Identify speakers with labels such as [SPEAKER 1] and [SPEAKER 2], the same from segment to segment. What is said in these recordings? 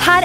[SPEAKER 1] her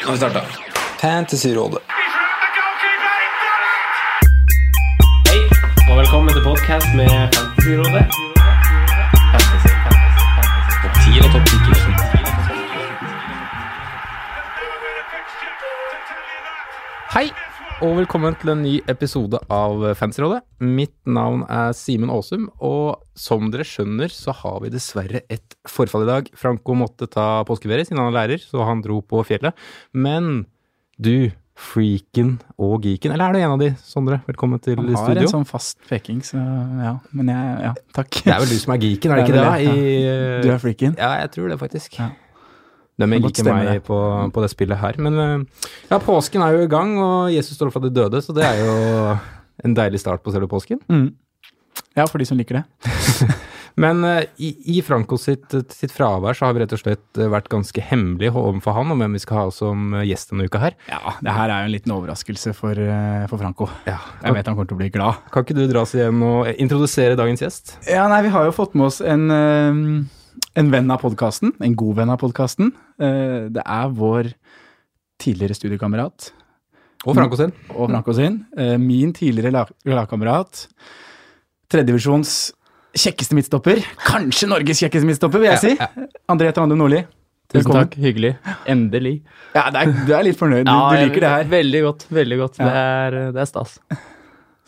[SPEAKER 2] Nå har vi starta. Fantasyrådet.
[SPEAKER 3] Hei, og velkommen til podcast med Fantasyrådet. Topp 10 og topp 10
[SPEAKER 2] Hei, og velkommen til en ny episode av Fantasyrådet. Mitt navn er Simen Aasum, og som dere skjønner, så har vi dessverre et forfall i dag. Franco måtte ta påskeferie siden han er lærer, så han dro på fjellet. Men du, freaken og geeken, eller er du en av de, Sondre? Velkommen til
[SPEAKER 4] Han har
[SPEAKER 2] studio.
[SPEAKER 4] en sånn fast peking, så ja. Men jeg, ja, takk.
[SPEAKER 2] Det er vel du som er geeken, er det
[SPEAKER 4] Det er
[SPEAKER 2] ikke det?
[SPEAKER 4] vel jeg,
[SPEAKER 2] da? I,
[SPEAKER 4] Du er freaken.
[SPEAKER 2] Ja, jeg tror det faktisk.
[SPEAKER 4] Ja.
[SPEAKER 2] De
[SPEAKER 4] kan godt
[SPEAKER 2] liker
[SPEAKER 4] stemme
[SPEAKER 2] meg
[SPEAKER 4] det.
[SPEAKER 2] på, på det spillet her. Men eh, ja, påsken er jo i gang, og Jesus står opp fra de døde, så det er jo en deilig start på selve påsken.
[SPEAKER 4] Mm. Ja, for de som liker det.
[SPEAKER 2] Men eh, i, i Franco sitt, sitt fravær så har vi rett og slett eh, vært ganske hemmelige overfor han om hvem vi skal ha som eh, gjest denne uka her.
[SPEAKER 4] Ja, det her er jo en liten overraskelse for, eh, for Franco. Jeg
[SPEAKER 2] Kan,
[SPEAKER 4] vet han kommer til å bli glad.
[SPEAKER 2] kan ikke du dra oss igjen og eh, introdusere dagens gjest?
[SPEAKER 4] Ja, nei, vi har jo fått med oss en, eh, en venn av podkasten. En god venn av podkasten. Det er vår tidligere studiekamerat
[SPEAKER 2] Og Franco sin.
[SPEAKER 4] og Franco sin. eh, Min tidligere lag- lagkamerat. Tredjevisjons kjekkeste midtstopper. Kanskje Norges kjekkeste midtstopper, vil jeg si. André Trandum Nordli. Velkommen.
[SPEAKER 3] Hyggelig. Endelig.
[SPEAKER 4] Ja, det er, du er litt fornøyd. Du, du liker det her.
[SPEAKER 3] Veldig godt. veldig godt.
[SPEAKER 4] Ja.
[SPEAKER 3] Det, er, det er stas.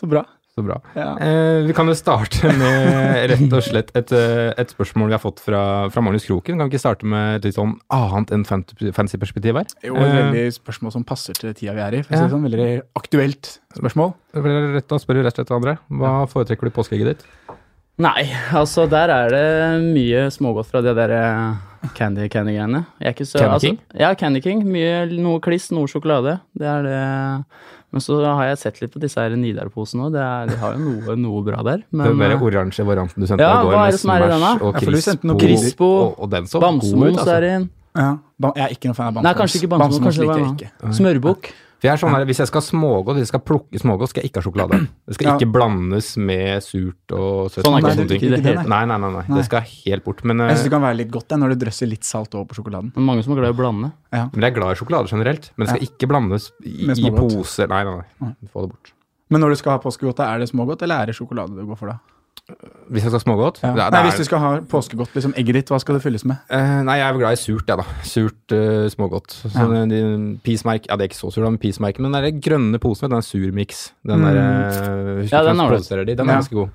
[SPEAKER 4] Så bra.
[SPEAKER 2] Så bra.
[SPEAKER 4] Ja.
[SPEAKER 2] Eh, vi kan jo starte med rett og slett et, eh, et spørsmål vi har fått fra, fra Magnus Kroken. Kan vi ikke starte med et litt sånn annet enn fant- fantasy-perspektiv her?
[SPEAKER 4] Jo,
[SPEAKER 3] Eh.
[SPEAKER 4] et veldig spørsmål som passer til tida vi er i. For å si
[SPEAKER 2] Ja.
[SPEAKER 4] det sånn, Veldig aktuelt spørsmål.
[SPEAKER 2] Eh, vel, rett, da spør vi rett og slett andre. Hva foretrekker du i påskeegget ditt?
[SPEAKER 3] Nei, altså der er det mye smågodt fra de der eh, Candy Candy-greiene. Jeg er ikke så-
[SPEAKER 2] Candy
[SPEAKER 3] altså,
[SPEAKER 2] King?
[SPEAKER 3] Ja, Candy King. Mye, noe kliss, noe sjokolade. Det er det. Men så har jeg sett litt på disse her Nidar-posene òg. Det er- De har jo noe, noe bra der. Men
[SPEAKER 2] Den
[SPEAKER 3] eh,
[SPEAKER 2] der oransje varianten du sendte meg
[SPEAKER 3] Ja,
[SPEAKER 2] i går,
[SPEAKER 3] hva er
[SPEAKER 2] med
[SPEAKER 3] det som er i den da?
[SPEAKER 2] Smash og
[SPEAKER 4] Ja, for du sendte
[SPEAKER 2] Crispo,
[SPEAKER 4] noen
[SPEAKER 3] Crispo,
[SPEAKER 2] og, og den så god ut,
[SPEAKER 3] Bamsemos
[SPEAKER 2] altså.
[SPEAKER 3] er inn.
[SPEAKER 4] Ja. Ba- Jeg er ikke noen fan av Bamsemos.
[SPEAKER 3] Nei, kanskje ikke Bamsemos. kanskje det var
[SPEAKER 4] liker
[SPEAKER 3] en
[SPEAKER 4] jeg ikke.
[SPEAKER 3] annen. Smørbukk.
[SPEAKER 2] For jeg er sånn her, hvis jeg skal ha smågodt, hvis jeg skal plukke smågodt, skal jeg ikke ha sjokolade. Det skal
[SPEAKER 4] Ja.
[SPEAKER 2] ikke blandes med surt og søtt.
[SPEAKER 3] Sånn er
[SPEAKER 2] og
[SPEAKER 3] ikke
[SPEAKER 2] sånne
[SPEAKER 3] det-
[SPEAKER 2] ting.
[SPEAKER 3] ikke det hele.
[SPEAKER 2] Nei, nei, nei, nei. Det skal helt bort. Men,
[SPEAKER 4] Jeg syns
[SPEAKER 2] eh,
[SPEAKER 4] det kan være litt godt det, når du drøsser litt salt over på sjokoladen.
[SPEAKER 3] Men mange som er glad i å blande.
[SPEAKER 2] men jeg er glad i sjokolade generelt. Men det skal ikke blandes i,
[SPEAKER 4] Med
[SPEAKER 2] i
[SPEAKER 4] smågodt.
[SPEAKER 2] pose. Nei, nei, nei. Få det bort.
[SPEAKER 4] Men når du skal ha påskegodt, da er det smågodt, eller er det sjokolade du går for da?
[SPEAKER 2] Hvis jeg skal ha smågodt?
[SPEAKER 4] Ja.
[SPEAKER 2] Det er- det
[SPEAKER 4] Nei,
[SPEAKER 2] er-
[SPEAKER 4] Hvis du skal ha påskegodt, liksom egget ditt, hva skal det fylles med?
[SPEAKER 2] Eh, nei, jeg er vel glad i surt, jeg, da. Surt eh, smågodt. Sånn, eh, de- Peacemerk Ja, det er ikke så surt, da, men peacemerk. Men den der grønne posen, den er surmix. Den der eh, husker
[SPEAKER 3] Ja,
[SPEAKER 2] ikke hvem
[SPEAKER 3] den
[SPEAKER 2] som
[SPEAKER 3] har du.
[SPEAKER 2] produserer de. Den er
[SPEAKER 4] Mm. Ja.
[SPEAKER 2] ganske god.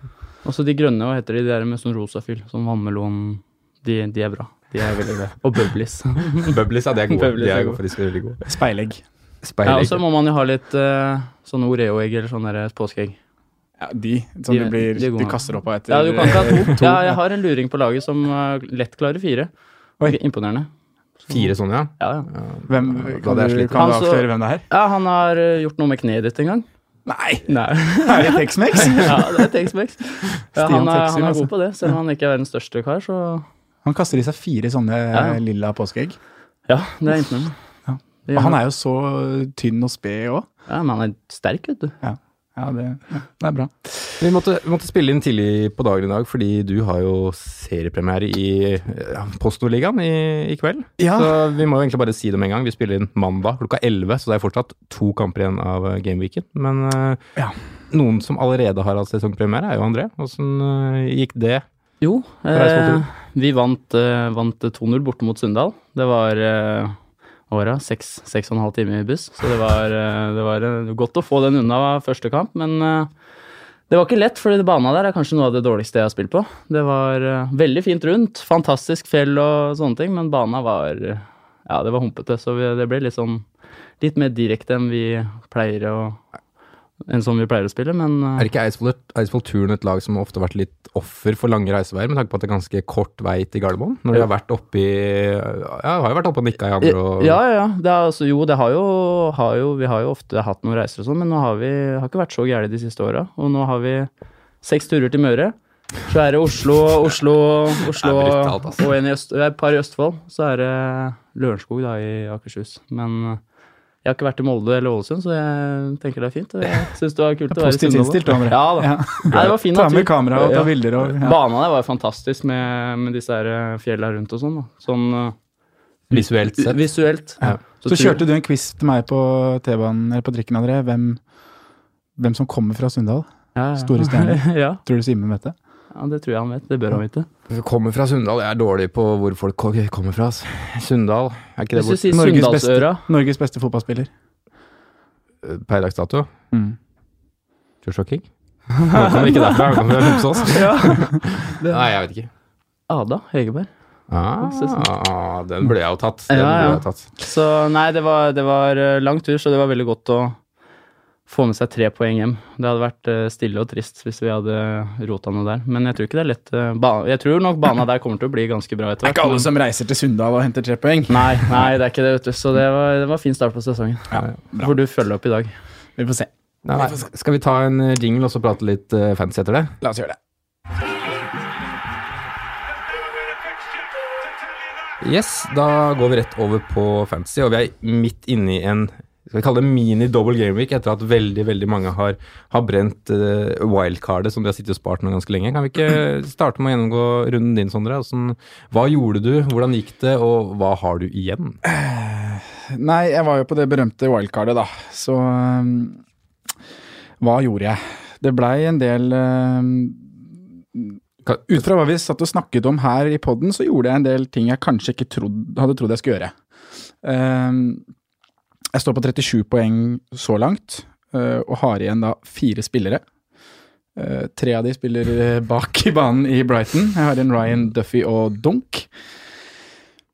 [SPEAKER 3] Og så de grønne, hva heter de, de der med sånn rosa fyll? Sånn vannmelon. De, de er bra. De er veldig bra. Og bublis.
[SPEAKER 2] Bubblies, ja, de er gode.
[SPEAKER 3] Bubblies
[SPEAKER 2] De er
[SPEAKER 3] er
[SPEAKER 2] gode,
[SPEAKER 3] gode.
[SPEAKER 2] faktisk veldig gode.
[SPEAKER 4] Speilegg.
[SPEAKER 3] Ja,
[SPEAKER 2] Speilegg.
[SPEAKER 3] og så må man jo ha litt eh, sånne Oreo-egg eller sånne der eh, påskeegg.
[SPEAKER 4] Ja, de som
[SPEAKER 3] De-
[SPEAKER 4] du, blir,
[SPEAKER 3] de er gode.
[SPEAKER 4] du kaster opp av etter
[SPEAKER 3] Ja, du kan ikke ha to. Ja, jeg har en luring på laget som eh, lett klarer fire.
[SPEAKER 4] Oi.
[SPEAKER 3] Imponerende.
[SPEAKER 2] Fire sånne, ja.
[SPEAKER 3] Ja, ja.
[SPEAKER 4] Hvem,
[SPEAKER 2] Da
[SPEAKER 4] kan,
[SPEAKER 2] hadde jeg
[SPEAKER 4] du,
[SPEAKER 2] slitt.
[SPEAKER 4] kan du
[SPEAKER 3] Altså-
[SPEAKER 4] avsløre hvem det er?
[SPEAKER 3] ja, han har eh, gjort noe med kneet ditt en gang.
[SPEAKER 4] Nei!
[SPEAKER 3] Nei.
[SPEAKER 4] Er det Tex-Mex?
[SPEAKER 3] ja, det er Tex-Mex. Ja,
[SPEAKER 4] Stian
[SPEAKER 3] han, er,
[SPEAKER 4] Tex-Mex,
[SPEAKER 3] han er
[SPEAKER 4] altså.
[SPEAKER 3] god på det, selv om han ikke er verdens største kar, så
[SPEAKER 4] Han kaster i seg fire sånne
[SPEAKER 3] Ja.
[SPEAKER 4] eh, lilla påskeegg.
[SPEAKER 3] ja, det er imponerende. Det
[SPEAKER 4] Og
[SPEAKER 3] gjør
[SPEAKER 4] han er jo så tynn og sped òg.
[SPEAKER 3] Ja, men han er sterk, vet du.
[SPEAKER 4] Ja, det, ja, det er bra.
[SPEAKER 2] Vi måtte, vi måtte spille inn tidlig på dagen i dag, fordi du har jo seriepremiere i ja, Postordligaen i, i kveld.
[SPEAKER 4] Ja.
[SPEAKER 2] Så vi må jo egentlig bare si det med en gang. Vi spiller inn mandag klokka 11, så det er fortsatt to kamper igjen av eh, gameweeken. Men eh,
[SPEAKER 4] Ja.
[SPEAKER 2] noen som allerede har hatt sesongpremiere, er jo André. Åssen eh, gikk det?
[SPEAKER 3] Jo,
[SPEAKER 2] reise på
[SPEAKER 3] eh, vi vant, eh, vant 2-0 borte mot Sunndal. Det var eh, åra. Seks, seks og en halv time i buss. Så det var, eh, det var eh, godt å få den unna første kamp, men eh, det var ikke lett, for bana der er kanskje noe av det dårligste jeg har spilt på. Det var eh, veldig fint rundt, fantastisk fjell og sånne ting, men bana var eh, Ja, det var humpete, så vi, det ble litt sånn Litt mer direkte enn vi pleier å Enn som vi pleier å spille, men eh,
[SPEAKER 2] Er ikke Eidsvoll, Eidsvoll Turn et lag som ofte har vært litt offer for lange reiseveier, med tanke på at det er ganske kort vei til Gardermoen? Når de har vært oppe i Ja, har jo vært oppe og nikka i andre og
[SPEAKER 3] Ja, ja, ja. Det er, altså, jo, det har jo, har jo Vi har jo ofte hatt noen reiser og sånn, men nå har vi har ikke vært så gærent de siste åra. Og nå har vi seks turer til Møre. Så er det Oslo, Oslo, Oslo
[SPEAKER 2] Det er brutalt, altså.
[SPEAKER 3] og en i Øst, det er et par i Østfold. Så er det Lørenskog da i Akershus. Men eh, jeg har ikke vært i Molde eller Ålesund, så jeg tenker det er fint. og Jeg syns det var kult å være i
[SPEAKER 4] Positivt
[SPEAKER 3] Sunndal.
[SPEAKER 4] innstilt, du, André.
[SPEAKER 3] Ja, da. Nei, det var fin
[SPEAKER 4] Ta
[SPEAKER 3] natur.
[SPEAKER 4] med kamera og ta
[SPEAKER 3] Ja.
[SPEAKER 4] bilder og ja.
[SPEAKER 3] Bana der var jo fantastisk med, med disse her eh, fjella rundt og sånn. da. Sånn eh,
[SPEAKER 2] visuelt sett.
[SPEAKER 3] Visuelt.
[SPEAKER 4] Ja. Så kjørte du en quiz til meg på T-banen, eller på drikken, André. Hvem, hvem som kommer fra Sunndal?
[SPEAKER 3] ja, ja.
[SPEAKER 4] Store stjerner.
[SPEAKER 3] ja,
[SPEAKER 4] Tror du Simen vet det?
[SPEAKER 3] ja, det tror jeg han vet. Det bør han vite.
[SPEAKER 2] Kommer fra Sunndal. Jeg er dårlig på hvor folk ko- kommer fra. ass. Sunndal er ikke det
[SPEAKER 3] Hvis
[SPEAKER 2] bort
[SPEAKER 3] du sier
[SPEAKER 4] Norges
[SPEAKER 3] Sunndalsøra
[SPEAKER 4] Norges beste fotballspiller.
[SPEAKER 2] eh, per dags dato?
[SPEAKER 4] Mm.
[SPEAKER 2] Joshua King? Han kommer ikke derfra, han kommer fra Romsås. Nei, jeg vet ikke.
[SPEAKER 3] Ada Hegerberg.
[SPEAKER 2] Ah, den ble jeg jo tatt. Den
[SPEAKER 3] Ja,
[SPEAKER 2] ble
[SPEAKER 3] ja.
[SPEAKER 2] jeg tatt.
[SPEAKER 3] Så nei, det var, det var eh, lang tur, så det var veldig godt å få med seg tre poeng hjem. Det hadde vært eh, stille og trist hvis vi hadde rota noe der. Men jeg tror ikke det er lett. eh, ba- Jeg tror nok bana der kommer til å bli ganske bra etter hvert. men-
[SPEAKER 4] som reiser til Sunndal og henter tre poeng.
[SPEAKER 3] Nei, nei, det er ikke det, vet du. Så det var, det var fin start på sesongen. Hvor du følger opp i dag.
[SPEAKER 4] Vi får se.
[SPEAKER 2] Nei, skal vi ta en eh, jingle og så prate litt eh, fancy etter det?
[SPEAKER 4] La oss gjøre det.
[SPEAKER 2] Yes, da går vi rett over på fantasy, og vi er midt inne i en skal vi kalle det mini-double game week etter at veldig veldig mange har, har brent eh, wildcardet som de har sittet og spart nå ganske lenge. Kan vi ikke starte med å gjennomgå runden din, Sondre? Hvordan, hva gjorde du, hvordan gikk det, og hva har du igjen?
[SPEAKER 4] Nei, jeg var jo på det berømte wildcardet, da. Så øhm, hva gjorde jeg? Det blei en del øhm,
[SPEAKER 2] Ka-
[SPEAKER 4] Ut fra hva vi satt og snakket om her i poden, så gjorde jeg en del ting jeg kanskje ikke trodd- hadde trodd jeg skulle gjøre. Øhm, Ehm, jeg står på 37 poeng så langt, øh, og har igjen da fire spillere. Eh, tre av de spiller eh, bak i banen i Brighton. Jeg har en Ryan Duffy og Dunk.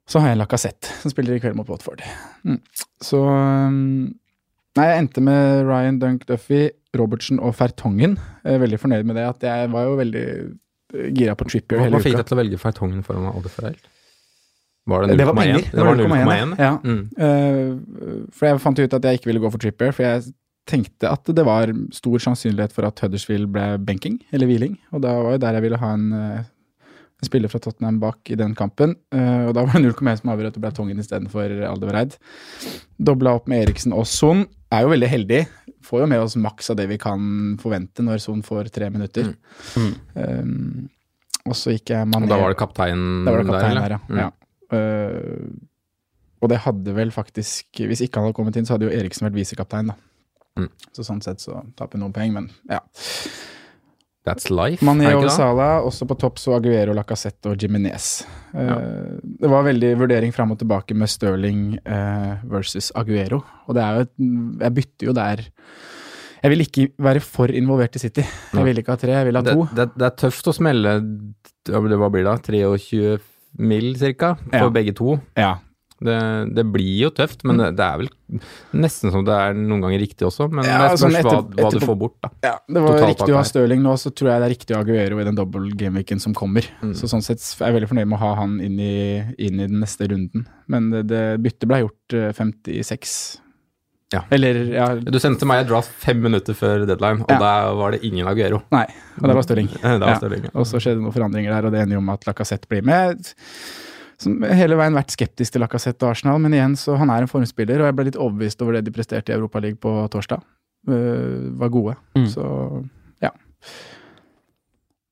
[SPEAKER 4] Så har jeg Lacassette, som spiller i kveld mot Watford. Mm. Så um, Nei, jeg endte med Ryan Dunk Duffy, Robertsen og Fertongen. Jeg er veldig fornøyd med det. at Jeg var jo veldig eh, gira på Trippier
[SPEAKER 2] Hva,
[SPEAKER 4] hele
[SPEAKER 2] hva fikk
[SPEAKER 4] uka.
[SPEAKER 2] deg til å velge Feitongen foran Oddeferrell? Var det
[SPEAKER 4] Det
[SPEAKER 2] 0,1?
[SPEAKER 4] var penger.
[SPEAKER 2] Det var 0,1.
[SPEAKER 4] 0,1, ja.
[SPEAKER 2] Mm.
[SPEAKER 4] Eh, for jeg fant ut at jeg ikke ville gå for Trippier, for jeg tenkte at det var stor sannsynlighet for at Huddersfield ble benking, eller hviling, og da var jo der jeg ville ha en, eh, en spiller fra Tottenham bak i den kampen, eh, og da var det 0,1 som avgjorde at det ble Tongen istedenfor Aldevereid. Dobla opp med Eriksen og Son, er jo veldig heldig, får jo med oss maks av det vi kan forvente når Son får tre minutter. Eh, og så gikk jeg
[SPEAKER 2] Mm. Og
[SPEAKER 4] Mané
[SPEAKER 2] da var det kapteinen
[SPEAKER 4] da var det kaptein
[SPEAKER 2] eller?
[SPEAKER 4] der, ja.
[SPEAKER 2] Mm.
[SPEAKER 4] ja. Eh, og det hadde vel faktisk Hvis ikke han hadde kommet inn, så hadde jo Eriksen vært visekaptein, da.
[SPEAKER 2] Mm.
[SPEAKER 4] Så sånn sett så taper vi noen poeng, men ja.
[SPEAKER 2] That's life.
[SPEAKER 4] Mané
[SPEAKER 2] er det
[SPEAKER 4] og
[SPEAKER 2] ikke det?
[SPEAKER 4] Salah, også på topp så Aguero, Lacassette og Jiminez. Det var veldig vurdering fram og tilbake med Stirling eh, versus Aguero. Og det er jo et, Jeg bytter jo der Jeg vil ikke være for involvert i City.
[SPEAKER 2] Nei.
[SPEAKER 4] Jeg vil ikke ha tre, jeg vil ha
[SPEAKER 2] det,
[SPEAKER 4] to.
[SPEAKER 2] det, det er tøft å smelle ja, men det- Hva blir det da? 23 mil cirka for
[SPEAKER 4] Ja.
[SPEAKER 2] begge to.
[SPEAKER 4] Ja.
[SPEAKER 2] Det, det blir jo tøft, men det, det er vel nesten som det er noen ganger riktig også. Men
[SPEAKER 4] Mm. Ja,
[SPEAKER 2] det spørs
[SPEAKER 4] sånn
[SPEAKER 2] hva,
[SPEAKER 4] etter-
[SPEAKER 2] hva du
[SPEAKER 4] etterpå-
[SPEAKER 2] får bort, da.
[SPEAKER 4] Ja, det var
[SPEAKER 2] Totalpakka
[SPEAKER 4] riktig å ha
[SPEAKER 2] her.
[SPEAKER 4] Stirling nå, så tror jeg det er riktig å ha Aguero i den dobbel gameweeken som kommer.
[SPEAKER 2] Mm.
[SPEAKER 4] Så sånn sett er jeg veldig fornøyd med å ha han inn i, inn i den neste runden. Men det, det byttet ble gjort eh, 56.
[SPEAKER 2] Ja.
[SPEAKER 4] Eller, ja,
[SPEAKER 2] Du sendte meg et draft fem minutter før deadline, og
[SPEAKER 4] Ja.
[SPEAKER 2] der var det ingen Aguero.
[SPEAKER 4] nei, og det var Stirling.
[SPEAKER 2] Det var
[SPEAKER 4] Ja.
[SPEAKER 2] Stirling, ja.
[SPEAKER 4] Og så skjedde det noen forandringer der, og det ender jo med at Lacassette blir med. Som hele veien vært skeptisk til Lacassette og Arsenal, men igjen, så han er en formspiller, og jeg ble litt overbevist over det de presterte i Europaligaen på torsdag. Eh, var gode,
[SPEAKER 3] Mm.
[SPEAKER 4] så ja.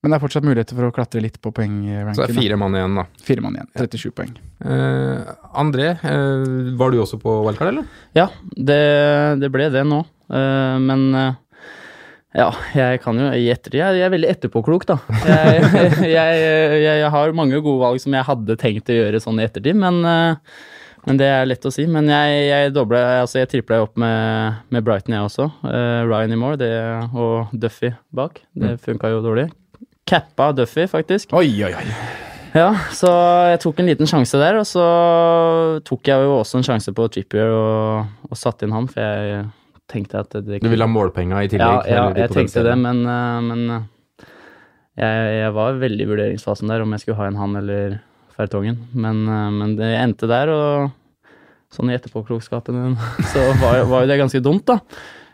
[SPEAKER 4] Men det er fortsatt muligheter for å klatre litt på poengranken.
[SPEAKER 2] Så det er
[SPEAKER 4] da.
[SPEAKER 2] fire mann igjen, da.
[SPEAKER 4] Fire mann igjen, 37 poeng.
[SPEAKER 2] Eh, André, eh, var du også på wildcard, eller?
[SPEAKER 3] Ja, det, det ble det nå. Eh, men eh, ja, jeg kan jo i etter, jeg, jeg er veldig etterpåklok, da. Jeg, jeg, jeg, jeg har mange gode valg som jeg hadde tenkt å gjøre sånn i ettertid, men eh, Men det er lett å si. Men jeg, jeg, doble, altså jeg tripla jo opp med, med Brighton, jeg også. Eh, Ryan Moore det, og Duffy bak. Det funka jo dårlig. Cappa Duffy, faktisk.
[SPEAKER 4] Oi, oi, oi.
[SPEAKER 3] Ja, Så jeg tok en liten sjanse der, og så tok jeg jo også en sjanse på Trippier og, og satte inn han, for jeg tenkte at det
[SPEAKER 2] Du vil ha målpenga i
[SPEAKER 3] ja,
[SPEAKER 2] tillegg?
[SPEAKER 3] ja,
[SPEAKER 2] eller de
[SPEAKER 3] jeg tenkte
[SPEAKER 2] potensielle.
[SPEAKER 3] det, men, eh, men eh, jeg, jeg var veldig i vurderingsfasen der om jeg skulle ha en han eller Fertongen. Men, eh, men det endte der, og sånn i etterpåklokskapen min, så var, var jo det ganske dumt, da.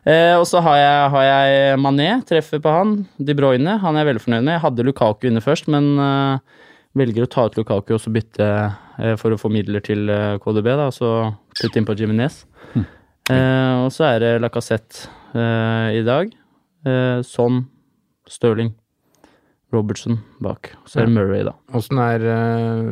[SPEAKER 3] Eh, og så har jeg, har jeg Mané, treffer på han. De Bruyne, han er jeg veldig fornøyd med. Jeg hadde Lukaku inne først, men eh, velger å ta ut Lukaku og så bytte eh, for å få midler til eh, KDB, da, og så putte inn på Jiminez. Eh, og så er det Lacassette eh, i dag. Eh, Son, Stirling, Robertson bak. Så er det Murray, da.
[SPEAKER 2] Åssen er eh,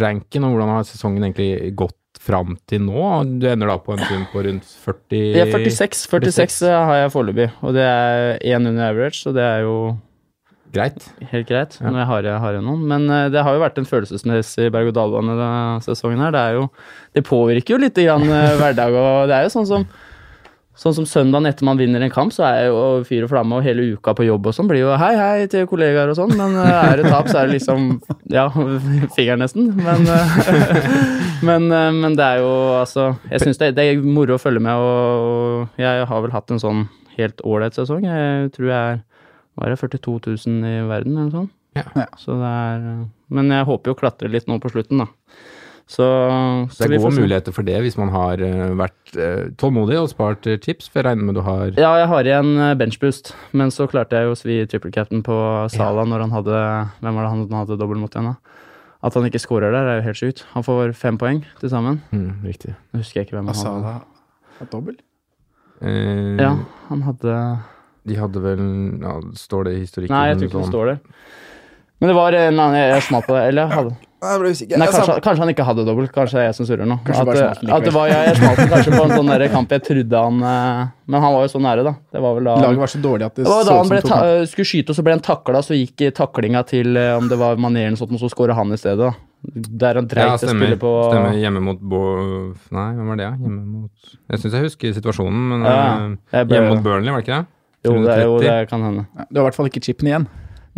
[SPEAKER 2] ranken, og hvordan har sesongen egentlig gått fram til nå? Du ender da på en sum på rundt 40
[SPEAKER 3] Ja, 46, 46 har jeg foreløpig, og det er én under average, så det er jo
[SPEAKER 2] Greit.
[SPEAKER 3] helt greit. Når jeg har, jeg har igjen noen. Men eh, det har jo vært en følelsesmessig berg-og-dal-bane denne sesongen her. Det, er jo, det påvirker jo litt grann eh, hverdag, og det er jo sånn som Sånn som søndagen etter man vinner en kamp, så er jeg jo fyr og flamme, og hele uka på jobb og sånn blir jo hei, hei til kollegaer og sånn, men eh, er det tap, så er det liksom ja, finger nesten. Men, eh, men, eh, men det er jo altså Jeg syns det, det er moro å følge med, og, og jeg har vel hatt en sånn helt ålreit sesong. Jeg tror jeg er hva er det, 42 000 i verden eller noe sånt.
[SPEAKER 2] Ja.
[SPEAKER 3] Så det er eh, Men jeg håper jo å klatre litt nå på slutten, da. Så,
[SPEAKER 2] Så
[SPEAKER 3] så
[SPEAKER 2] det
[SPEAKER 3] vi
[SPEAKER 2] er
[SPEAKER 3] får
[SPEAKER 2] gode
[SPEAKER 3] se.
[SPEAKER 2] muligheter for det hvis man har eh, vært eh, tålmodig og spart eh, chips, for jeg regner med du har
[SPEAKER 3] Ja, jeg har igjen eh, benchboost, men så klarte jeg jo å svi triple cap'n på Sala når han hadde Hvem var det han hadde dobbel mot igjen, da? At han ikke scorer der, er jo helt sjukt. Han får fem poeng til sammen.
[SPEAKER 2] Mm, Riktig.
[SPEAKER 3] Nå husker jeg ikke hvem han hadde.
[SPEAKER 4] Asala er dobbel.
[SPEAKER 2] Eh,
[SPEAKER 3] Ja, han hadde
[SPEAKER 2] De hadde vel ja, Står det i historikken?
[SPEAKER 3] Nei, jeg tror ikke det
[SPEAKER 2] sånn?
[SPEAKER 3] står der. Men det var en annen jeg smalt på det. Eller jeg hadde
[SPEAKER 4] Jeg ble usikker.
[SPEAKER 3] Nei, kanskje, kanskje han ikke hadde dobbelt. Kanskje det er jeg som surrer nå.
[SPEAKER 4] Kanskje
[SPEAKER 3] At,
[SPEAKER 4] bare smalt likevel.
[SPEAKER 3] at det var jeg, jeg smalt kanskje på en sånn der kamp jeg trodde han eh, Men han var jo så nære, da. Det var vel da
[SPEAKER 4] Laget var så dårlig at det
[SPEAKER 3] Det
[SPEAKER 4] så
[SPEAKER 3] var
[SPEAKER 4] ut
[SPEAKER 3] da han
[SPEAKER 4] som
[SPEAKER 3] ble
[SPEAKER 4] to
[SPEAKER 3] ta
[SPEAKER 4] kamper.
[SPEAKER 3] skulle skyte, og så ble han takla, så gikk eh, taklinga til eh, om det var Mané eller noe sånt, og så skåra han i stedet. da. Der han dreit
[SPEAKER 2] Ja,
[SPEAKER 3] det
[SPEAKER 2] stemmer.
[SPEAKER 3] spillet på
[SPEAKER 2] stemmer. Hjemme mot Bo... Nei, hvem var det? ja? Hjemme mot Jeg syns jeg husker situasjonen, men
[SPEAKER 3] Ja,
[SPEAKER 2] eh,
[SPEAKER 3] jeg ble-
[SPEAKER 2] hjemme mot Burnley, var det ikke det?
[SPEAKER 3] Jo, det, er- jo,
[SPEAKER 2] 130.
[SPEAKER 3] det kan hende.
[SPEAKER 4] Nei, Du har i hvert fall ikke chipen igjen.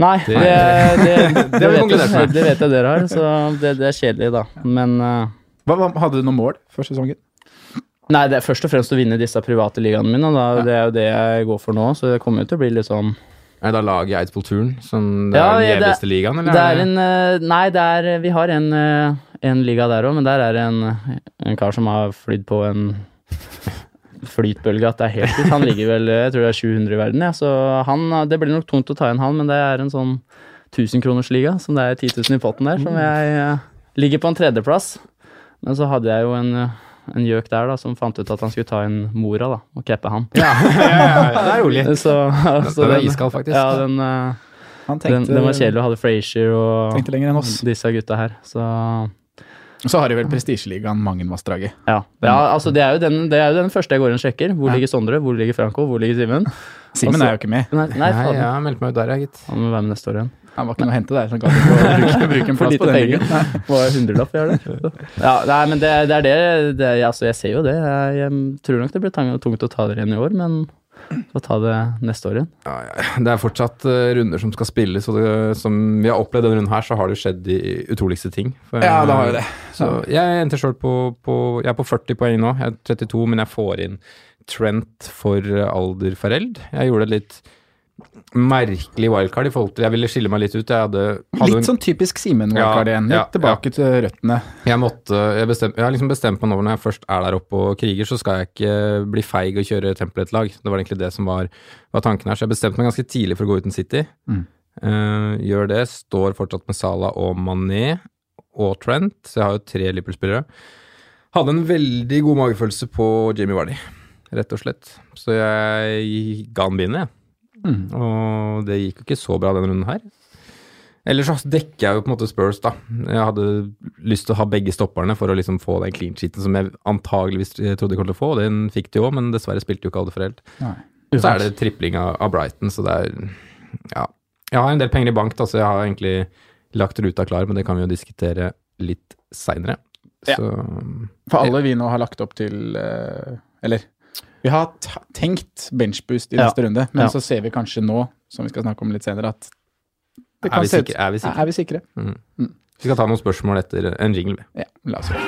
[SPEAKER 3] Nei, det, det, det,
[SPEAKER 2] Det har vi
[SPEAKER 3] vet,
[SPEAKER 2] konkludert
[SPEAKER 3] jeg,
[SPEAKER 2] med.
[SPEAKER 3] det vet jeg dere har, så det, det er kjedelig, da. Men eh,
[SPEAKER 4] Hva, hva, hadde du noen mål før sesongen?
[SPEAKER 3] Nei, det er først og fremst å vinne disse private ligaene mine, og da. Det er jo det jeg går for nå, så det kommer jo til å bli litt sånn
[SPEAKER 2] Er det da laget i Eidsvoll Turn som det er den
[SPEAKER 3] Ja, ja, det er-
[SPEAKER 2] gjeveste ligaen, eller?
[SPEAKER 3] Det er en eh, Nei, det er, vi har en, eh, en liga der òg, men der er det en, eh, en kar som har flydd på en flytbølge at det er helt ut. Han ligger vel eh, Jeg tror det er 700 i verden, ja. så han, eh, det blir nok tungt å ta igjen han, men det er en sånn 1000-kronersliga som det er 10 000 i potten der, som jeg eh, ligger på en tredjeplass. Men så hadde jeg jo en eh, en gjøk der da, som fant ut at han skulle ta inn mora da, og cappe han.
[SPEAKER 2] det er rolig.
[SPEAKER 3] Så, så
[SPEAKER 2] den er
[SPEAKER 3] den-
[SPEAKER 2] iskald, faktisk.
[SPEAKER 3] Ja, den, eh,
[SPEAKER 4] Han
[SPEAKER 3] den, den var kjedelig og hadde Frazier og
[SPEAKER 4] tenkte lenger enn oss.
[SPEAKER 3] disse gutta her. Så
[SPEAKER 4] Så har de vel prestisjeligaen Mangenvassdraget.
[SPEAKER 3] ja. ja altså, det, er jo den, det er jo den første jeg går inn og sjekker. Hvor ligger Sondre? Hvor ligger Franco? Hvor ligger Simen?
[SPEAKER 4] Simen
[SPEAKER 3] Altså-
[SPEAKER 4] er jo ikke med.
[SPEAKER 3] Nei, nei
[SPEAKER 2] Nei,
[SPEAKER 3] faen.
[SPEAKER 2] jeg har meldt meg ut der, jeg, gitt.
[SPEAKER 3] Han må være med neste år igjen.
[SPEAKER 4] Han var ikke noe å hente der. Så han gadd ikke å bruke, bruke en
[SPEAKER 3] For
[SPEAKER 4] plass
[SPEAKER 3] lite
[SPEAKER 4] på den
[SPEAKER 3] penger.
[SPEAKER 4] ligaen. Nei.
[SPEAKER 3] Hva er hundrelapp vi har der? Ja, nei, men det, det er det, det er- Altså, jeg ser jo det. Jeg, jeg tror nok det blir tang- tungt å ta dere igjen i år, men så ta det neste år igjen.
[SPEAKER 2] Ja, ja. Det er fortsatt eh, runder som skal spilles, og det, som vi har opplevd denne runden her, så har det jo skjedd de utroligste ting. For, eh,
[SPEAKER 4] Ja, det har jo det.
[SPEAKER 2] Så jeg endte selv på, på Jeg er på 40 poeng nå. Jeg er 32, men jeg får inn Trent for eh, Alder Fareld. Jeg gjorde et litt merkelig wildcard i forhold til Jeg ville skille meg litt ut. Jeg hadde, hadde
[SPEAKER 4] Litt sånn typisk Simen
[SPEAKER 2] Ja,
[SPEAKER 4] Wildcard igjen. Litt
[SPEAKER 2] ja,
[SPEAKER 4] tilbake til røttene.
[SPEAKER 2] Jeg måtte, jeg, bestem, jeg har liksom bestemt meg nå når jeg først er der oppe og kriger, så skal jeg ikke bli feig og kjøre Templet-lag. Det var egentlig det som var, var tanken her. Så jeg bestemte meg ganske tidlig for å gå uten City. Eh, gjør det. Står fortsatt med Sala og Mané og Trent, så jeg har jo tre Liverpool-spillere. Hadde en veldig god magefølelse på Jamie Vardy, rett og slett. Så jeg ga han bindet, jeg. Og det gikk jo ikke så bra denne runden her. Ellers så dekker jeg jo på en måte Spurs, da. Jeg hadde lyst til å ha begge stopperne for å liksom få den clean sheeten som jeg antageligvis trodde jeg kom til å få, og den fikk de jo, men dessverre spilte jo ikke alle for helt.
[SPEAKER 4] Nei.
[SPEAKER 2] Så er det tripling av, av Brighton, så det er Ja. Jeg har en del penger i bank, da, så jeg har egentlig lagt ruta klar, men det kan vi jo diskutere litt seinere.
[SPEAKER 4] Ja.
[SPEAKER 2] Så
[SPEAKER 4] For alle vi nå har lagt opp til eh, Eller vi har t tenkt benchboost i
[SPEAKER 3] Ja.
[SPEAKER 4] neste runde, men
[SPEAKER 3] Ja.
[SPEAKER 4] så ser vi kanskje nå, som vi skal snakke om litt senere, at det
[SPEAKER 2] er vi
[SPEAKER 4] se ut-
[SPEAKER 2] sikre? Er vi sikre?
[SPEAKER 4] Er vi sikre?
[SPEAKER 2] vi skal ta noen spørsmål etter en jingle. vi.
[SPEAKER 4] Ja, la oss gjøre det.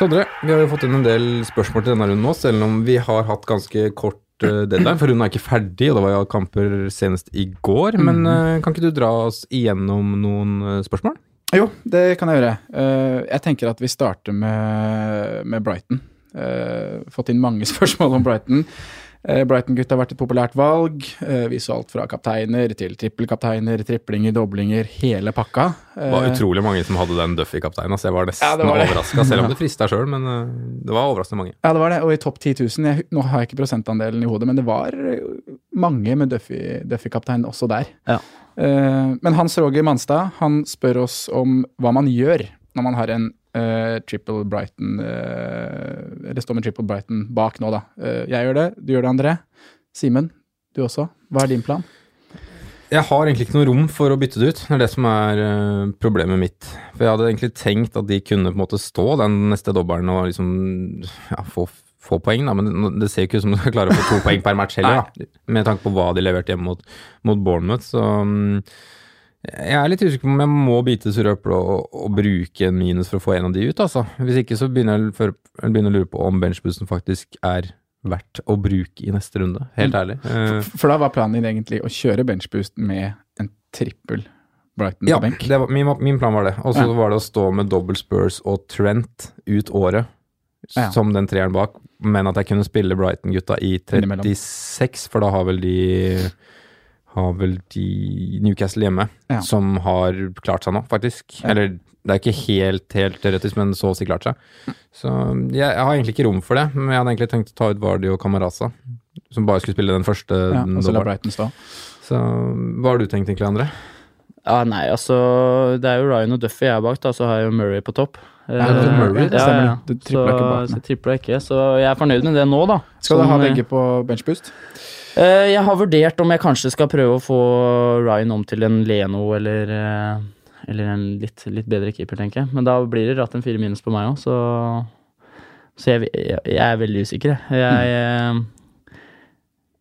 [SPEAKER 2] Sondre, vi har jo fått inn en del spørsmål til denne runden nå, selv om vi har hatt ganske kort eh, deadline, for runden er ikke ferdig, og det var jo kamper senest i går. Men eh, kan ikke du dra oss igjennom noen eh, spørsmål?
[SPEAKER 4] Jo, det kan jeg gjøre. Eh, jeg tenker at vi starter med, med Brighton. Eh, fått inn mange spørsmål om Brighton. Eh, Brighton-gutta har vært et populært valg. Eh, vi så alt fra kapteiner til trippelkapteiner, triplinger, doblinger, hele pakka. Eh,
[SPEAKER 2] Det var utrolig mange som hadde den Duffy-kapteinen, så jeg var nesten
[SPEAKER 4] Ja, det
[SPEAKER 2] overrasket,
[SPEAKER 4] var det.
[SPEAKER 2] overraska, selv om det frista sjøl, men eh, det var overraskende mange.
[SPEAKER 4] Ja, det var det. Og i topp 10 000 jeg, Nå har jeg ikke prosentandelen i hodet, men det var eh, mange med Duffy- Duffy-kaptein også der.
[SPEAKER 3] Ja.
[SPEAKER 4] Eh, men Hans Roger Manstad han spør oss om hva man gjør når man har en eh, triple Brighton eh, Eller står med triple Brighton bak nå, da. Eh, jeg gjør det, du gjør det, André. Simen, du også. Hva er din plan?
[SPEAKER 2] Jeg har egentlig ikke noe rom for å bytte det ut. Det er det som er eh, problemet mitt. For jeg hadde egentlig tenkt at de kunne på en måte stå den neste dobbelen og liksom ja, få, få poeng, da. Men det, det ser jo ikke ut som de skal klare å få to poeng per match heller, da. Med tanke på hva de leverte hjemme mot, mot Bournemouth. Så mm, jeg er litt usikker på om jeg må bite sure eplet og, og bruke en minus for å få en av de ut, altså. Hvis ikke så begynner jeg for, begynner å lure på om benchboosten faktisk er verdt å bruke i neste runde. Helt ærlig. Eh,
[SPEAKER 4] For da var planen din egentlig å kjøre benchboost med en trippel Brighton
[SPEAKER 2] Ja,
[SPEAKER 4] på benk.
[SPEAKER 2] det var, min, min plan var det. Og så
[SPEAKER 4] Ja.
[SPEAKER 2] var det å stå med double Spurs og Trent ut året, s-
[SPEAKER 4] Ja.
[SPEAKER 2] som den treeren bak, men at jeg kunne spille Brighton-gutta i
[SPEAKER 4] Innimellom.
[SPEAKER 2] 36, for da har vel de har vel de Newcastle hjemme,
[SPEAKER 4] Ja.
[SPEAKER 2] som har klart seg nå, faktisk. Eller det er ikke helt, helt teoretisk, men så å si klart seg. Så jeg, jeg har egentlig ikke rom for det, men jeg hadde egentlig tenkt å ta ut Vardy og Kamaraza, som bare skulle spille den første.
[SPEAKER 4] Ja, og så la
[SPEAKER 2] dobbelen.
[SPEAKER 4] Brighton stå.
[SPEAKER 2] så hva har du tenkt egentlig, André?
[SPEAKER 3] Ja, nei, altså Det er jo Ryan og Duffy jeg er bak, da, så har jeg jo Murray på topp.
[SPEAKER 4] Ja, det er Murray, det
[SPEAKER 3] ja,
[SPEAKER 4] stemmer det.
[SPEAKER 3] ja, ja.
[SPEAKER 4] Du triplet ikke bak,
[SPEAKER 3] så,
[SPEAKER 4] nei.
[SPEAKER 3] så tripla ikke. Så jeg er fornøyd med det nå, da.
[SPEAKER 4] Skal du
[SPEAKER 3] Som,
[SPEAKER 4] ha
[SPEAKER 3] eh,
[SPEAKER 4] begge på benchboost?
[SPEAKER 3] eh, Jeg har vurdert om jeg kanskje skal prøve å få Ryan om til en Leno eller eh, Eller en litt, litt bedre keeper, tenker jeg. Men da blir det ratt en fire minus på meg òg, så Så jeg, jeg, jeg er veldig usikker, jeg. jeg eh,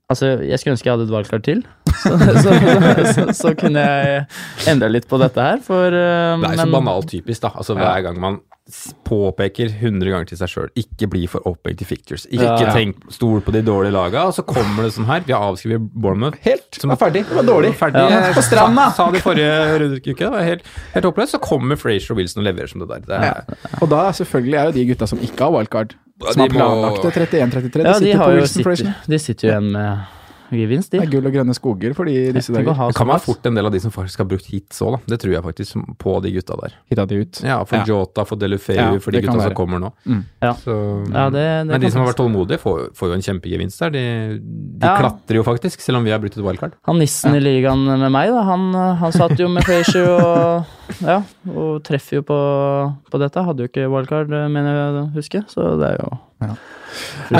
[SPEAKER 3] Altså, jeg skulle ønske jeg hadde et valgkart til, så, så, så, så, så kunne jeg endra litt på dette her, for eh,
[SPEAKER 2] Det er jo så
[SPEAKER 3] men-
[SPEAKER 2] banalt typisk, da. Altså Hver gang man s- påpeker 100 ganger til seg sjøl ikke bli for opphengt i fictures. Ikke
[SPEAKER 3] Ja.
[SPEAKER 2] tenk stol på de dårlige laga, og så kommer det sånn her. Vi har avskrevet Bournemouth.
[SPEAKER 4] Helt!
[SPEAKER 2] Som-
[SPEAKER 4] det var ferdig. Det var dårlig.
[SPEAKER 2] Ferdig. eh,
[SPEAKER 4] Ja. På stranda.
[SPEAKER 2] Sa, sa det forrige runde, ikke? Det var helt, helt håpløst. Så kommer Frazier og Wilson og leverer som det der. Det er,
[SPEAKER 4] Og da selvfølgelig er jo de gutta som ikke har wildcard, som
[SPEAKER 2] de
[SPEAKER 4] har planlagt
[SPEAKER 2] må-
[SPEAKER 4] det 31-33.
[SPEAKER 3] Ja,
[SPEAKER 4] de
[SPEAKER 3] de,
[SPEAKER 4] sitter
[SPEAKER 3] har
[SPEAKER 4] på
[SPEAKER 3] jo
[SPEAKER 4] Wilson Frazier.
[SPEAKER 3] sitter, de sitter jo igjen med gevinst,
[SPEAKER 4] Det
[SPEAKER 3] de.
[SPEAKER 4] er gull og grønne skoger for de i disse
[SPEAKER 3] Tenk å
[SPEAKER 4] dager.
[SPEAKER 3] ha
[SPEAKER 2] det kan være
[SPEAKER 3] såpass.
[SPEAKER 2] fort en del av de som faktisk har brukt hit så, da. Det tror jeg faktisk som- på de gutta der.
[SPEAKER 4] Hitta de ut.
[SPEAKER 2] Ja, for
[SPEAKER 4] Ja.
[SPEAKER 2] Jota, for Delufeu,
[SPEAKER 4] Ja,
[SPEAKER 2] for de
[SPEAKER 4] det kan
[SPEAKER 2] gutta som
[SPEAKER 4] være.
[SPEAKER 2] kommer nå.
[SPEAKER 3] Ja.
[SPEAKER 2] Så,
[SPEAKER 3] Ja, det- det
[SPEAKER 2] men de
[SPEAKER 3] kan
[SPEAKER 2] som har
[SPEAKER 3] faktisk-
[SPEAKER 2] vært tålmodige, får, får jo en kjempegevinst der. De, de
[SPEAKER 3] Ja.
[SPEAKER 2] klatrer jo faktisk, selv om vi har brukt et wildcard.
[SPEAKER 3] Han nissen i ligaen med meg, da, han, eh, han satt jo med Frazier og ja, og treffer jo på, på dette. Hadde jo ikke wildcard, eh, mener jeg å huske, så det er jo
[SPEAKER 4] Ja.
[SPEAKER 2] Men,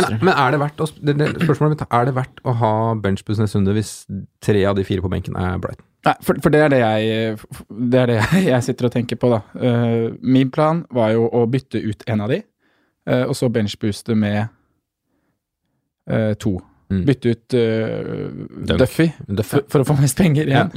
[SPEAKER 3] frustrerende.
[SPEAKER 2] men er det verdt å, sp- det, det, spørsmålet mitt, er det verdt å ha benchbuss neste runde hvis tre av de fire på benken er Brighton?
[SPEAKER 4] Nei, for, for det er det jeg, det er det jeg, jeg sitter og tenker på, da. Eh, min plan var jo å bytte ut en av de, eh, og så benchbooste med eh, to.
[SPEAKER 2] Mm.
[SPEAKER 4] Bytte ut eh,
[SPEAKER 2] Dunk.
[SPEAKER 4] Duffy for, for å få mest penger igjen.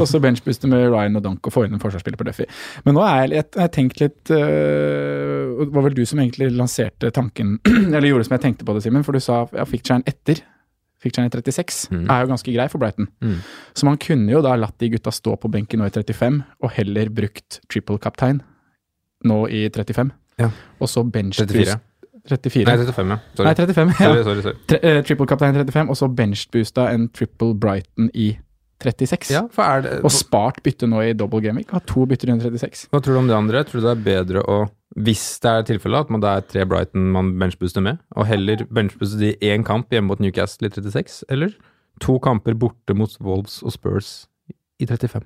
[SPEAKER 4] og så benchbooste med Ryan og Dunk og få inn en forsvarsspiller på Duffy. Men nå er jeg, jeg, jeg har tenkt litt øh, og Det var vel du som egentlig lanserte tanken, eller gjorde som jeg tenkte på det, Simen, for du sa ja, Fiktjern etter. Fiktjern i 36
[SPEAKER 2] Mm.
[SPEAKER 4] er jo ganske grei for Brighton.
[SPEAKER 2] Mm.
[SPEAKER 4] Så man kunne jo da latt de gutta stå på benken nå i 35, og heller brukt triple kaptein nå i 35.
[SPEAKER 2] Ja.
[SPEAKER 4] Og så bench
[SPEAKER 2] 34.
[SPEAKER 4] 34.
[SPEAKER 2] Nei, 35, ja.
[SPEAKER 4] Nei,
[SPEAKER 2] Sorry.
[SPEAKER 4] 35. Ja.
[SPEAKER 2] sorry, sorry, sorry.
[SPEAKER 4] Tre, eh, triple kaptein 35, og så benchboosta en triple Brighton i 36.
[SPEAKER 2] Ja, for er det,
[SPEAKER 4] Og spart bytte nå i double gaming. Ha to bytter i 136.
[SPEAKER 2] hva tror du om det andre? Tror du det er bedre å hvis det er tilfellet at man, det er tre Brighton man benchbooster med, og heller benchbooster de én kamp hjemme mot Newcastle i 36, eller to kamper borte mot Wolves og Spurs i 35?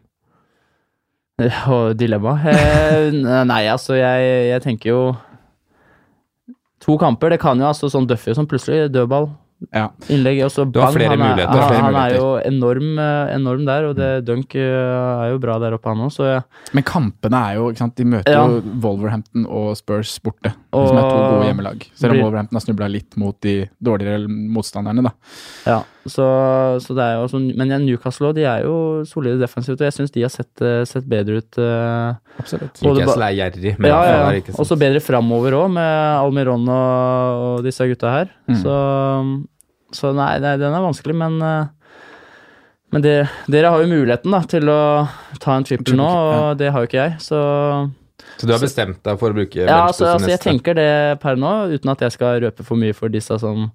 [SPEAKER 3] Og dilemma. Eh, Nei, altså, jeg, jeg tenker jo To kamper, det kan jo altså sånn Duffy som plutselig dødball.
[SPEAKER 4] Ja.
[SPEAKER 3] innlegg. Og så
[SPEAKER 2] Du har
[SPEAKER 3] Bang,
[SPEAKER 2] flere
[SPEAKER 3] han er,
[SPEAKER 2] muligheter,
[SPEAKER 3] Han,
[SPEAKER 2] flere
[SPEAKER 3] han er
[SPEAKER 2] muligheter. Mm.
[SPEAKER 3] jo enorm, eh, enorm der, og det Dunk eh, er jo bra der oppe, han òg, så jeg
[SPEAKER 4] Men kampene er jo ikke sant, De møter
[SPEAKER 3] Ja.
[SPEAKER 4] jo Wolverhampton og Spurs borte,
[SPEAKER 3] Og-
[SPEAKER 4] som er to gode hjemmelag. Selv om
[SPEAKER 3] Blir-
[SPEAKER 4] Wolverhampton har snubla litt mot de dårligere motstanderne, da.
[SPEAKER 3] Ja, så, så det er jo sånn Men ja, Newcastle også, de er jo solide defensivt, og jeg syns de har sett, eh, sett bedre ut. eh,
[SPEAKER 4] Absolutt.
[SPEAKER 3] Og det
[SPEAKER 2] Newcastle er gjerrig, men
[SPEAKER 3] ja, ja,
[SPEAKER 2] det er
[SPEAKER 3] ja.
[SPEAKER 2] ikke sånn. sant.
[SPEAKER 3] Og så bedre framover òg, med Almiron og, og disse gutta her.
[SPEAKER 4] Mm.
[SPEAKER 3] Så, så nei, nei, den er vanskelig, men eh, men det, dere har jo muligheten da, til å ta en trippel
[SPEAKER 4] Triple,
[SPEAKER 3] nå, og
[SPEAKER 4] ja.
[SPEAKER 3] det har jo ikke jeg. Så
[SPEAKER 2] Så du har bestemt deg for å bruke
[SPEAKER 3] ja,
[SPEAKER 2] bench
[SPEAKER 3] altså,
[SPEAKER 2] boost
[SPEAKER 3] altså, jeg
[SPEAKER 2] neste?
[SPEAKER 3] tenker det per nå, uten at jeg skal røpe for mye for disse som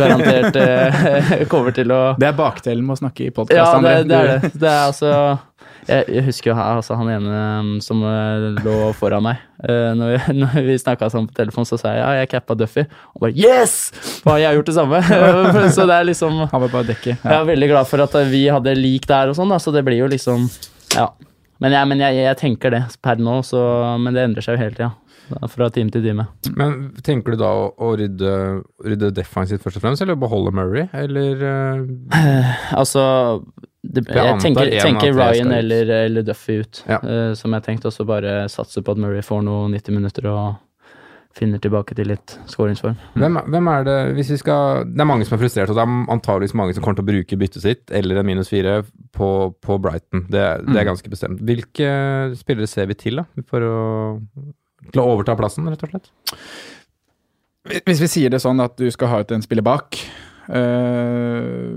[SPEAKER 3] garantert eh, kommer til å
[SPEAKER 4] Det er bakdelen med å snakke i podkast,
[SPEAKER 3] ja,
[SPEAKER 4] André.
[SPEAKER 3] det, det er det. Det er altså jeg, jeg husker jo her, altså, han ene um, som eh, lå foran meg. Eh, når, jeg, når vi snakka sammen på telefon, så sa jeg ja, jeg cappa Duffy. Og bare yes! For jeg har gjort det samme. så det er liksom
[SPEAKER 4] Han var bare dekket.
[SPEAKER 3] Jeg er veldig glad for at uh, vi hadde lik der og sånn, da, så det blir jo liksom Ja. Men jeg, men jeg, jeg tenker det per nå, så, men det endrer seg jo hele tida. da, Fra time til time.
[SPEAKER 2] Men tenker du da å, å rydde, rydde defensivt først og fremst, eller beholde Murray, eller eh,
[SPEAKER 3] Altså det,
[SPEAKER 2] Jeg
[SPEAKER 3] Jeg
[SPEAKER 2] antar en
[SPEAKER 3] tenker,
[SPEAKER 2] av
[SPEAKER 3] tenker
[SPEAKER 2] tre skal
[SPEAKER 3] Ryan
[SPEAKER 2] ut.
[SPEAKER 3] eller, eller Duffy ut,
[SPEAKER 2] Ja.
[SPEAKER 3] eh, som jeg tenkte. Og så bare satse på at Murray får noe 90 minutter og finner tilbake til litt skåringsform.
[SPEAKER 2] hvem, hvem er det hvis vi skal Det er mange som er frustrert, og det er antageligvis mange som kommer til å bruke byttet sitt eller en minus fire på, på Brighton. Det, det er ganske bestemt. Hvilke spillere ser vi til da, for å, til å overta plassen, rett og slett?
[SPEAKER 4] Hvis vi sier det sånn at du skal ha ut en spiller bak, eh,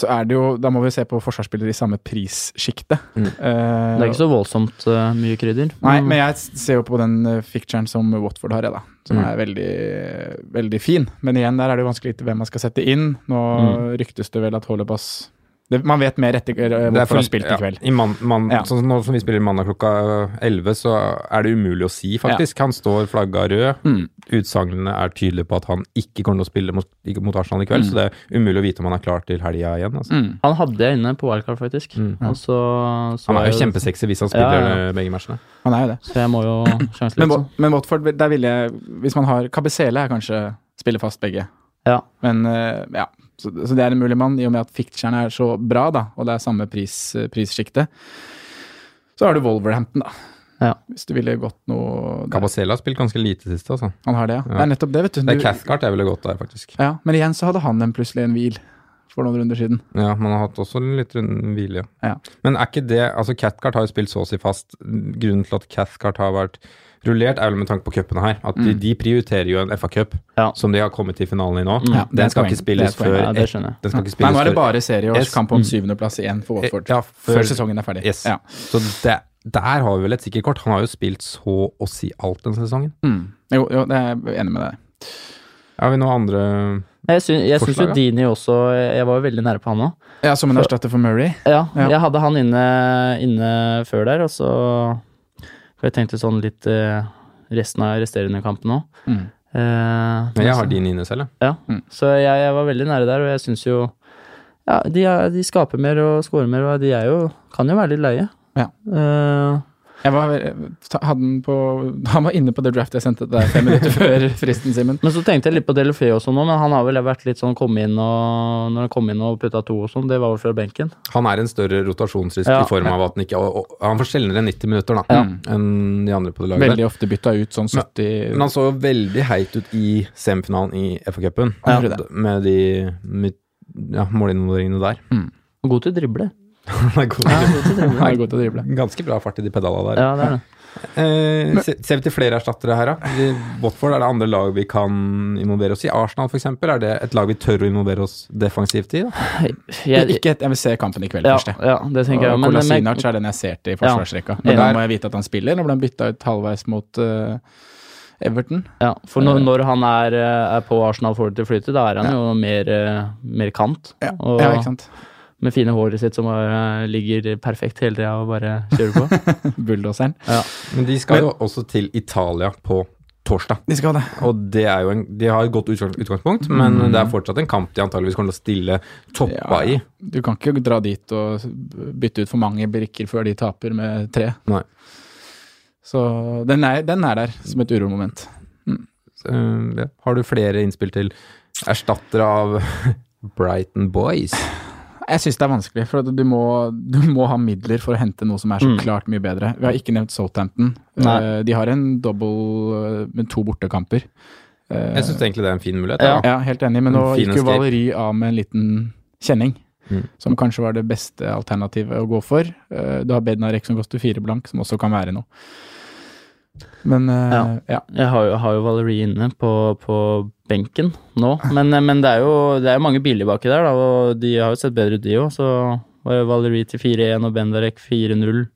[SPEAKER 4] så er det jo Da må vi se på forsvarsspillere i samme prissjikte.
[SPEAKER 2] Mm.
[SPEAKER 4] Eh,
[SPEAKER 3] Det er ikke så voldsomt eh, mye krydder.
[SPEAKER 4] Nei, men jeg ser jo på den eh, ficturen som Watford har, jeg, da. Som
[SPEAKER 2] Mm.
[SPEAKER 4] er veldig, veldig fin. Men igjen, der er det jo vanskelig å vite hvem man skal sette inn. Nå ryktes det vel at Holebas det, Man vet mer etter eh,
[SPEAKER 2] Mm. Det er
[SPEAKER 4] Watford
[SPEAKER 2] for-
[SPEAKER 4] har spilt i
[SPEAKER 2] ja,
[SPEAKER 4] kveld.
[SPEAKER 2] i mann- mann-
[SPEAKER 4] Ja.
[SPEAKER 2] sånn som nå som vi spiller mandag klokka 11, så er det umulig å si, faktisk. Han står flagga rød.
[SPEAKER 4] Mm.
[SPEAKER 2] Utsagnene er tydelige på at han ikke kommer til å spille mot, ikke mot Arsenal i kveld, så det er umulig å vite om han er klar til helga igjen.
[SPEAKER 4] Mm.
[SPEAKER 2] Altså.
[SPEAKER 3] Han hadde jeg inne på wildcard, faktisk. Og så,
[SPEAKER 2] Mm.
[SPEAKER 3] så
[SPEAKER 2] Han er jo
[SPEAKER 3] jeg-
[SPEAKER 2] kjempesexy hvis han
[SPEAKER 3] Ja,
[SPEAKER 2] spiller
[SPEAKER 3] ja.
[SPEAKER 2] eh, begge matchene.
[SPEAKER 4] Han er jo det.
[SPEAKER 3] Så jeg må jo sjanse litt.
[SPEAKER 4] Men,
[SPEAKER 3] så.
[SPEAKER 4] Wa- men Watford, der ville jeg Hvis man har Kabesele, er kanskje spiller fast begge.
[SPEAKER 3] Ja.
[SPEAKER 4] Men eh, ja, så, så det er en mulig mann, i og med at ficturen er så bra, da, og det er samme pris, prissjikte. Så har du Wolverhampton, da.
[SPEAKER 3] Ja.
[SPEAKER 4] Hvis du ville gått noe der.
[SPEAKER 2] Cabasela har spilt ganske lite sist, altså.
[SPEAKER 4] Han har det, ja. Det er nettopp det, vet du.
[SPEAKER 2] Det er
[SPEAKER 4] du
[SPEAKER 2] Cathcart jeg ville gått der, faktisk.
[SPEAKER 4] ja, men igjen så hadde han en plutselig en hvil for noen runder siden.
[SPEAKER 2] Ja, Man har hatt også litt rund hvile.
[SPEAKER 4] Ja.
[SPEAKER 2] Men er ikke det altså Cathcart har jo spilt så å si fast. Grunnen til at Cathcart har vært rullert, er vel med tanke på cupene her. At de, de prioriterer jo en FA-cup,
[SPEAKER 3] Ja.
[SPEAKER 2] som de har kommet til finalen i nå.
[SPEAKER 4] Mm. Ja, det er
[SPEAKER 2] den
[SPEAKER 4] et
[SPEAKER 2] skal
[SPEAKER 4] poeng.
[SPEAKER 2] ikke spilles
[SPEAKER 4] Det er et
[SPEAKER 2] før
[SPEAKER 4] poeng.
[SPEAKER 3] Ja, det skjønner jeg.
[SPEAKER 2] Den skal ikke
[SPEAKER 4] Nei,
[SPEAKER 2] spilles
[SPEAKER 4] nå er det
[SPEAKER 2] før-
[SPEAKER 4] bare serie
[SPEAKER 2] Yes.
[SPEAKER 4] og
[SPEAKER 2] Mm. Eh,
[SPEAKER 4] kamp om syvendeplass igjen for Watford.
[SPEAKER 2] Ja,
[SPEAKER 4] før,
[SPEAKER 2] før-
[SPEAKER 4] sesongen er ferdig.
[SPEAKER 2] Yes.
[SPEAKER 4] Ja.
[SPEAKER 2] Så det, der har vi vel et sikkert kort. Han har jo spilt så å si alt denne sesongen.
[SPEAKER 4] Mm. Jo, jo, det er jeg enig med deg.
[SPEAKER 2] Er vi noen andre
[SPEAKER 3] Jeg syns, jeg syns jo
[SPEAKER 2] Forslag,
[SPEAKER 3] Dini også Jeg var jo veldig nære på han òg.
[SPEAKER 4] Ja, Som en erstatter for Murray.
[SPEAKER 3] Ja,
[SPEAKER 4] Ja.
[SPEAKER 3] jeg hadde han inne, inne før der, og så For jeg tenkte sånn litt eh, resten av resterende kampen òg.
[SPEAKER 4] Mm.
[SPEAKER 2] Men jeg har din inne selv, jeg.
[SPEAKER 3] Ja, så jeg, jeg var veldig nære der, og jeg syns jo Ja, de, er, de skaper mer og scorer mer, og de er jo Kan jo være litt leie.
[SPEAKER 4] Ja.
[SPEAKER 3] Eh,
[SPEAKER 4] Jeg var, ta- hadde den på, han var inne på det draftet jeg sendte til deg fem minutter før fristen, Simen.
[SPEAKER 3] men så tenkte jeg litt på Delofeo også nå, men han har vel vært litt sånn kom inn og Når han kom inn og putta to og sånn, det var vel fra benken.
[SPEAKER 2] Han er en større rotasjonsrisk
[SPEAKER 3] Ja.
[SPEAKER 2] i form av at han ikke og, og, Han får sjeldnere 90 minutter da, enn de andre på det laget. der.
[SPEAKER 4] Veldig ofte bytta ut sånn 70
[SPEAKER 2] Men han så jo veldig heit ut i semifinalen i FA-cupen.
[SPEAKER 4] Han gjorde det.
[SPEAKER 2] Med de med, ja, målinvolveringene der.
[SPEAKER 3] Og god til å drible.
[SPEAKER 2] Han er god til-
[SPEAKER 4] Han er god til å drible.
[SPEAKER 2] Ganske bra fart i de pedala der.
[SPEAKER 3] Ja, det er det.
[SPEAKER 2] Eh, se- ser vi til flere erstattere her, da? Vi- Watford, er det andre lag vi kan involvere oss i? Arsenal f.eks., er det et lag vi tør å involvere oss defensivt i? Da?
[SPEAKER 3] Jeg,
[SPEAKER 4] Ikke, jeg vil se kampen i kveld
[SPEAKER 3] ja,
[SPEAKER 4] først, jeg.
[SPEAKER 3] ja, det tenker jeg.
[SPEAKER 4] Og
[SPEAKER 3] men- men-
[SPEAKER 4] Kolasinac er den jeg ser til i forsvarsrekka. Men
[SPEAKER 3] Ja.
[SPEAKER 4] da må jeg vite at han spiller. Nå ble han bytta ut halvveis mot eh, Everton.
[SPEAKER 3] Ja, for når, når han er, eh, er på Arsenal får det til å flyte, da er han jo mer, eh, mer kant. og
[SPEAKER 4] Ja, ikke sant?
[SPEAKER 3] med fine håret sitt som bare eh, ligger perfekt hele tida og bare kjører på.
[SPEAKER 4] Bulldoseren.
[SPEAKER 2] Men de skal jo også til Italia på torsdag.
[SPEAKER 4] De skal ha det.
[SPEAKER 2] Og det er jo en, de har et godt utgang- utgangspunkt, men det er fortsatt en kamp de antageligvis kommer til å stille toppa i.
[SPEAKER 4] Du kan ikke dra dit og bytte ut for mange brikker før de taper med tre.
[SPEAKER 2] Nei.
[SPEAKER 4] Så den er, den er der som et uromoment.
[SPEAKER 2] Eh, ja. Har du flere innspill til erstattere av Brighton Boys?
[SPEAKER 4] Jeg syns det er vanskelig, for at du må, du må ha midler for å hente noe som er så
[SPEAKER 3] Mm.
[SPEAKER 4] klart mye bedre. Vi har ikke nevnt Southampton.
[SPEAKER 3] Nei.
[SPEAKER 4] Eh, De har en double eh, med to bortekamper. Eh,
[SPEAKER 2] Jeg syns egentlig det er en fin mulighet. da.
[SPEAKER 3] Ja.
[SPEAKER 4] Ja, helt enig, men
[SPEAKER 2] En
[SPEAKER 4] nå
[SPEAKER 2] Mm, fin
[SPEAKER 4] gikk jo
[SPEAKER 2] escape.
[SPEAKER 4] Valeri av med en liten kjenning.
[SPEAKER 2] Mm.
[SPEAKER 4] Som kanskje var det beste alternativet å gå for. Eh, Du har Bednarek som koster fire blank, som også kan være noe. Men eh, ja.
[SPEAKER 3] Jeg har jo, har jo Valerie inne på, på benken nå, men, eh, men det er jo det er jo mange billige baki der, da, og de har jo sett bedre ut, de òg. Så var det Valerie til 4-1 og Bendarek 4-0.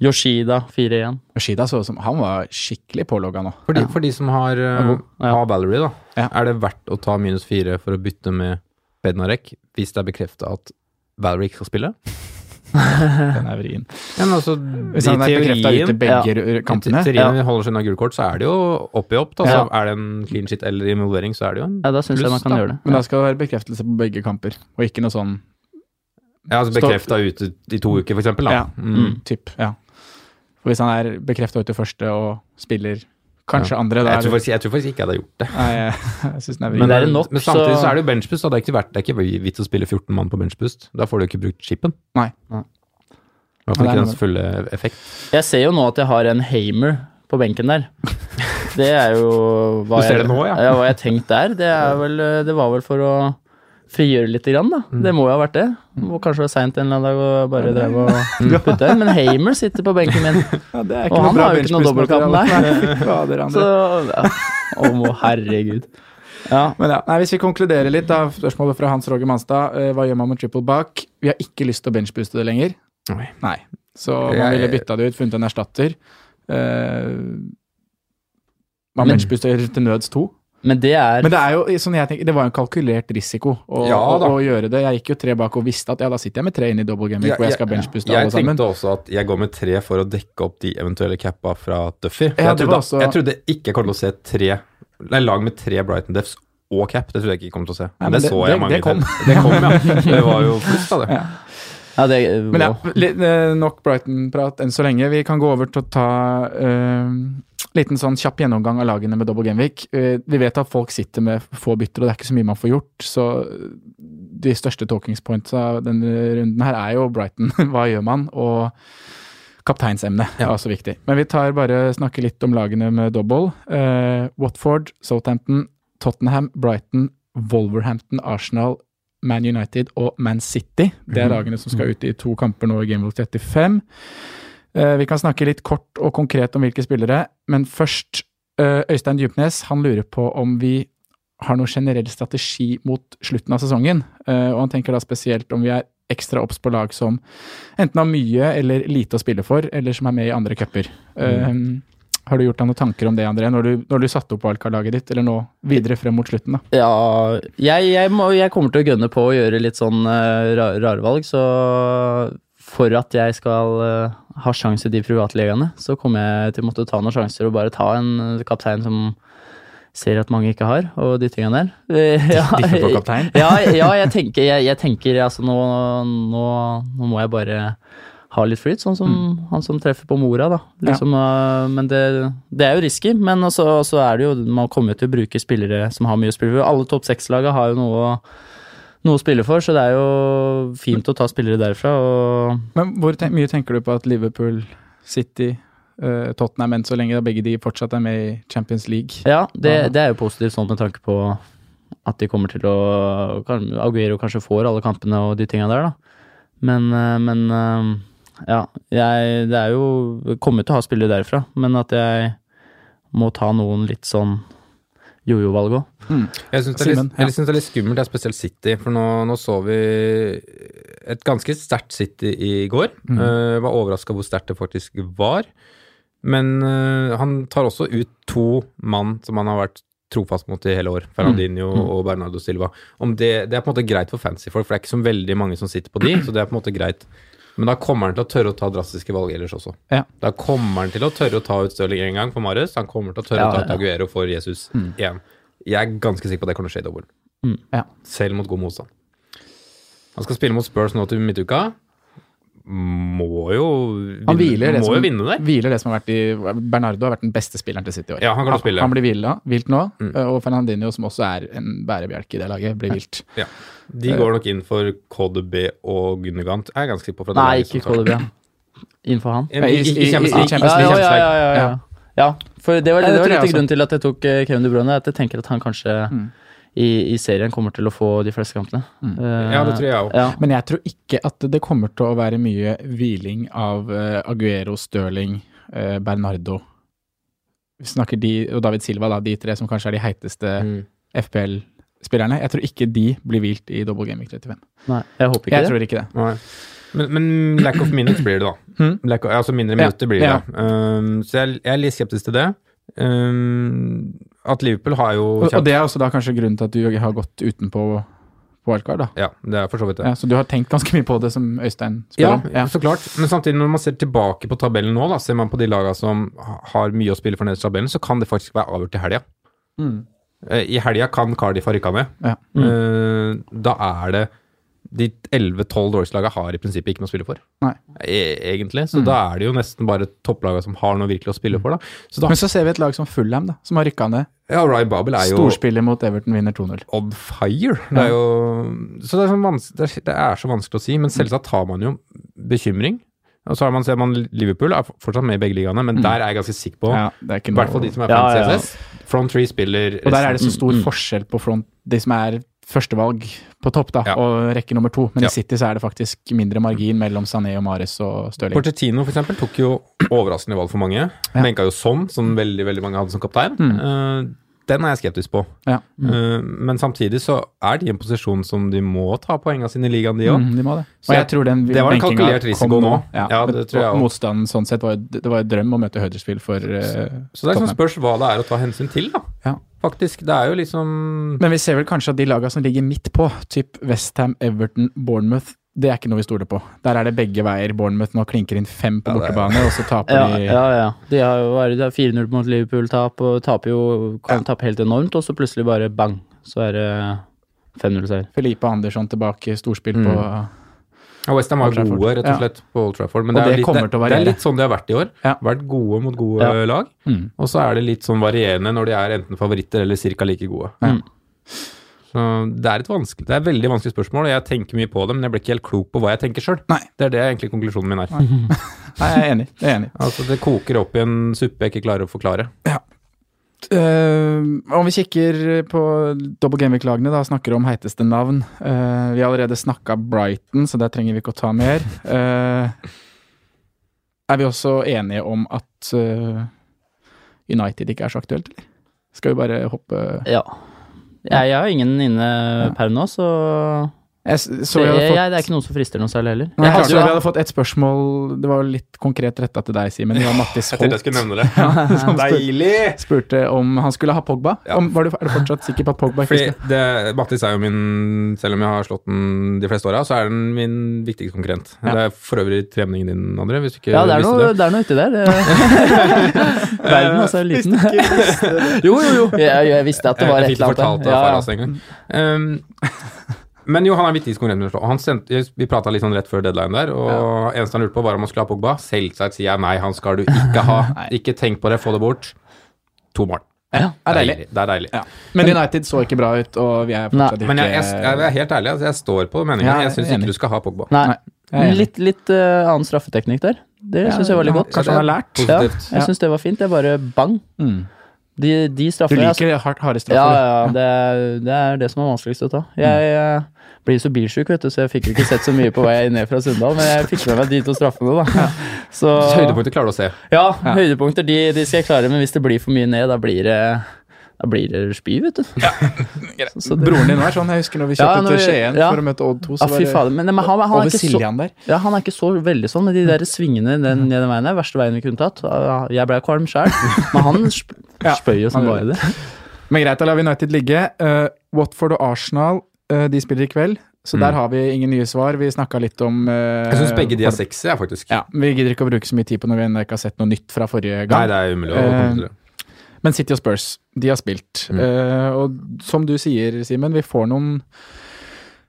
[SPEAKER 3] Yoshida 4-1.
[SPEAKER 4] Yoshida så ut som Han var skikkelig pålogga nå.
[SPEAKER 2] For, de, for de som har, eh,
[SPEAKER 3] Ja.
[SPEAKER 2] har Valerie, da,
[SPEAKER 4] Ja.
[SPEAKER 2] er det verdt å ta minus fire for å bytte med Bednarek hvis det er bekrefta at Valerie ikke skal spille?
[SPEAKER 4] Den er vrien.
[SPEAKER 2] Ja, men altså,
[SPEAKER 4] Hvis han
[SPEAKER 2] i
[SPEAKER 4] er bekrefta
[SPEAKER 2] teorien-
[SPEAKER 4] ut i begge r- kampene.
[SPEAKER 2] Til
[SPEAKER 3] Ja.
[SPEAKER 2] Rine holder seg unna gult kort, så er det jo opp i opp. Da. Så
[SPEAKER 3] Ja.
[SPEAKER 2] er det en clean shit eller involvering, så er det jo en
[SPEAKER 3] Ja, da syns jeg man
[SPEAKER 2] Pluss,
[SPEAKER 3] kan
[SPEAKER 2] da.
[SPEAKER 3] gjøre det.
[SPEAKER 4] Men altså, da skal det være bekreftelse på begge kamper, og ikke noe sånn
[SPEAKER 2] ja, altså bekrefta ute i to uker, for eksempel. Da.
[SPEAKER 4] Ja.
[SPEAKER 2] Mm.
[SPEAKER 4] typ, ja. For hvis han er bekrefta ut i første og spiller kanskje andre, da
[SPEAKER 2] Jeg, tror
[SPEAKER 4] er det
[SPEAKER 2] faktisk, jeg tror faktisk ikke jeg hadde gjort det.
[SPEAKER 4] Nei, jeg, jeg syns den er vrien.
[SPEAKER 3] Men det er en nok,
[SPEAKER 2] men samtidig så,
[SPEAKER 3] så
[SPEAKER 2] er det jo benchbust, og det er ikke verdt det er ikke vits å spille 14 mann på benchbust. Da får du jo ikke brukt chipen.
[SPEAKER 4] Nei.
[SPEAKER 3] Nei.
[SPEAKER 2] I hvert fall ikke
[SPEAKER 4] Nei, men-
[SPEAKER 2] dens fulle effekt.
[SPEAKER 3] Jeg ser jo nå at jeg har en Hamer på benken der. Det er jo hva
[SPEAKER 2] Du ser det
[SPEAKER 3] jeg,
[SPEAKER 2] nå, ja.
[SPEAKER 3] ja, hva jeg tenkte der. Det, er vel, eh, det var vel for å frigjøre litt, grann, da. Det må jo ha vært det. Og kanskje det var seint en eller annen dag og bare drev og putte en. Men Hamer sitter på benken min,
[SPEAKER 4] Ja, det er
[SPEAKER 3] og han har jo ikke noe dobbeltkamp, nei.
[SPEAKER 4] Fader,
[SPEAKER 3] Så
[SPEAKER 4] André.
[SPEAKER 3] ja. Å, må- herregud. Ja.
[SPEAKER 4] Men ja, nei, Hvis vi konkluderer litt, da, spørsmålet fra Hans Roger Manstad. eh, Hva gjør man med triple back? Vi har ikke lyst til å benchbooste det lenger.
[SPEAKER 2] Nei.
[SPEAKER 4] Så man
[SPEAKER 2] Jeg-
[SPEAKER 4] ville bytta det ut, funnet en erstatter. Eh, man
[SPEAKER 3] Men-
[SPEAKER 4] benchbooster til nøds to.
[SPEAKER 3] Men det er
[SPEAKER 4] Men det er jo sånn jeg tenker, det var jo en kalkulert risiko å,
[SPEAKER 2] Ja, da.
[SPEAKER 4] å, å gjøre det. Jeg gikk jo tre bak og visste at ja, da sitter jeg med tre inn i double game week,
[SPEAKER 2] Ja,
[SPEAKER 4] hvor jeg
[SPEAKER 2] ja,
[SPEAKER 4] skal benchbooste
[SPEAKER 2] Jeg
[SPEAKER 4] alle sammen.
[SPEAKER 2] tenkte også at jeg går med tre for å dekke opp de eventuelle cappa fra Duffy. For
[SPEAKER 4] Ja,
[SPEAKER 2] jeg,
[SPEAKER 4] det
[SPEAKER 2] trodde,
[SPEAKER 4] var også-
[SPEAKER 2] jeg trodde ikke jeg kom til å se tre Nei, lag med tre Brighton Defs og cap. Det trodde jeg ikke jeg kom til å se. Men,
[SPEAKER 4] men
[SPEAKER 2] det,
[SPEAKER 4] det-
[SPEAKER 2] så
[SPEAKER 4] det-
[SPEAKER 2] jeg mange
[SPEAKER 4] det kom.
[SPEAKER 2] til. Det kom, ja. Det var jo flust av det.
[SPEAKER 3] Ja, det
[SPEAKER 4] Men ja, litt, eh, nok Brighton-prat enn så lenge. Vi kan gå over til å ta en liten sånn kjapp gjennomgang av lagene med double gameweek. Uh, vi vet at folk sitter med få bytter, og det er ikke så mye man får gjort. Så de største talking points av denne runden her er jo Brighton. Hva gjør man? Og kapteinsemnet er også viktig. Men vi tar bare snakker litt om lagene med double. Eh, Watford, Southampton, Tottenham, Brighton, Wolverhampton, Arsenal, Man United og Man City. Det er lagene som skal ut i to kamper nå i Game Week 35. Eh, Vi kan snakke litt kort og konkret om hvilke spillere, men først eh, Øystein Djupnes han lurer på om vi har noe generell strategi mot slutten av sesongen. eh, Og han tenker da spesielt om vi er ekstra obs på lag som enten har mye eller lite å spille for, eller som er med i andre cuper. Eh, Har du gjort deg noen tanker om det, André, når du, når du satte opp wildcard-laget ditt, eller nå videre frem mot slutten? da?
[SPEAKER 3] Ja, jeg, jeg, må, jeg kommer til å gønne på å gjøre litt sånn eh, ra- rare valg, så for at jeg skal eh, ha sjanse i de privatligaene, så kommer jeg til å måtte ta noen sjanser og bare ta en eh, kaptein som ser at mange ikke har, og de tingene der. Eh, Ja,
[SPEAKER 4] Diffeblå-kaptein?
[SPEAKER 3] ja, ja, jeg tenker, jeg, jeg tenker altså nå, nå, nå må jeg bare ha litt flyt, sånn som han som treffer på mora, da. Liksom, øh, men det, det er jo risky, men også, også er det jo Man kommer jo til å bruke spillere som har mye å spille for. Alle topp seks-laga har jo noe, å- noe å spille for, så det er jo fint å ta spillere derfra. Og
[SPEAKER 4] Men hvor ten mye tenker du på at Liverpool, City, eh, Tottenham enn så lenge, da begge de fortsatt er med i Champions League?
[SPEAKER 3] Ja, det, det er jo positivt sånn med tanke på at de kommer til å kan- Aguero kanskje får alle kampene og de tinga der, da. Men, eh, men eh, ja, jeg det er jo Kommer til å ha spillere derfra, men at jeg må ta noen litt sånn jojo-valg òg.
[SPEAKER 2] Jeg syns det, er
[SPEAKER 4] Simen,
[SPEAKER 2] litt- jeg synes det er litt skummelt, det er spesielt City. For nå, nå så vi et ganske sterkt City i går.
[SPEAKER 4] Mm.
[SPEAKER 2] Eh, var overraska hvor sterkt det faktisk var. Men eh, han tar også ut to mann som han har vært trofast mot i hele år. Ferrandinho
[SPEAKER 4] Mm.
[SPEAKER 2] og Bernardo Silva. Om det, det er på en måte greit for fancy-folk, for det er ikke så veldig mange som sitter på de, så det er på en måte greit. Men da kommer han til å tørre å ta drastiske valg ellers også.
[SPEAKER 4] Ja.
[SPEAKER 2] Da kommer han til å tørre å ta ut Stirling en gang for Marius. Han kommer til å tørre
[SPEAKER 3] Ja,
[SPEAKER 2] å ta
[SPEAKER 3] ja.
[SPEAKER 2] ut Aguero for Jesus igjen. Jeg er ganske sikker på at det kommer til å skje i dobbel.
[SPEAKER 4] Mm. Ja.
[SPEAKER 2] Selv mot god motstand. Han skal spille mot Spurs nå til midtuka. må jo vinne,
[SPEAKER 4] Han hviler det,
[SPEAKER 2] må jo vinne der.
[SPEAKER 4] hviler det som har vært i Bernardo har vært den beste spilleren til City i år.
[SPEAKER 2] Ja, han kan jo spille.
[SPEAKER 4] Han blir hvila, vilt nå. eh,
[SPEAKER 2] Mm.
[SPEAKER 4] Og Fernandinho, som også er en bærebjelke i det laget, blir vilt.
[SPEAKER 2] De går nok inn for KDB og Gundergant. Jeg er ganske sikker på. fra det
[SPEAKER 3] Nei,
[SPEAKER 2] laget
[SPEAKER 3] ikke
[SPEAKER 2] som tar-
[SPEAKER 3] KDB. Inn for han.
[SPEAKER 2] I, i, i,
[SPEAKER 4] I-
[SPEAKER 2] Champions
[SPEAKER 4] i- i- i
[SPEAKER 2] League.
[SPEAKER 4] Champions
[SPEAKER 3] Ja,
[SPEAKER 4] League.
[SPEAKER 3] ja, ja, ja, ja, ja.
[SPEAKER 4] Ja.
[SPEAKER 3] ja for det var,
[SPEAKER 4] Ja, det
[SPEAKER 3] det var
[SPEAKER 4] tror jeg
[SPEAKER 3] litt
[SPEAKER 4] også.
[SPEAKER 3] grunnen til at jeg tok eh, Kevin De Bruyne. At jeg tenker at han kanskje
[SPEAKER 4] Mm.
[SPEAKER 3] i, i serien kommer til å få de fleste kampene. Eh,
[SPEAKER 2] Ja, det tror jeg òg.
[SPEAKER 3] Ja.
[SPEAKER 4] Men jeg tror ikke at det kommer til å være mye hviling av eh, Aguero, Stirling, eh, Bernardo. Vi snakker de, og David Silva, da, de tre som kanskje er de heiteste
[SPEAKER 2] Mm.
[SPEAKER 4] FPL-spillerne. Jeg tror ikke de blir hvilt i Double Game Week 35.
[SPEAKER 3] Nei, jeg håper ikke
[SPEAKER 4] Jeg
[SPEAKER 3] det.
[SPEAKER 4] tror ikke det.
[SPEAKER 2] Nei. Men, men lack of minutes blir det, da.
[SPEAKER 4] Mm.
[SPEAKER 2] Lack of, altså mindre minutter blir det.
[SPEAKER 4] ja.
[SPEAKER 2] Um, så jeg, jeg er litt skeptisk til det. Um, at Liverpool har jo
[SPEAKER 4] Og, og det er også da kanskje grunnen til at du har gått utenpå på wildcard, da.
[SPEAKER 2] Ja, det er for så vidt det.
[SPEAKER 4] Ja, så du har tenkt ganske mye på det, som Øystein spør
[SPEAKER 2] Ja,
[SPEAKER 4] om? Ja.
[SPEAKER 2] så klart. Men samtidig, når man ser tilbake på tabellen nå, da, ser man på de laga som ha- har mye å spille for nederst i tabellen, så kan det faktisk være avgjort i helga.
[SPEAKER 4] Mm.
[SPEAKER 2] Eh, I helga kan Cardiff ha rykka ned.
[SPEAKER 4] Ja. Mm.
[SPEAKER 2] Eh, Da er det De 11-12 dårligste-laga har i prinsippet ikke noe å spille for,
[SPEAKER 4] Nei. Mm.
[SPEAKER 2] E egentlig. Så da er det jo nesten bare topplaga som har noe virkelig å spille for, da. Så da
[SPEAKER 4] Men så ser vi et lag som Fulham, da, som har rykka ned.
[SPEAKER 2] Ja, Ryan Babel er jo
[SPEAKER 4] Storspiller mot Everton vinner 2-0.
[SPEAKER 2] on fire. Det er jo, så det er, sånn vans- det, er, det er så vanskelig å si,
[SPEAKER 4] Mm.
[SPEAKER 2] men selvsagt har man jo bekymring. Og så har man, ser man Liverpool er fortsatt med i begge ligaene, men der er jeg ganske sikker på,
[SPEAKER 4] Mm. Ja, det er ikke
[SPEAKER 2] i
[SPEAKER 4] noe-
[SPEAKER 2] hvert fall de som er
[SPEAKER 3] Ja,
[SPEAKER 2] fans
[SPEAKER 3] ja, ja.
[SPEAKER 2] CSS, Front Three spiller
[SPEAKER 4] Og der er det så stor
[SPEAKER 2] Mm, mm.
[SPEAKER 4] forskjell på front, de som er førstevalg på topp, da,
[SPEAKER 2] Ja.
[SPEAKER 4] og rekke nummer to. Men
[SPEAKER 2] Ja.
[SPEAKER 4] i City så er det faktisk mindre margin mellom Sané og Mares og Stirling.
[SPEAKER 2] Portettino Mm. for eksempel tok jo overraskende valg for mange. Benka jo sånn, som veldig veldig mange hadde som kaptein.
[SPEAKER 4] Mm.
[SPEAKER 2] Eh, den er jeg skeptisk på.
[SPEAKER 4] Ja.
[SPEAKER 2] Eh, men samtidig så er de i en posisjon som de må ta poengene sine i ligaen, de òg.
[SPEAKER 4] Mm, de må det.
[SPEAKER 2] Så
[SPEAKER 4] Og jeg
[SPEAKER 2] jeg-
[SPEAKER 4] tror den
[SPEAKER 2] det var en
[SPEAKER 4] benkinga
[SPEAKER 2] kalkulert
[SPEAKER 4] kom
[SPEAKER 2] risiko nå.
[SPEAKER 4] Ja,
[SPEAKER 2] Ja, det tror jeg
[SPEAKER 4] og
[SPEAKER 2] også.
[SPEAKER 4] Motstanden sånn sett var, jo- det var jo drøm å møte Huddersfield for eh,
[SPEAKER 2] Så det er sånn
[SPEAKER 4] Tottenham.
[SPEAKER 2] spørs hva det er å ta hensyn til, da.
[SPEAKER 4] Ja.
[SPEAKER 2] Faktisk. Det er jo liksom
[SPEAKER 4] Men vi ser vel kanskje at de laga som ligger midt på, typ Westham, Everton, Bournemouth, det er ikke noe vi stoler på. Der er det begge veier. Bournemouth nå klinker inn fem på bortebane, og så taper
[SPEAKER 3] Ja,
[SPEAKER 4] de
[SPEAKER 3] ja, ja. De har jo vært- det er 4-0 mot Liverpool-tap, og taper jo kan tape helt enormt, og så plutselig bare bang, så er det 5-0-seier.
[SPEAKER 4] Felipe Andersson tilbake, storspill på
[SPEAKER 3] Mm.
[SPEAKER 2] Ja, Westham var
[SPEAKER 4] Old Trafford.
[SPEAKER 2] gode, rett og
[SPEAKER 4] Ja.
[SPEAKER 2] slett, på Old Trafford. Men det
[SPEAKER 4] Og
[SPEAKER 2] er,
[SPEAKER 4] det
[SPEAKER 2] jo litt,
[SPEAKER 4] kommer
[SPEAKER 2] det,
[SPEAKER 4] til å
[SPEAKER 2] det er
[SPEAKER 4] variere.
[SPEAKER 2] litt sånn de har vært i år.
[SPEAKER 4] Ja.
[SPEAKER 2] Vært gode mot gode
[SPEAKER 3] Ja.
[SPEAKER 2] eh, lag.
[SPEAKER 4] Mm.
[SPEAKER 2] Og så er det litt sånn varierende når de er enten favoritter eller cirka like gode.
[SPEAKER 3] Ja.
[SPEAKER 2] Så det er et vanskelig, det er et veldig vanskelig spørsmål, og jeg tenker mye på det, men jeg blir ikke helt klok på hva jeg tenker sjøl.
[SPEAKER 4] Nei.
[SPEAKER 2] Det er det egentlig konklusjonen min er.
[SPEAKER 4] Nei, jeg er enig. Jeg er enig.
[SPEAKER 2] Altså, det koker opp i en suppe jeg ikke klarer å forklare.
[SPEAKER 4] Eh, om vi kikker på Double Gameweek-lagene, da snakker vi om heiteste navn. Eh, vi har allerede snakka Brighton, så der trenger vi ikke å ta mer. Eh, er vi også enige om at eh, United ikke er så aktuelt, eller? Skal vi bare hoppe
[SPEAKER 3] Ja. Jeg, jeg har ingen inne per nå, så
[SPEAKER 4] Jeg s- så vi
[SPEAKER 3] det,
[SPEAKER 4] hadde
[SPEAKER 3] jeg,
[SPEAKER 4] fått,
[SPEAKER 3] jeg, det er ikke noe som frister noe særlig heller.
[SPEAKER 4] Nei,
[SPEAKER 3] Jeg hadde
[SPEAKER 4] altså,
[SPEAKER 3] jo-
[SPEAKER 4] vi hadde fått et spørsmål, det var litt konkret retta til deg, Simen. Det var Mattis Holt
[SPEAKER 2] nevne det.
[SPEAKER 4] som spurte,
[SPEAKER 2] Deilig!
[SPEAKER 4] spurte om han skulle ha Pogba.
[SPEAKER 2] Ja.
[SPEAKER 4] Om, var du, er du fortsatt sikker på at Pogba ikke
[SPEAKER 2] Fordi
[SPEAKER 4] skal
[SPEAKER 2] det, Mattis er jo min Selv om jeg har slått den de fleste åra, så er den min viktigste konkurrent. Det er for øvrig treningen din, André, hvis du ikke
[SPEAKER 3] Ja, det er
[SPEAKER 2] visste
[SPEAKER 3] noe, det er noe uti der. Verden altså er liten. jo, jo, jo. Jeg, jeg visste at det var
[SPEAKER 2] Eh, Jeg- jeg fikk
[SPEAKER 3] et eller
[SPEAKER 2] det fortalt av
[SPEAKER 3] annet. der.
[SPEAKER 2] Faraz en gang. Um, men jo, han er viktigst konkurrent med å slå. Han sendte, vi prata litt sånn rett før deadline der, og eneste han lurte på, var om han skulle ha Pogba. Selvsagt sier jeg nei, han skal du ikke ha. ikke tenk på det, få det bort. To mål.
[SPEAKER 4] Ja, det er deilig.
[SPEAKER 2] Det er deilig.
[SPEAKER 4] Ja. Men United så ikke bra ut, og vi er fortsatt
[SPEAKER 2] Men jeg, jeg, jeg
[SPEAKER 4] ikke
[SPEAKER 2] er helt ærlig, altså, jeg står på meninga.
[SPEAKER 4] Ja, jeg
[SPEAKER 2] jeg syns
[SPEAKER 4] er
[SPEAKER 2] ikke
[SPEAKER 4] enig.
[SPEAKER 2] du skal ha Pogba.
[SPEAKER 3] Nei.
[SPEAKER 4] Nei, jeg er enig.
[SPEAKER 3] Litt, litt eh, annen straffeteknikk der. Det syns jeg var litt godt.
[SPEAKER 4] Kanskje han har lært.
[SPEAKER 3] Ja,
[SPEAKER 2] Positivt.
[SPEAKER 3] jeg syns det var fint. Det er bare bang.
[SPEAKER 4] Mm.
[SPEAKER 3] De, de
[SPEAKER 4] Du
[SPEAKER 3] straffene
[SPEAKER 4] liker hardt, harde straffer.
[SPEAKER 3] Ja,
[SPEAKER 4] du.
[SPEAKER 3] altså- ja, ja, det er, det er det som er vanskeligst å ta. Jeg eh, blir så bilsjuk, vet du, så jeg fikk jo ikke sett så mye på vei ned fra Sunndal, men jeg fikk med meg de to straffene, da. Så,
[SPEAKER 2] Høydepunkter klarer du å se.
[SPEAKER 3] ja, høydepunkter de, de skal jeg klare, men hvis det blir for mye ned, da blir det da blir det spy, vet du. Så- så det-
[SPEAKER 4] Broren din var sånn, jeg husker når vi
[SPEAKER 3] Ja,
[SPEAKER 4] kjørte
[SPEAKER 3] når
[SPEAKER 4] til
[SPEAKER 3] vi-
[SPEAKER 4] Skien
[SPEAKER 3] ja.
[SPEAKER 4] for å møte Odd 2,
[SPEAKER 3] Ja,
[SPEAKER 4] så var
[SPEAKER 3] fy
[SPEAKER 4] det
[SPEAKER 3] fader. Men, men han, han, er
[SPEAKER 4] over
[SPEAKER 3] ikke så,
[SPEAKER 4] Siljan der.
[SPEAKER 3] ja, han er ikke så veldig sånn, men de der svingene
[SPEAKER 4] Mhm.
[SPEAKER 3] den, ned den veien der, verste veien vi kunne tatt. Ja, Jeg ble kvalm sjøl, men han sp
[SPEAKER 4] Ja,
[SPEAKER 3] spøy jo som
[SPEAKER 4] han
[SPEAKER 3] bare
[SPEAKER 4] gjorde
[SPEAKER 3] det.
[SPEAKER 4] Men greit, da lar vi United ligge. Eh, Watford og Arsenal, eh, de spiller i kveld. Så der har vi ingen nye svar. Vi snakka litt om eh,
[SPEAKER 2] Mm. Jeg syns begge de er sexy, jeg, faktisk.
[SPEAKER 4] Ja, Vi gidder ikke å bruke så mye tid på når vi ennå ikke har sett noe nytt fra forrige
[SPEAKER 2] Nei,
[SPEAKER 4] gang.
[SPEAKER 2] det er umulig å
[SPEAKER 4] Eh,
[SPEAKER 2] komme til det.
[SPEAKER 4] Men City og Spurs, de har spilt.
[SPEAKER 2] Mm.
[SPEAKER 4] Eh, og som du sier, Simen, vi får noen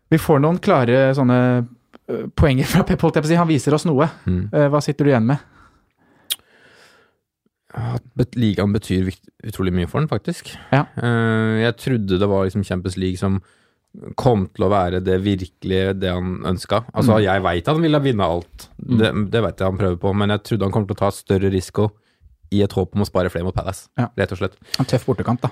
[SPEAKER 4] Vi får noen klare sånne eh, poenget fra Pep, holdt jeg på å si. Han viser oss noe.
[SPEAKER 2] Mm.
[SPEAKER 4] Eh, Hva sitter du igjen med?
[SPEAKER 2] At bet- ligaen betyr vikt, utrolig mye for den, faktisk.
[SPEAKER 4] Ja.
[SPEAKER 2] Eh, jeg trodde det var liksom Champions League som kom til å være det virkelige det han ønska. Altså, jeg veit han ville vinne alt, det, det veit jeg han prøver på, men jeg trodde han kom til å ta større risiko i et håp om å spare flere mot Palace,
[SPEAKER 4] Ja.
[SPEAKER 2] rett og slett.
[SPEAKER 4] En tøff bortekamp, da.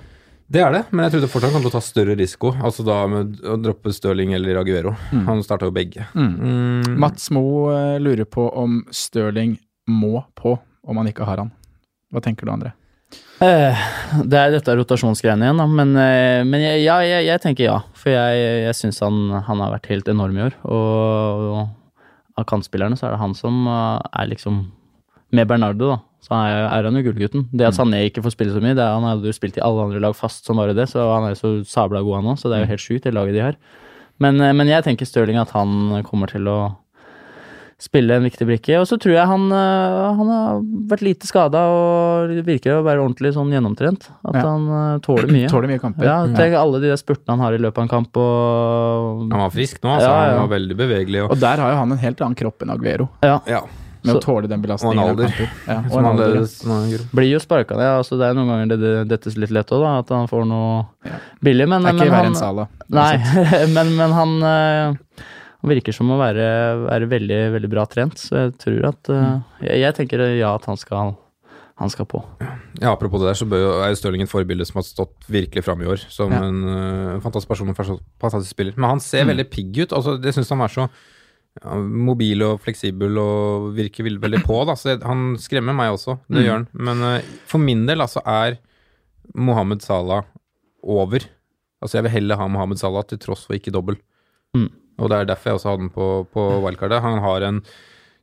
[SPEAKER 2] Det er det, men jeg trodde fortsatt han kom til å ta større risiko, altså da med å droppe Stirling eller Aguero. Han starta jo begge. Mm.
[SPEAKER 4] Mats Mo eh, lurer på om Stirling må på om han ikke har han. Hva tenker du, André?
[SPEAKER 3] Eh, Det er dette er rotasjonsgreiene igjen, da. Men, eh, men jeg, ja, jeg, jeg tenker ja. For jeg, jeg syns han, han har vært helt enorm i år. Og, og av kantspillerne så er det han som eh, er liksom Med Bernardo, da, så er, er han jo gullgutten. Det
[SPEAKER 4] Mm.
[SPEAKER 3] at Sané ikke får spille så mye, det er, han hadde jo spilt i alle andre lag fast som bare det, så han er jo så sabla god han òg, så det er
[SPEAKER 4] Mm.
[SPEAKER 3] jo helt sjukt, det laget de har. Men, eh, men jeg tenker Stirling at han kommer til å spille en viktig brikke. Og så tror jeg han, øh, han har vært lite skada og virker å være ordentlig sånn gjennomtrent. At
[SPEAKER 4] Ja.
[SPEAKER 3] han øh, tåler mye.
[SPEAKER 4] Tåler mye kamper. Mm.
[SPEAKER 3] Ja, tenk alle de der spurtene han har i løpet av en kamp og
[SPEAKER 2] Han var frisk nå, altså.
[SPEAKER 3] Ja, ja.
[SPEAKER 2] Han var veldig bevegelig. Og,
[SPEAKER 4] Og der har jo han en helt annen kropp enn Aguero,
[SPEAKER 3] Ja.
[SPEAKER 2] ja,
[SPEAKER 4] med
[SPEAKER 3] Så-
[SPEAKER 4] å tåle den belastningen.
[SPEAKER 2] Og en alder.
[SPEAKER 4] av kamper. Ja,
[SPEAKER 2] som
[SPEAKER 4] og en alder.
[SPEAKER 2] annerledes enn Aguero.
[SPEAKER 3] Blir jo sparka ned. Altså, det er noen ganger det, det dettes litt lett òg, da. At han får noe
[SPEAKER 4] Ja.
[SPEAKER 3] billig. Men,
[SPEAKER 4] Det er
[SPEAKER 3] men
[SPEAKER 4] ikke verre enn
[SPEAKER 3] han,
[SPEAKER 4] Sala.
[SPEAKER 3] Nei, men, men han øh, han virker som å være, være veldig, veldig bra trent, så jeg tror at
[SPEAKER 4] Mm.
[SPEAKER 3] øh, jeg, jeg tenker ja at han skal, han skal på.
[SPEAKER 2] Ja, apropos det der, så bør jo, er jo Stirling et forbilde som har stått virkelig fram i år. Som
[SPEAKER 4] Ja.
[SPEAKER 2] en øh, fantastisk person og fas- fantastisk spiller. Men han ser veldig pigg ut. Altså, jeg syns han er så ja, mobil og fleksibel og virker veldig, veldig på. Da. Så jeg, han skremmer meg også, det gjør han. Men øh, for min del altså, er Mohammed Salah over. Altså, jeg vil heller ha Mohammed Salah til tross for ikke dobbel.
[SPEAKER 3] Mm.
[SPEAKER 2] Og det er derfor jeg også hadde den på, på wildcardet. Han har en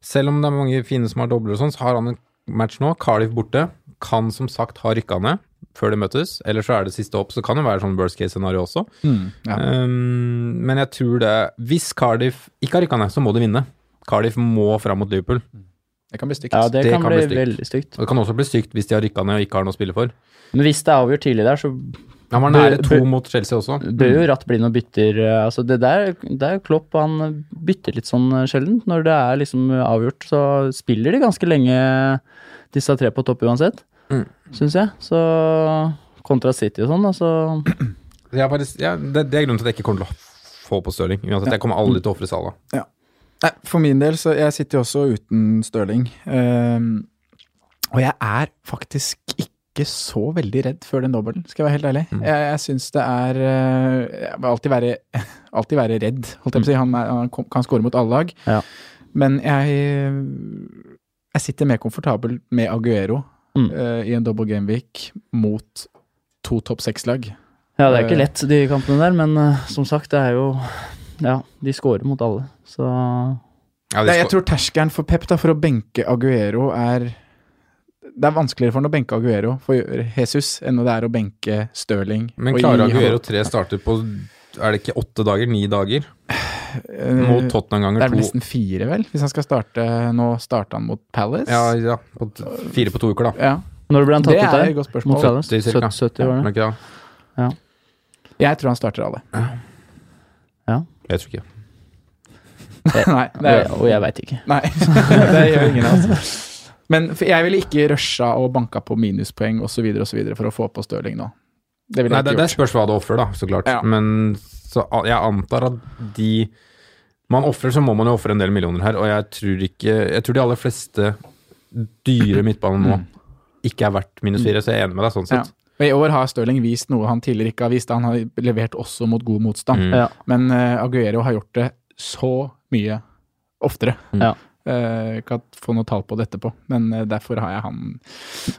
[SPEAKER 2] selv om det er mange fine som har dobler og sånn, så har han en match nå. Cardiff borte. Kan som sagt ha rykka ned før de møtes. Eller så er det siste opp, så kan det være sånn worst case scenario også.
[SPEAKER 4] Mm, ja.
[SPEAKER 2] Um, men jeg tror det Hvis Cardiff ikke har rykka ned, så må de vinne. Cardiff må fram mot Liverpool.
[SPEAKER 4] Det kan bli stygt.
[SPEAKER 3] Ja, det,
[SPEAKER 2] Det
[SPEAKER 3] kan,
[SPEAKER 2] kan
[SPEAKER 3] bli
[SPEAKER 2] bli stygt.
[SPEAKER 3] veldig stygt.
[SPEAKER 2] Og det kan også bli stygt hvis de har rykka ned og ikke har noe å spille for.
[SPEAKER 3] Men hvis det er avgjort tidlig der, så
[SPEAKER 2] Han var
[SPEAKER 3] Bø-
[SPEAKER 2] nære to
[SPEAKER 3] bø-
[SPEAKER 2] mot Chelsea også.
[SPEAKER 3] bør jo Ratt bli noen bytter. eh, Altså det der, det er jo Klopp, han bytter litt sånn eh, sjelden. Når det er liksom avgjort, så spiller de ganske lenge disse tre på topp uansett,
[SPEAKER 2] Mm.
[SPEAKER 3] syns jeg. Så kontra City og sånn, altså.
[SPEAKER 2] Så Mm. Jeg har faktisk, ja, det, det er grunnen til at jeg ikke kommer til å få på Stirling. Uansett, jeg kommer aldri til å ofre Salah.
[SPEAKER 4] Nei, for min del, så jeg sitter jo også uten Stirling. Ehm, og jeg er faktisk ikke så veldig redd før den dobbelen, skal jeg være helt ærlig.
[SPEAKER 3] Mm.
[SPEAKER 4] Jeg, jeg syns det er eh, Jeg vil alltid være, alltid være redd, holdt jeg på å si. Han, er, han kom- kan score mot alle lag.
[SPEAKER 3] Mm. Ja.
[SPEAKER 4] Men jeg, jeg sitter mer komfortabel med Aguero
[SPEAKER 3] Mm.
[SPEAKER 4] eh, i en double gameweek mot to topp seks-lag.
[SPEAKER 3] Ja, det er ikke lett de kampene der, men eh, som sagt, det er jo Ja, de scorer mot alle, så
[SPEAKER 2] Ja, de
[SPEAKER 4] Nei, jeg
[SPEAKER 2] skal-
[SPEAKER 4] tror terskelen for Pep da, for å benke Aguero er Det er vanskeligere for han å benke Aguero for Jesus enn det er å benke Stirling.
[SPEAKER 2] Men
[SPEAKER 4] og
[SPEAKER 2] klarer
[SPEAKER 4] gi han-
[SPEAKER 2] Aguero tre starter på er det ikke åtte dager? Ni dager?
[SPEAKER 4] Eh,
[SPEAKER 2] Mot Tottenham
[SPEAKER 4] Det er
[SPEAKER 2] ganger
[SPEAKER 4] vel
[SPEAKER 2] to
[SPEAKER 4] nesten fire, vel? Hvis han skal starte Nå starter han mot Palace.
[SPEAKER 2] Ja, ja. På t- fire på to uker, da.
[SPEAKER 4] Ja,
[SPEAKER 3] Når ble han tatt
[SPEAKER 4] Det
[SPEAKER 3] ut
[SPEAKER 4] er et
[SPEAKER 3] der?
[SPEAKER 4] godt
[SPEAKER 3] Mot
[SPEAKER 4] spørsmål.
[SPEAKER 3] Palace?
[SPEAKER 2] 70 cirka.
[SPEAKER 3] 70, 70 var
[SPEAKER 2] Men
[SPEAKER 3] det.
[SPEAKER 2] ikke da?
[SPEAKER 4] Jeg tror han starter alle.
[SPEAKER 2] Jeg tror ikke.
[SPEAKER 4] Nei, det
[SPEAKER 3] Og jeg-
[SPEAKER 4] er,
[SPEAKER 3] Og jeg veit ikke.
[SPEAKER 4] nei. det gjør ingen av oss. Men for jeg ville ikke rusha og banka på minuspoeng osv. videre for å få på Stirling nå. Det ville
[SPEAKER 2] Nei, det,
[SPEAKER 4] jeg ikke
[SPEAKER 2] det
[SPEAKER 4] gjort.
[SPEAKER 2] spørs hva du ofrer, da, så klart.
[SPEAKER 4] Ja.
[SPEAKER 2] Men så, a- jeg antar at de Man ofrer, så må man jo ofre en del millioner her, og jeg tror ikke Jeg tror de aller fleste dyre midtbaner nå ikke er verdt minus fire, så jeg er enig med deg sånn
[SPEAKER 4] Ja.
[SPEAKER 2] sett.
[SPEAKER 4] Og I år har Stirling vist noe han tidligere ikke har vist. Han har levert også mot god motstand.
[SPEAKER 2] Mm.
[SPEAKER 3] Ja.
[SPEAKER 4] Men eh, Aguero har gjort det så mye oftere.
[SPEAKER 3] Ja.
[SPEAKER 4] Eh, kan få noe tall på det etterpå, men eh, derfor har jeg han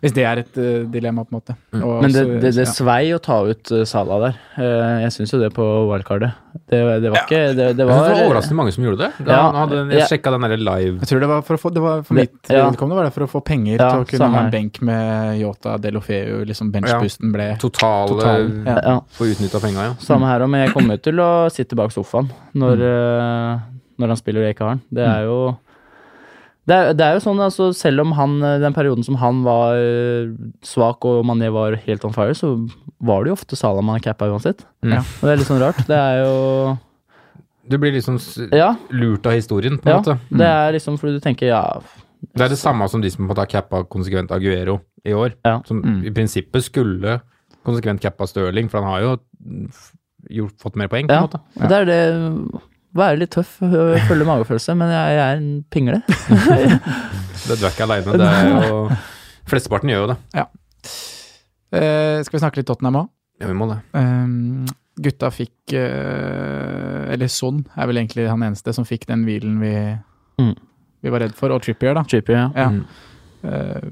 [SPEAKER 4] Hvis det er et eh, dilemma, på en måte. Og
[SPEAKER 3] Men det,
[SPEAKER 4] så-
[SPEAKER 3] det, det
[SPEAKER 4] ja.
[SPEAKER 3] svei å ta ut eh, Salah der. Eh, Jeg syns jo det på wildcardet. Det, det var ikke Det, det
[SPEAKER 2] Jeg
[SPEAKER 3] var
[SPEAKER 2] synes det var overraskende mange som gjorde det. Da,
[SPEAKER 3] Ja.
[SPEAKER 2] hadde, jeg
[SPEAKER 3] Ja.
[SPEAKER 2] sjekka den derre live
[SPEAKER 4] Jeg tror det var for å få det var for
[SPEAKER 3] Det-
[SPEAKER 4] mitt
[SPEAKER 3] ja.
[SPEAKER 4] vedkommende var det for å få penger
[SPEAKER 3] Ja,
[SPEAKER 4] til å kunne
[SPEAKER 3] samme
[SPEAKER 4] ha
[SPEAKER 3] her.
[SPEAKER 4] en benk med Yota Delofeu. Liksom benchboosten ble
[SPEAKER 2] totale
[SPEAKER 4] Total, ja.
[SPEAKER 3] Ja,
[SPEAKER 2] Få utnytta penga, ja.
[SPEAKER 3] samme her òg, men jeg kommer jo til å sitte bak sofaen når, eh, når han spiller og jeg ikke har han. Det er jo det er, det er jo sånn, altså, Selv om han, eh, den perioden som han var eh, svak og Mané var helt on fire, så var det jo ofte Salah man cappa uansett.
[SPEAKER 2] Mm.
[SPEAKER 3] Og det er litt sånn rart. Det er jo
[SPEAKER 2] Du blir liksom s-
[SPEAKER 3] Ja.
[SPEAKER 2] lurt av historien, på en
[SPEAKER 3] Ja,
[SPEAKER 2] måte. Mm.
[SPEAKER 3] det er liksom fordi du tenker ja,
[SPEAKER 2] Det er det samme som de som har cappa konsekvent Aguero i år.
[SPEAKER 3] Ja. Mm.
[SPEAKER 2] Som i prinsippet skulle konsekvent cappa Stirling, for han har jo f- gjort, fått mer poeng. på
[SPEAKER 3] ja.
[SPEAKER 2] en måte.
[SPEAKER 3] Og det er det Være litt tøff, øh, følge magefølelse, men jeg, jeg er en pingle.
[SPEAKER 2] Det du er ikke aleine. Det er jo Flesteparten gjør jo det.
[SPEAKER 4] Eh, skal vi snakke litt Tottenham òg?
[SPEAKER 2] Ja, vi må det.
[SPEAKER 4] Ehm, gutta fikk eh, Eller Son er vel egentlig han eneste som fikk den hvilen vi,
[SPEAKER 3] Mm.
[SPEAKER 4] vi var redd for, og Trippier, da.
[SPEAKER 3] Trippy, ja.
[SPEAKER 4] Ja.
[SPEAKER 2] Mm.
[SPEAKER 4] Eh,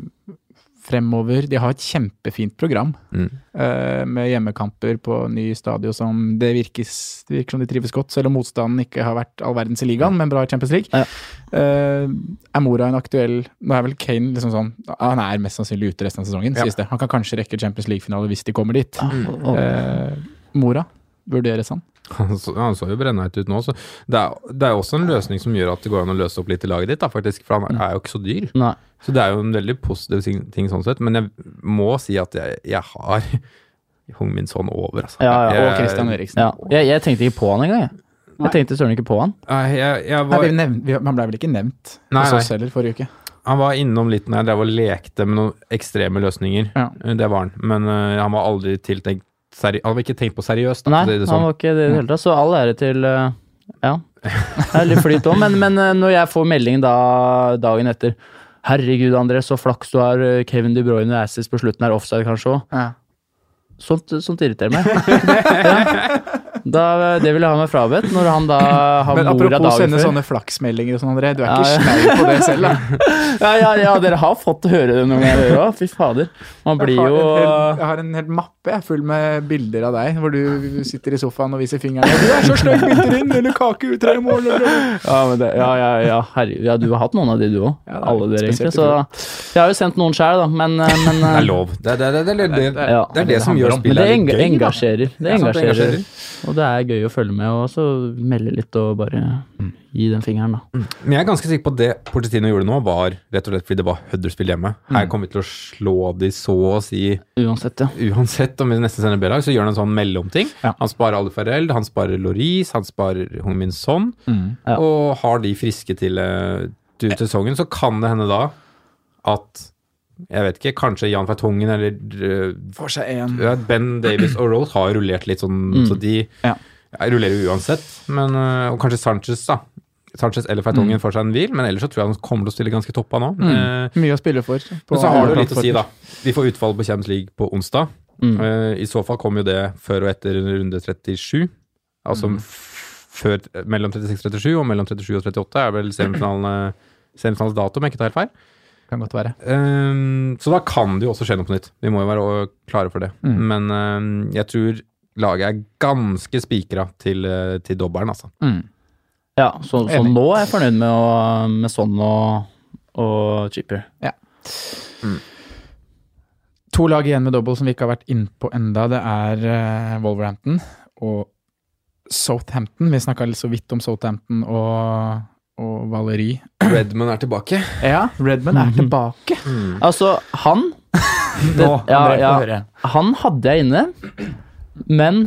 [SPEAKER 4] fremover De har et kjempefint program
[SPEAKER 2] Mm.
[SPEAKER 4] eh, med hjemmekamper på ny stadion som det virkes, det virker som de trives godt, selv om motstanden ikke har vært all verdens i ligaen, men bra i Champions League.
[SPEAKER 3] Ja.
[SPEAKER 4] Eh, er Mora en aktuell Nå er vel Kane liksom sånn ja, Han er mest sannsynlig ute resten av sesongen,
[SPEAKER 2] Ja.
[SPEAKER 4] sies det. Han kan kanskje rekke Champions League-finale hvis de kommer dit.
[SPEAKER 2] Mm.
[SPEAKER 3] Og- og-
[SPEAKER 4] Eh, Mora vurderes han.
[SPEAKER 2] Han så, han så jo brennheit ut nå, så det er, det er også en løsning som gjør at det går an å løse opp litt i laget ditt, da, faktisk, for han er, er jo ikke så dyr.
[SPEAKER 3] Nei.
[SPEAKER 2] Så det er jo en veldig positiv ting, ting sånn sett, men jeg må si at jeg, jeg har Hung Min Son over, altså.
[SPEAKER 3] Ja, ja,
[SPEAKER 2] Jeg-
[SPEAKER 4] Og Christian Eriksen.
[SPEAKER 3] Ja. Jeg, jeg tenkte ikke på han engang, jeg. Jeg tenkte søren ikke på han.
[SPEAKER 2] Nei, jeg, jeg
[SPEAKER 4] Nei,
[SPEAKER 2] var,
[SPEAKER 4] vi nevn- vi, han ble vel ikke nevnt
[SPEAKER 2] Nei,
[SPEAKER 4] hos oss
[SPEAKER 2] nei.
[SPEAKER 4] heller forrige uke.
[SPEAKER 2] han var innom litt når jeg drev og lekte med noen ekstreme løsninger. Eh,
[SPEAKER 4] Ja.
[SPEAKER 2] Det var han, men øh, han var aldri tiltenkt seri Han var ikke tenkt på seriøst, da.
[SPEAKER 3] Nei,
[SPEAKER 2] for å si det
[SPEAKER 3] han
[SPEAKER 2] sånn.
[SPEAKER 3] var ikke det i det hele tatt. Så all ære til eh, Ja. Det er litt flyt òg, men, men eh, når jeg får meldingen da, dagen etter Herregud, André, så flaks du har. eh, Kevin De Bruyne Assis på slutten er offside, kanskje òg.
[SPEAKER 4] Ja.
[SPEAKER 3] Sånt, sånt irriterer meg. ja. da, det vil jeg ha meg frabedt, når han da har
[SPEAKER 4] Men
[SPEAKER 3] mora
[SPEAKER 4] apropos
[SPEAKER 3] dagen
[SPEAKER 4] sende
[SPEAKER 3] før.
[SPEAKER 4] sånne flaksmeldinger og sånn, André. Du er
[SPEAKER 3] Ja, ja.
[SPEAKER 4] ikke snau på det selv, da.
[SPEAKER 3] Ja, ja, ja, dere har fått høre det noen ganger òg. Fy fader. Man blir
[SPEAKER 4] jeg, har
[SPEAKER 3] jo
[SPEAKER 4] en hel, jeg har en hel mappe jeg, full med bilder av deg, hvor du sitter i sofaen og viser fingeren. Du er så sløy, bilder inn, eller kake ut, eller mål, eller
[SPEAKER 3] Ja, men det, ja, ja, ja, herregud. Ja, du har hatt noen av de, du òg.
[SPEAKER 4] Ja, da,
[SPEAKER 3] Alle dere, egentlig.
[SPEAKER 4] spesielt
[SPEAKER 3] Så jeg har jo sendt noen sjæl, da, men, eh, men
[SPEAKER 2] Det
[SPEAKER 3] eh,
[SPEAKER 2] er lov. Det er det, det, det, det, det, det,
[SPEAKER 3] Ja.
[SPEAKER 2] er det som gjør
[SPEAKER 3] Men
[SPEAKER 2] spillet
[SPEAKER 3] det
[SPEAKER 2] litt
[SPEAKER 3] enga-
[SPEAKER 2] gøy. da.
[SPEAKER 3] engasjerer. Det
[SPEAKER 2] Ja, sant, det
[SPEAKER 3] engasjerer.
[SPEAKER 2] engasjerer.
[SPEAKER 3] Og det er gøy å følge med, og så melde litt og bare
[SPEAKER 2] Mm.
[SPEAKER 3] gi den fingeren, da.
[SPEAKER 2] Men jeg er ganske sikker på at det Porcetino gjorde nå, var rett og slett fordi det var Huddersfield hjemme.
[SPEAKER 3] Mm.
[SPEAKER 2] Her kommer vi til å slå de så å si
[SPEAKER 3] Uansett, ja.
[SPEAKER 2] uansett om vi nesten sender B-lag, så gjør han en sånn mellomting.
[SPEAKER 4] Ja.
[SPEAKER 2] Han sparer Ali Farrell, han sparer Loris, han sparer Hung-Min Son,
[SPEAKER 3] Ja.
[SPEAKER 2] og har de friske til, eh, til sesongen, så kan det hende da at jeg vet ikke, kanskje Jan Vertonghen eller eh,
[SPEAKER 4] For seg en.
[SPEAKER 2] ja, Ben Davis og Rose har jo rullert litt sånn, så de
[SPEAKER 4] Ja.
[SPEAKER 2] ja, rullerer jo uansett. Men, øh, og kanskje Sanchez, da. Sanchez eller Fertongen får seg en hvil, men ellers så tror jeg han kommer til å stille ganske toppa nå. Eh,
[SPEAKER 4] Mye å spille for. på
[SPEAKER 2] men så har det jo litt å si,
[SPEAKER 4] plattformer.
[SPEAKER 2] da. Vi får utfall på Champions League på onsdag.
[SPEAKER 3] Mm.
[SPEAKER 2] Eh, I så fall kommer jo det før og etter runde 37. Altså
[SPEAKER 3] Mm.
[SPEAKER 2] f- før, mellom 36 og 37, og mellom 37 og 38 er vel semifinalene- semifinalens dato, om jeg ikke tar helt feil.
[SPEAKER 4] Kan godt være.
[SPEAKER 2] Ehm, så da kan det jo også skje noe på nytt. Vi må jo være øh, klare for det.
[SPEAKER 3] Mm.
[SPEAKER 2] Men ehm, jeg tror laget er ganske spikra til, øh, til dobbelen, altså.
[SPEAKER 4] Mm.
[SPEAKER 3] ja så, så
[SPEAKER 4] Enig.
[SPEAKER 3] nå er jeg fornøyd med, å, med sånn og, og chipper.
[SPEAKER 4] To lag igjen med double som vi ikke har vært innpå enda. Det er eh, Wolverhampton og Southampton. Vi snakka så vidt om Southampton og, og Valeri.
[SPEAKER 2] Redman er tilbake.
[SPEAKER 4] Ja, Redman er tilbake.
[SPEAKER 3] Mhm. Altså, han det, ja,
[SPEAKER 4] André,
[SPEAKER 3] ja,
[SPEAKER 4] få høre.
[SPEAKER 3] Han hadde jeg inne, men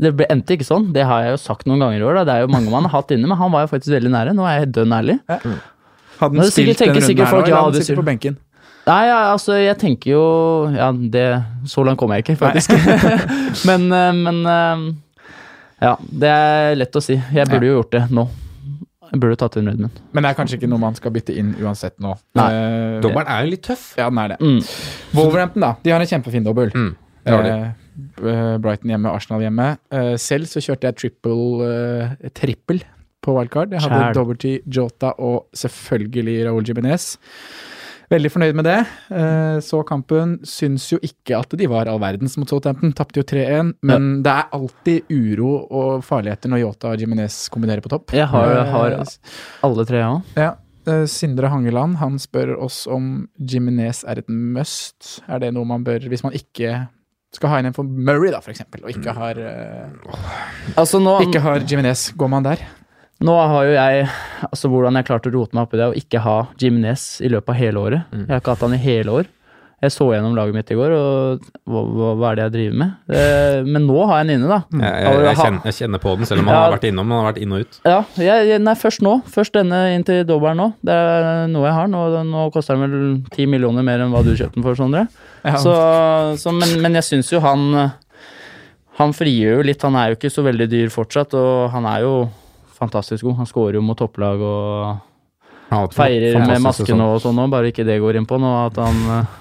[SPEAKER 3] det ble, endte ikke sånn. Det har jeg jo sagt noen ganger i år. Da. Det er jo mange man har hatt inne, men han var jo faktisk veldig nære. Nå er jeg dønn ærlig.
[SPEAKER 4] Hadde
[SPEAKER 3] Nå
[SPEAKER 4] han
[SPEAKER 3] sikkert
[SPEAKER 4] spilt den
[SPEAKER 3] tenker
[SPEAKER 4] runden
[SPEAKER 3] sikkert
[SPEAKER 4] her nå,
[SPEAKER 3] folk,
[SPEAKER 4] eller
[SPEAKER 3] ja,
[SPEAKER 4] hadde han
[SPEAKER 3] det
[SPEAKER 4] sittet
[SPEAKER 3] sier-
[SPEAKER 4] på benken?
[SPEAKER 3] Nei, ja, altså, jeg tenker jo Ja, det Så langt kommer jeg ikke, faktisk. men, eh, men eh, Ja, det er lett å si. Jeg burde jo gjort det nå. Jeg burde tatt inn Redmond.
[SPEAKER 4] Men det er kanskje ikke noe man skal bytte inn uansett nå.
[SPEAKER 3] Nei.
[SPEAKER 4] Eh,
[SPEAKER 2] Dobbelen er jo litt tøff.
[SPEAKER 4] Ja, den er det.
[SPEAKER 3] Mm.
[SPEAKER 4] Wolverhampton, da. De har en kjempefin dobbel.
[SPEAKER 2] Mm, det har de.
[SPEAKER 4] Eh, eh, Brighton hjemme, Arsenal hjemme. Eh, selv så kjørte jeg triple, eh, trippel på wildcard. Jeg hadde
[SPEAKER 3] Kjæl.
[SPEAKER 4] dobbel til Jota og selvfølgelig Raúl Jiménez. Veldig fornøyd med det. Eh, så kampen. Syns jo ikke at de var all verdens mot Southampton. Tapte jo 3-1. Men det er alltid uro og farligheter når Jota og Jiménez kombinerer på topp.
[SPEAKER 3] Jeg har,
[SPEAKER 4] Eh,
[SPEAKER 3] har alle tre, jeg òg.
[SPEAKER 4] ja. eh, Sindre Hangeland han spør oss om Jiminez er et must. Er det noe man bør Hvis man ikke skal ha inn en for Murray, da, for eksempel, og
[SPEAKER 2] Mm.
[SPEAKER 4] ikke har, eh,
[SPEAKER 3] Altså, nå,
[SPEAKER 4] ikke har Jiminez, går man der?
[SPEAKER 3] nå har jo jeg Altså,
[SPEAKER 2] Mm.
[SPEAKER 3] hvordan jeg klarte å rote meg opp i det og ikke ha Jiminez i løpet av hele året. Jeg har ikke hatt han i hele år. Jeg så gjennom laget mitt i går, og hva, hva, hva er det jeg driver med? Eh, men nå har jeg den inne, da.
[SPEAKER 2] Jeg, jeg, jeg, kjenner, jeg kjenner på den, selv om han
[SPEAKER 3] Ja.
[SPEAKER 2] har vært innom. Han har vært inn og ut.
[SPEAKER 3] Ja, jeg, jeg- nei, først nå. Først denne inn til Dobberen nå. Det er noe jeg har. Nå, nå koster den vel ti millioner mer enn hva du kjøpte den for, Sondre. Så, så, men, men jeg syns jo han Han frigjør jo litt. Han er jo ikke så veldig dyr fortsatt, og han er jo fantastisk god. Han scorer jo mot topplag og
[SPEAKER 2] Han har hatt
[SPEAKER 3] feirer med
[SPEAKER 2] fantastisk
[SPEAKER 3] masken
[SPEAKER 2] sesong.
[SPEAKER 3] og sånn òg, bare ikke det går inn på nå. At han eh,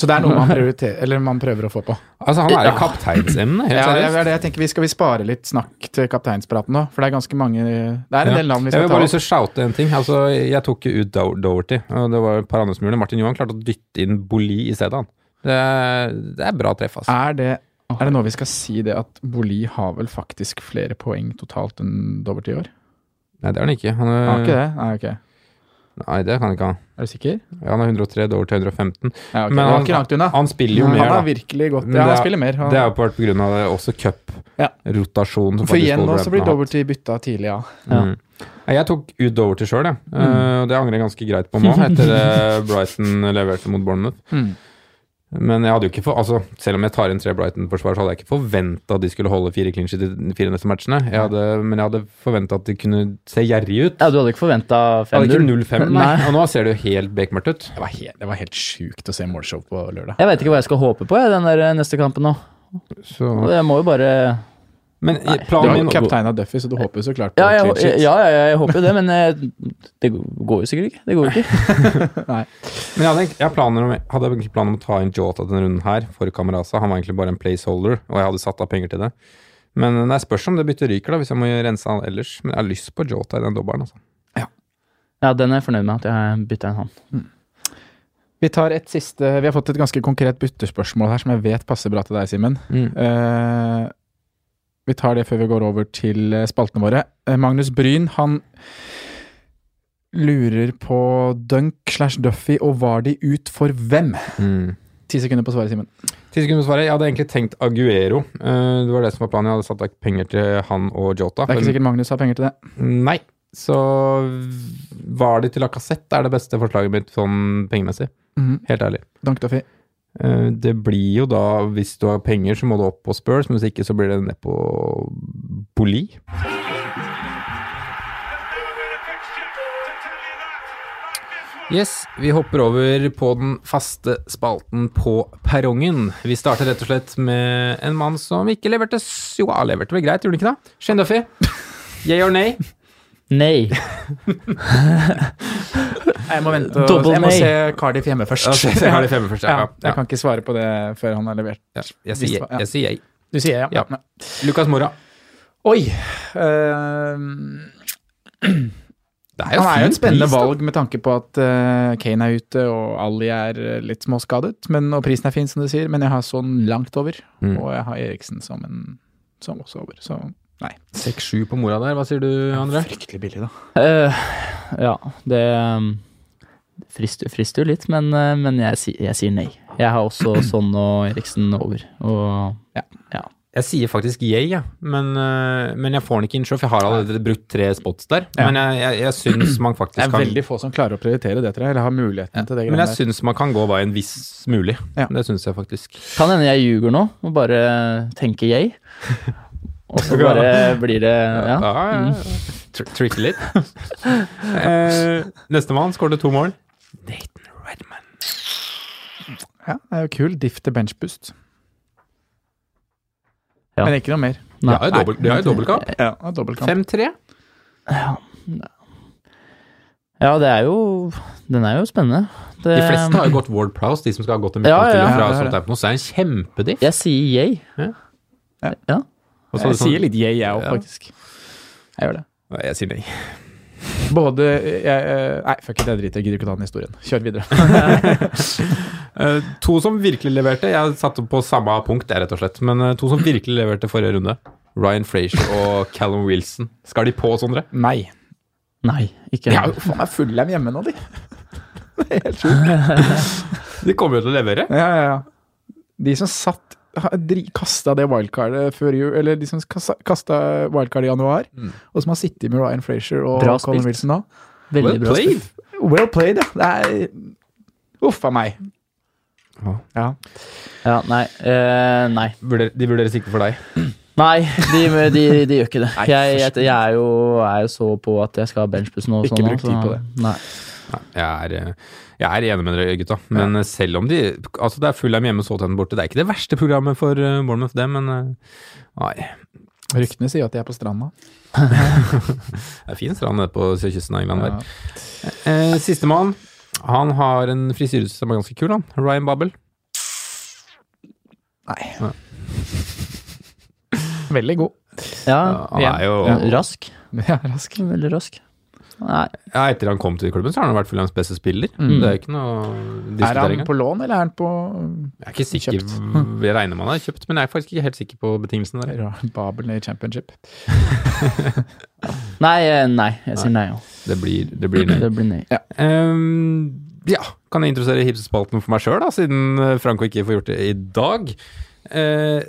[SPEAKER 4] Så det er noe man, prioriterer, eller man prøver å få på.
[SPEAKER 2] Altså, han er jo kapteinsemne, helt
[SPEAKER 4] Ja, det
[SPEAKER 2] seriøst.
[SPEAKER 4] er det jeg tenker. Vi skal vi spare litt snakk til kapteinspraten nå? For det er ganske mange Det er en
[SPEAKER 2] Ja.
[SPEAKER 4] del navn vi
[SPEAKER 2] Jeg
[SPEAKER 4] skal
[SPEAKER 2] vil
[SPEAKER 4] ta
[SPEAKER 2] bare lyst
[SPEAKER 4] opp.
[SPEAKER 2] til å shoute en ting. Altså, jeg tok jo ut Dow- Doherty, og det var et par andre som gjorde det. Martin Johan klarte å dytte inn Boli i stedet, han. Det er, det er bra treff, altså.
[SPEAKER 4] Er det, er det nå vi skal si det at Boli har vel faktisk flere poeng totalt enn Dobbert i år?
[SPEAKER 2] Nei, det er han ikke. Han
[SPEAKER 4] Han har
[SPEAKER 2] er,
[SPEAKER 4] ikke det? Nei, ok.
[SPEAKER 2] Nei, det kan ikke han.
[SPEAKER 4] Er du sikker?
[SPEAKER 2] Ja, han er 103, Doherty 115.
[SPEAKER 4] Ja, ok.
[SPEAKER 2] Men
[SPEAKER 4] det
[SPEAKER 2] han-
[SPEAKER 4] var ikke langt unna.
[SPEAKER 2] Han spiller jo
[SPEAKER 4] Han
[SPEAKER 2] mer, da.
[SPEAKER 4] har virkelig gått
[SPEAKER 2] Men det
[SPEAKER 4] Ja, han
[SPEAKER 2] er-
[SPEAKER 4] spiller mer. Han,
[SPEAKER 2] Det er jo på på grunn av det, også
[SPEAKER 4] Ja.
[SPEAKER 2] cup-rotasjonen.
[SPEAKER 4] for igjen nå så blir Dobbelty bytta tidlig av.
[SPEAKER 3] Ja.
[SPEAKER 2] Mm. Nei, Jeg tok ut Doverty sjøl, jeg. Eh, og det angrer jeg ganske greit på nå, etter det Brighton leverte mot Bournemouth.
[SPEAKER 4] Mm.
[SPEAKER 2] Men jeg hadde jo ikke for, altså, selv om jeg tar inn tre Brighton-forsvar, så hadde jeg ikke forventa at de skulle holde fire clinch i de fire neste matchene. Jeg hadde, men jeg hadde forventa at de kunne se gjerrige ut.
[SPEAKER 3] Ja, du hadde ikke forventa
[SPEAKER 2] Jeg hadde ikke
[SPEAKER 3] 5-0.
[SPEAKER 2] 0-5, nei. Og nå ser det jo helt bekmørkt ut.
[SPEAKER 4] Det var helt, det var helt sjukt å se målshow på lørdag.
[SPEAKER 3] Jeg veit ikke hva jeg skal håpe på, jeg, den der eh, neste kampen nå.
[SPEAKER 2] Så.
[SPEAKER 3] Jeg må jo bare
[SPEAKER 2] Men i-
[SPEAKER 4] Du
[SPEAKER 2] planen
[SPEAKER 4] har
[SPEAKER 2] min
[SPEAKER 4] jo kapteina Duffy, så du håper jo så klart på
[SPEAKER 3] Ja, jeg,
[SPEAKER 4] clean sheet.
[SPEAKER 3] ja, ja, jeg håper jo det, men eh, det går jo sikkert ikke. Det går jo ikke.
[SPEAKER 2] Men jeg hadde, egentlig- jeg hadde planer om, jeg hadde egentlig planer om å ta inn Jota denne runden her for Kamerasa. Han var egentlig bare en placeholder, og jeg hadde satt av penger til det. Men det er spørs om det byttet ryker, da, hvis jeg må rense han ellers. Men jeg har lyst på Jota i den dobbelen. Altså.
[SPEAKER 3] Ja, den er jeg fornøyd med at jeg bytta en hånd.
[SPEAKER 4] Vi tar et siste Vi har fått et ganske konkret byttespørsmål her som jeg vet passer bra til deg, Simen. Eh, vi tar det før vi går over til eh, spaltene våre. Eh, Magnus Bryn, han lurer på Dunk slash Duffy og var de ut for hvem?
[SPEAKER 2] Mm.
[SPEAKER 4] Ti sekunder på svaret, Simen.
[SPEAKER 2] Ti sekunder på svaret. Jeg hadde egentlig tenkt Aguero. Eh, Det var det som var planen. Jeg hadde satt av penger til han og Jota.
[SPEAKER 4] Det er ikke sikkert Magnus har penger til det.
[SPEAKER 2] Nei. Så var det til Lacassette er det beste forslaget mitt sånn pengemessig.
[SPEAKER 4] Mhm.
[SPEAKER 2] Helt ærlig.
[SPEAKER 4] Dunk Duffy.
[SPEAKER 2] Eh, Det blir jo da, hvis du har penger, så må du opp på Spurs, men hvis ikke så blir det ned på Boli. Yes, vi hopper over på den faste spalten på perrongen. Vi starter rett og slett med en mann som ikke leverte s- Jo, han leverte vel greit, gjorde han ikke det? Shane Duffy. Yeah or nay?
[SPEAKER 3] Nei.
[SPEAKER 4] Jeg må vente
[SPEAKER 3] og- Double jeg må nei. se
[SPEAKER 4] Cardiff hjemme først.
[SPEAKER 2] Ja, se- se Cardiff hjemme først, ja.
[SPEAKER 4] ja,
[SPEAKER 2] Ja.
[SPEAKER 4] jeg kan ikke svare på det før han har levert.
[SPEAKER 2] Ja, jeg sier jeg. sier jeg.
[SPEAKER 4] Du sier ja.
[SPEAKER 2] Ja. Lucas Mora.
[SPEAKER 4] Oi! Eh,
[SPEAKER 2] Det
[SPEAKER 4] Han er jo
[SPEAKER 2] fin
[SPEAKER 4] et spennende
[SPEAKER 2] pris, da.
[SPEAKER 4] valg med tanke på at eh, Kane er ute og Ali er eh, litt småskadet. Men, og prisen er fin, som du sier, men jeg har sånn langt over.
[SPEAKER 2] Mm.
[SPEAKER 4] Og jeg har Eriksen som, en, som også over. Så nei.
[SPEAKER 2] 6-7 på mora der. Hva sier du, André?
[SPEAKER 4] Fryktelig billig, da.
[SPEAKER 3] Eh, ja, det um, frister, frister jo litt, men, eh, men jeg, si- jeg sier nei. Jeg har også Son og Eriksen over. Og
[SPEAKER 2] Jeg sier faktisk yay, ja. men, øh, men jeg får den ikke inn sjøl, for jeg har allerede brukt tre spots der.
[SPEAKER 4] Ja.
[SPEAKER 2] Men jeg, jeg, jeg syns man faktisk
[SPEAKER 4] Det er
[SPEAKER 2] kan
[SPEAKER 4] veldig få som klarer å prioritere det, tror jeg. Eller har muligheten til det.
[SPEAKER 2] Men jeg
[SPEAKER 4] greiene der.
[SPEAKER 2] syns man kan gå veien hvis mulig.
[SPEAKER 4] Ja.
[SPEAKER 2] Det syns jeg faktisk.
[SPEAKER 3] kan hende jeg ljuger nå og bare tenker jeg. Og så bare blir det Ja.
[SPEAKER 2] ja. Tr- Trikke litt. eh, Nestemann skåret to mål. Nathan Redman.
[SPEAKER 4] Ja, det er jo kul. Diff til benchboost.
[SPEAKER 3] Ja.
[SPEAKER 4] Men ikke noe mer.
[SPEAKER 2] De
[SPEAKER 3] Nei.
[SPEAKER 2] har jo dobbel- de har jo dobbeltkamp.
[SPEAKER 4] Ja, og dobbeltkamp.
[SPEAKER 2] 5-3.
[SPEAKER 3] ja, det er jo Den er jo spennende. Det,
[SPEAKER 2] De fleste har jo gått Ward Prowse, de som skal ha gått til
[SPEAKER 3] Um, Ja, ja,
[SPEAKER 2] midtbanen fra
[SPEAKER 3] ja,
[SPEAKER 4] det er det.
[SPEAKER 2] Southampton. Så det er en kjempediff.
[SPEAKER 3] Jeg sier yay.
[SPEAKER 2] Og så er det
[SPEAKER 4] Jeg
[SPEAKER 2] sånn-
[SPEAKER 4] sier litt yeah, jeg òg,
[SPEAKER 2] Ja.
[SPEAKER 4] faktisk. Jeg gjør det.
[SPEAKER 2] Nei, jeg sier nei.
[SPEAKER 4] Både jeg, eh, Nei, fuck it, jeg driter. Jeg gidder ikke å ta den historien. Kjør videre.
[SPEAKER 2] Eh, to som virkelig leverte. Jeg satte på samme punkt, jeg, rett og slett. Men eh, to som virkelig leverte forrige runde. Ryan Frazier og Callum Wilson. Skal de på, Sondre?
[SPEAKER 4] Nei.
[SPEAKER 3] Nei, ikke
[SPEAKER 4] De har jo faen meg fullheim hjemme nå, de.
[SPEAKER 2] De kommer jo til å levere.
[SPEAKER 4] Ja, ja, ja. De som satt Kasta det wildcardet før jul, eller de som kasta wildcard i januar, og som har sittet med Ryan Frazier og
[SPEAKER 3] Bra
[SPEAKER 4] Colin
[SPEAKER 3] spilt.
[SPEAKER 4] Wilson nå.
[SPEAKER 3] Veldig
[SPEAKER 2] Well
[SPEAKER 3] bra.
[SPEAKER 2] played!
[SPEAKER 4] Well played, ja. Det er Uff a meg. Ja.
[SPEAKER 3] Ja, nei. eh, nei.
[SPEAKER 2] Vurder- De vurderer sikte for deg.
[SPEAKER 3] Nei, de, de, de gjør ikke det. Jeg, jeg, jeg er, jo, er jo så på at jeg skal ha benchbussen og
[SPEAKER 4] Ikke
[SPEAKER 3] sånn. nå,
[SPEAKER 4] bruk tid
[SPEAKER 3] så-
[SPEAKER 4] på det.
[SPEAKER 3] Nei.
[SPEAKER 2] Jeg er, eh, jeg er enig med dere, gutta. Men eh, selv om de Altså, det er Fulham hjemme og Southampton borte. Det er ikke det verste programmet for eh, Bournemouth, det, men eh, Nei.
[SPEAKER 4] Ryktene sier at de er på stranda.
[SPEAKER 2] Det er fin strand nede på sørkysten av England
[SPEAKER 4] Ja.
[SPEAKER 2] der. Eh, Sistemann, han har en frisyre som er ganske kul, han. Ryan Babel.
[SPEAKER 4] Veldig god.
[SPEAKER 3] Ja,
[SPEAKER 2] Han er jo
[SPEAKER 3] Rask.
[SPEAKER 4] Ja, rask.
[SPEAKER 3] Veldig rask. Nei,
[SPEAKER 2] ja, Etter han kom til klubben, så har han vært Fulhams beste spiller. Det Mm. er jo ikke noe å
[SPEAKER 4] Er
[SPEAKER 2] diskutere
[SPEAKER 4] han
[SPEAKER 2] engang.
[SPEAKER 4] på lån, eller er han på
[SPEAKER 2] Jeg er ikke sikker, jeg regner med han er kjøpt, men jeg er faktisk ikke helt sikker på betingelsene der.
[SPEAKER 4] Ra- Babel i championship?
[SPEAKER 3] nei, eh, nei. jeg sier nei. ja.
[SPEAKER 2] Det blir, det blir ned.
[SPEAKER 3] Det blir nei.
[SPEAKER 2] Ehm, ja, kan jeg introdusere hipsespalten for meg sjøl, da, siden eh, Franco ikke får gjort det i dag. Eh,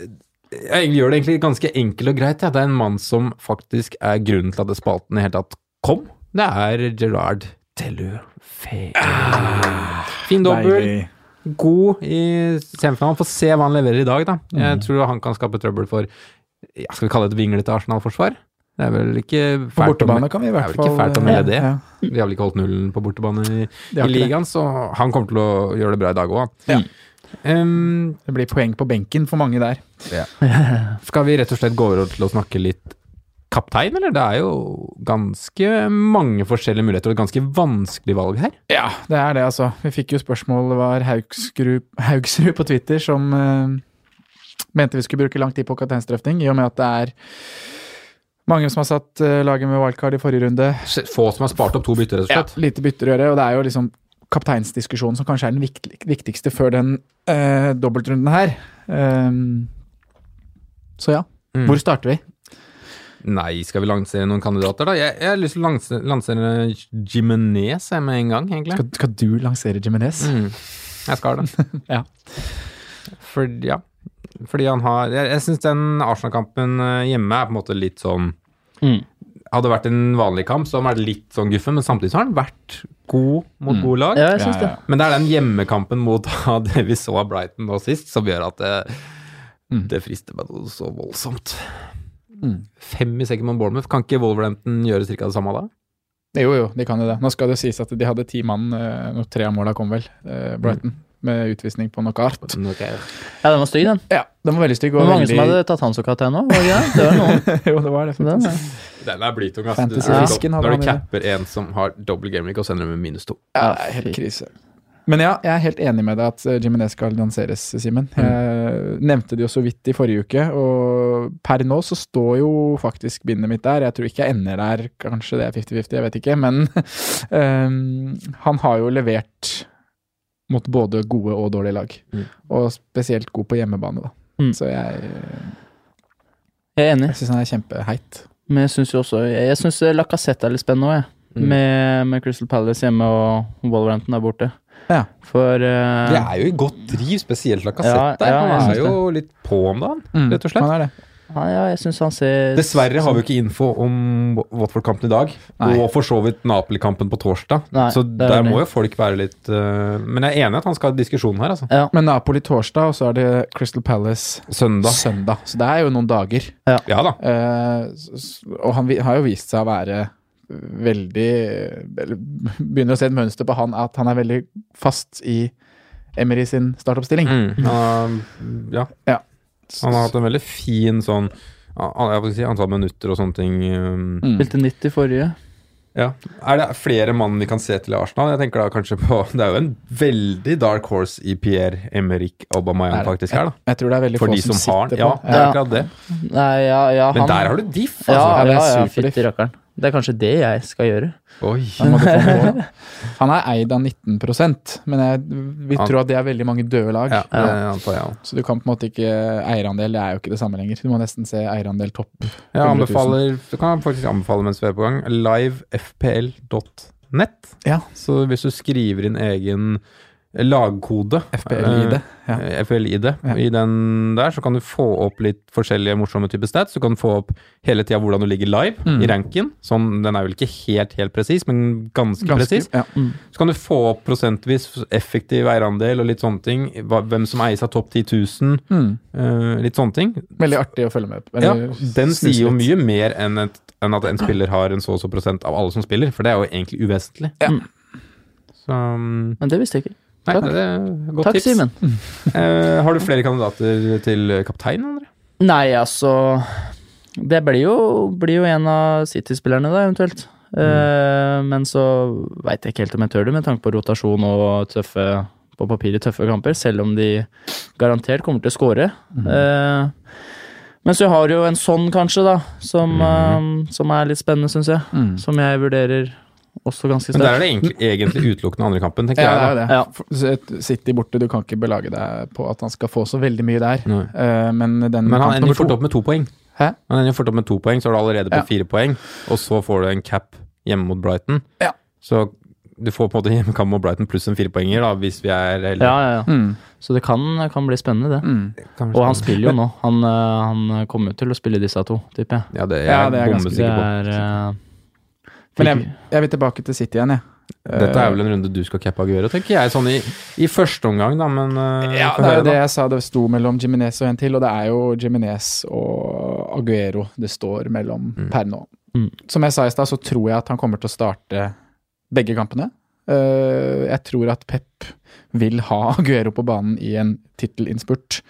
[SPEAKER 2] jeg egentlig gjør det egentlig ganske enkelt og greit. Ja. Det er en mann som faktisk er grunnen til at spalten i hele tatt kom. Det er Gerard Tellufe. Fin dobbel,
[SPEAKER 4] Deilig.
[SPEAKER 2] god i semifinalen. Få se hva han leverer i dag, da.
[SPEAKER 4] Mm.
[SPEAKER 2] Jeg tror han kan skape trøbbel for ja, Skal vi kalle det et vinglete Arsenal-forsvar? Det er vel ikke fælt
[SPEAKER 4] På
[SPEAKER 2] å
[SPEAKER 4] bortebane
[SPEAKER 2] me-
[SPEAKER 4] kan vi i
[SPEAKER 2] det er
[SPEAKER 4] hvert
[SPEAKER 2] vel
[SPEAKER 4] fall
[SPEAKER 2] ikke fælt å melde det.
[SPEAKER 4] Ja,
[SPEAKER 2] Vi har vel ikke holdt nullen på bortebane i,
[SPEAKER 4] det,
[SPEAKER 2] i
[SPEAKER 4] er ikke det.
[SPEAKER 2] ligaen, så han kommer til å gjøre det bra i dag òg.
[SPEAKER 4] Ja.
[SPEAKER 2] Um,
[SPEAKER 4] det blir poeng på benken for mange der.
[SPEAKER 2] skal vi rett og slett gå over til å snakke litt kaptein, eller? Det er jo ganske mange forskjellige muligheter og et ganske vanskelig valg her.
[SPEAKER 4] Ja, det er det, altså. Vi fikk jo spørsmål det var Haugsrud, Haugsrud på Twitter som eh, mente vi skulle bruke lang tid på kapteinstrøfting, i og med at det er mange som har satt eh, laget med wildcard i forrige runde.
[SPEAKER 2] Få som har spart opp to bytter, rett og slett.
[SPEAKER 4] Lite bytter å gjøre, og det er jo liksom kapteinsdiskusjonen som kanskje er den viktig, viktigste før den eh, dobbeltrunden her. Ehm, så ja.
[SPEAKER 2] Mm.
[SPEAKER 4] Hvor starter vi?
[SPEAKER 2] Nei, skal vi lansere noen kandidater, da? Jeg, jeg har lyst til å lanse- lansere Jimenez jeg, med en gang, egentlig.
[SPEAKER 4] Skal, skal du lansere Jimenez?
[SPEAKER 2] Mm. Jeg skal det.
[SPEAKER 4] Ja.
[SPEAKER 2] Fordi, ja. Fordi han har Jeg, jeg syns den Arsenal-kampen eh, hjemme er på en måte litt sånn
[SPEAKER 3] Mm.
[SPEAKER 2] Hadde vært en vanlig kamp, så hadde han vært litt sånn guffen, men samtidig så har han vært god mot gode lag.
[SPEAKER 3] Mm. Ja, jeg syns det.
[SPEAKER 2] Men det er den hjemmekampen mot da, det vi så av Brighton nå sist, som gjør at det,
[SPEAKER 3] Mm.
[SPEAKER 2] det frister meg noe så voldsomt. Fem i sekken mot Bournemouth. Kan ikke Wolverhampton gjøre cirka det samme da?
[SPEAKER 4] Jo, jo, de kan jo det. Nå skal det jo sies at de hadde ti mann eh, når tre av måla kom, vel. eh, Brighton.
[SPEAKER 3] Mm.
[SPEAKER 4] Med utvisning på knockout.
[SPEAKER 3] Ja, den var stygg, den.
[SPEAKER 4] Ja, den var veldig stygg.
[SPEAKER 3] Det
[SPEAKER 4] Og
[SPEAKER 3] var mange
[SPEAKER 4] veldig...
[SPEAKER 3] som hadde tatt han som kaptein òg. Det var noen.
[SPEAKER 4] jo, det var det.
[SPEAKER 3] Den,
[SPEAKER 4] faktisk.
[SPEAKER 3] ja.
[SPEAKER 2] Den er blytung, ass. Du-
[SPEAKER 4] Fantasy-fisken hadde
[SPEAKER 2] Når
[SPEAKER 4] han
[SPEAKER 2] du
[SPEAKER 4] i det.
[SPEAKER 2] capper en som har dobbel gameweek og sender dem med minus to.
[SPEAKER 4] Ja, det er helt krise. Men ja, jeg er helt enig med deg at eh, Jimenez skal lanseres, Simen.
[SPEAKER 3] Mm.
[SPEAKER 4] Jeg nevnte det jo så vidt i forrige uke, og per nå så står jo faktisk bindet mitt der. Jeg tror ikke jeg ender der, kanskje det er 50-50, jeg vet ikke. Men eh, han har jo levert mot både gode og dårlige lag.
[SPEAKER 2] Mm.
[SPEAKER 4] Og spesielt god på hjemmebane, da.
[SPEAKER 3] Mm.
[SPEAKER 4] Så jeg,
[SPEAKER 3] Jeg er enig.
[SPEAKER 4] jeg syns han er kjempeheit.
[SPEAKER 3] Men jeg syns jo også Jeg syns Lacassette er litt spennende òg, jeg.
[SPEAKER 2] Mm.
[SPEAKER 3] Med, med Crystal Palace hjemme og Wolverhampton der borte.
[SPEAKER 4] Ja.
[SPEAKER 3] For
[SPEAKER 2] De
[SPEAKER 3] eh,
[SPEAKER 2] er jo i godt driv, spesielt
[SPEAKER 3] Ja,
[SPEAKER 2] Lacassette. der.
[SPEAKER 3] ja, jeg
[SPEAKER 2] han
[SPEAKER 3] synes
[SPEAKER 2] er jo litt på om dagen, rett og slett.
[SPEAKER 4] Han er det.
[SPEAKER 3] ja, ja, jeg syns han ser sånn
[SPEAKER 2] Dessverre har vi jo ikke info om Watford-kampen i dag,
[SPEAKER 4] Nei.
[SPEAKER 2] og for så vidt Napoli-kampen på torsdag.
[SPEAKER 3] Nei,
[SPEAKER 2] så
[SPEAKER 3] det er
[SPEAKER 2] der
[SPEAKER 3] enig.
[SPEAKER 2] må jo folk være litt øh, Men jeg er enig i at han skal ha diskusjon her, altså.
[SPEAKER 3] Ja.
[SPEAKER 4] Men Napoli torsdag, og så er det Crystal Palace
[SPEAKER 2] Søndag.
[SPEAKER 4] søndag. Så det er jo noen dager.
[SPEAKER 2] Ja da.
[SPEAKER 4] Eh, s- s- og han vi- har jo vist seg å være veldig eller Begynner å se et mønster på han at han er veldig fast i Emery sin startoppstilling.
[SPEAKER 2] Mm. Han, har- ja.
[SPEAKER 4] S-
[SPEAKER 2] han har hatt en veldig fin sånn an- jeg vil si antall minutter og sånne ting. øhm,
[SPEAKER 4] Mm.
[SPEAKER 3] Spilte 90 forrige.
[SPEAKER 2] Ja. Er det flere mann vi kan se til i Arsenal? Jeg tenker da kanskje på Det er jo en veldig dark horse i Pierre Emerick Aubameyang
[SPEAKER 4] Er det?
[SPEAKER 2] faktisk her, da.
[SPEAKER 4] Jeg tror det er veldig
[SPEAKER 2] For
[SPEAKER 4] få
[SPEAKER 2] de som har
[SPEAKER 4] sitter
[SPEAKER 2] den. Ja,
[SPEAKER 4] på.
[SPEAKER 2] det er akkurat det.
[SPEAKER 3] Nei, ja, ja,
[SPEAKER 2] Men
[SPEAKER 3] han
[SPEAKER 2] der har du diff,
[SPEAKER 3] Ja,
[SPEAKER 2] altså.
[SPEAKER 4] Ja, det er
[SPEAKER 3] ja, ja,
[SPEAKER 4] superdiff.
[SPEAKER 3] fytti rakkeren. Det er kanskje det jeg skal gjøre.
[SPEAKER 2] Oi.
[SPEAKER 4] Han, måtte få noe også. han er eid av 19 men jeg vil
[SPEAKER 2] Han-
[SPEAKER 4] tro at det er veldig mange døde lag.
[SPEAKER 2] Ja, det antar jeg også.
[SPEAKER 4] Så du kan på en måte ikke Eierandel det er jo ikke det samme lenger. Du må nesten se eierandel topp.
[SPEAKER 2] Jeg
[SPEAKER 4] 100 000.
[SPEAKER 2] anbefaler Du kan faktisk anbefale mens vi er på gang, livefpl.net.
[SPEAKER 4] Ja.
[SPEAKER 2] Så hvis du skriver inn egen lagkode.
[SPEAKER 4] FPL-ID, ja.
[SPEAKER 2] Eh, FPL-ID. I den der så kan du få opp litt forskjellige morsomme typer stats. Du kan få opp hele tida hvordan du ligger live
[SPEAKER 4] Mm.
[SPEAKER 2] i ranken. Sånn, den er vel ikke helt helt presis, men ganske, presis.
[SPEAKER 4] ja.
[SPEAKER 2] Så kan du få opp prosentvis effektiv eierandel og litt sånne ting. Hva, hvem som eies av topp 10 000.
[SPEAKER 4] Mm.
[SPEAKER 2] eh, litt sånne ting.
[SPEAKER 4] Veldig artig å følge med på.
[SPEAKER 2] Ja,
[SPEAKER 4] Eller
[SPEAKER 2] Eh, den
[SPEAKER 4] snuse
[SPEAKER 2] sier jo
[SPEAKER 4] litt.
[SPEAKER 2] mye mer enn, et, enn at en spiller har en så og så prosent av alle som spiller, for det er jo egentlig uvesentlig. Mm.
[SPEAKER 4] Ja.
[SPEAKER 2] Så um,
[SPEAKER 3] Men det visste jeg ikke.
[SPEAKER 2] Nei,
[SPEAKER 3] Takk.
[SPEAKER 2] det er et godt
[SPEAKER 3] Takk,
[SPEAKER 2] tips.
[SPEAKER 3] Simen.
[SPEAKER 2] Eh, har du flere kandidater til kaptein, André?
[SPEAKER 3] Nei, altså Det blir jo, blir jo en av City-spillerne, da, eventuelt.
[SPEAKER 2] Mm.
[SPEAKER 3] Eh, men så veit jeg ikke helt om jeg tør det, med tanke på rotasjon og tøffe på papiret tøffe kamper, selv om de garantert kommer til å score.
[SPEAKER 2] Mm.
[SPEAKER 3] Eh, men så har du jo en sånn, kanskje, da, som,
[SPEAKER 2] Mm.
[SPEAKER 3] eh, som er litt spennende, syns jeg. Som jeg vurderer også ganske
[SPEAKER 2] Men der er
[SPEAKER 3] sterkt.
[SPEAKER 2] det egentlig, egentlig utelukkende andre kampen, tenker
[SPEAKER 4] Ja, det er
[SPEAKER 2] jeg.
[SPEAKER 4] jo det.
[SPEAKER 3] Ja.
[SPEAKER 4] Så et City borte, du kan ikke belage deg på at han skal få så veldig mye der.
[SPEAKER 2] Nei.
[SPEAKER 4] Eh, men den
[SPEAKER 2] Da. Mm. Men
[SPEAKER 4] kamp
[SPEAKER 2] han ender
[SPEAKER 4] nummer
[SPEAKER 2] jo fort
[SPEAKER 4] to
[SPEAKER 2] opp med to poeng.
[SPEAKER 4] Hæ?
[SPEAKER 2] Han ender jo fort opp med to poeng, så er du allerede på
[SPEAKER 4] Ja.
[SPEAKER 2] fire poeng, og så får du en cap hjemme mot Brighton.
[SPEAKER 4] Ja.
[SPEAKER 2] Så du får på en måte hjemmekamp mot Brighton pluss en firepoenger, da, hvis vi er
[SPEAKER 3] Ja,
[SPEAKER 2] heldige.
[SPEAKER 3] ja, ja.
[SPEAKER 4] Mm.
[SPEAKER 3] Så det kan, kan bli spennende, det.
[SPEAKER 2] Kan vi
[SPEAKER 3] Og han
[SPEAKER 2] spille?
[SPEAKER 3] spiller jo nå. Han, eh, han kommer jo til å spille disse to, tipper jeg.
[SPEAKER 2] Ja, det er jeg
[SPEAKER 4] Ja, det er ganske-
[SPEAKER 3] Det
[SPEAKER 2] bombesikker på.
[SPEAKER 3] er eh,
[SPEAKER 4] Men jeg, jeg vil tilbake til City igjen, jeg.
[SPEAKER 2] Dette er vel en runde du skal cappe Aguero, tenker jeg, sånn i, i første omgang, da, men eh,
[SPEAKER 4] Ja,
[SPEAKER 2] få
[SPEAKER 4] det er
[SPEAKER 2] høre,
[SPEAKER 4] jo det
[SPEAKER 2] da.
[SPEAKER 4] jeg sa det sto mellom Jiminez og en til, og det er jo Jiminez og Aguero det står mellom per nå.
[SPEAKER 3] Mm.
[SPEAKER 4] Som jeg sa i stad, så tror jeg at han kommer til å starte begge kampene. Eh, jeg tror at Pep vil ha Aguero på banen i en tittelinnspurt.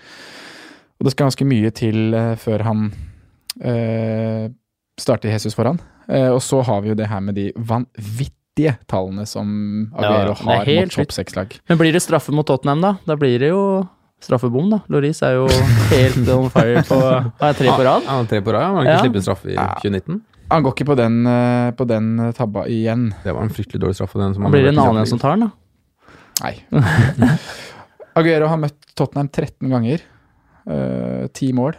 [SPEAKER 4] Og det skal ganske mye til eh, før han eh, starter Jesus foran. Eh, og så har vi jo det her med de vanvittige tallene som
[SPEAKER 3] Ja,
[SPEAKER 4] Aguero
[SPEAKER 3] det er
[SPEAKER 4] har
[SPEAKER 3] helt
[SPEAKER 4] mot topp seks-lag.
[SPEAKER 3] Men blir det straffe mot Tottenham, da? Da blir det jo straffebom, da. Loris er jo helt on fire på er tre på rad.
[SPEAKER 2] Ja, tre på rad. ja. Man kan
[SPEAKER 3] Ja.
[SPEAKER 2] ikke slippe en straffe i 2019.
[SPEAKER 4] Han går ikke på den, eh, på den tabba igjen.
[SPEAKER 2] Det var en fryktelig dårlig straffe. Den som
[SPEAKER 3] Da
[SPEAKER 2] han
[SPEAKER 3] blir det en
[SPEAKER 2] hadde
[SPEAKER 3] annen som tar den, da.
[SPEAKER 4] Nei. Aguero har møtt Tottenham 13 ganger. eh, Ti mål.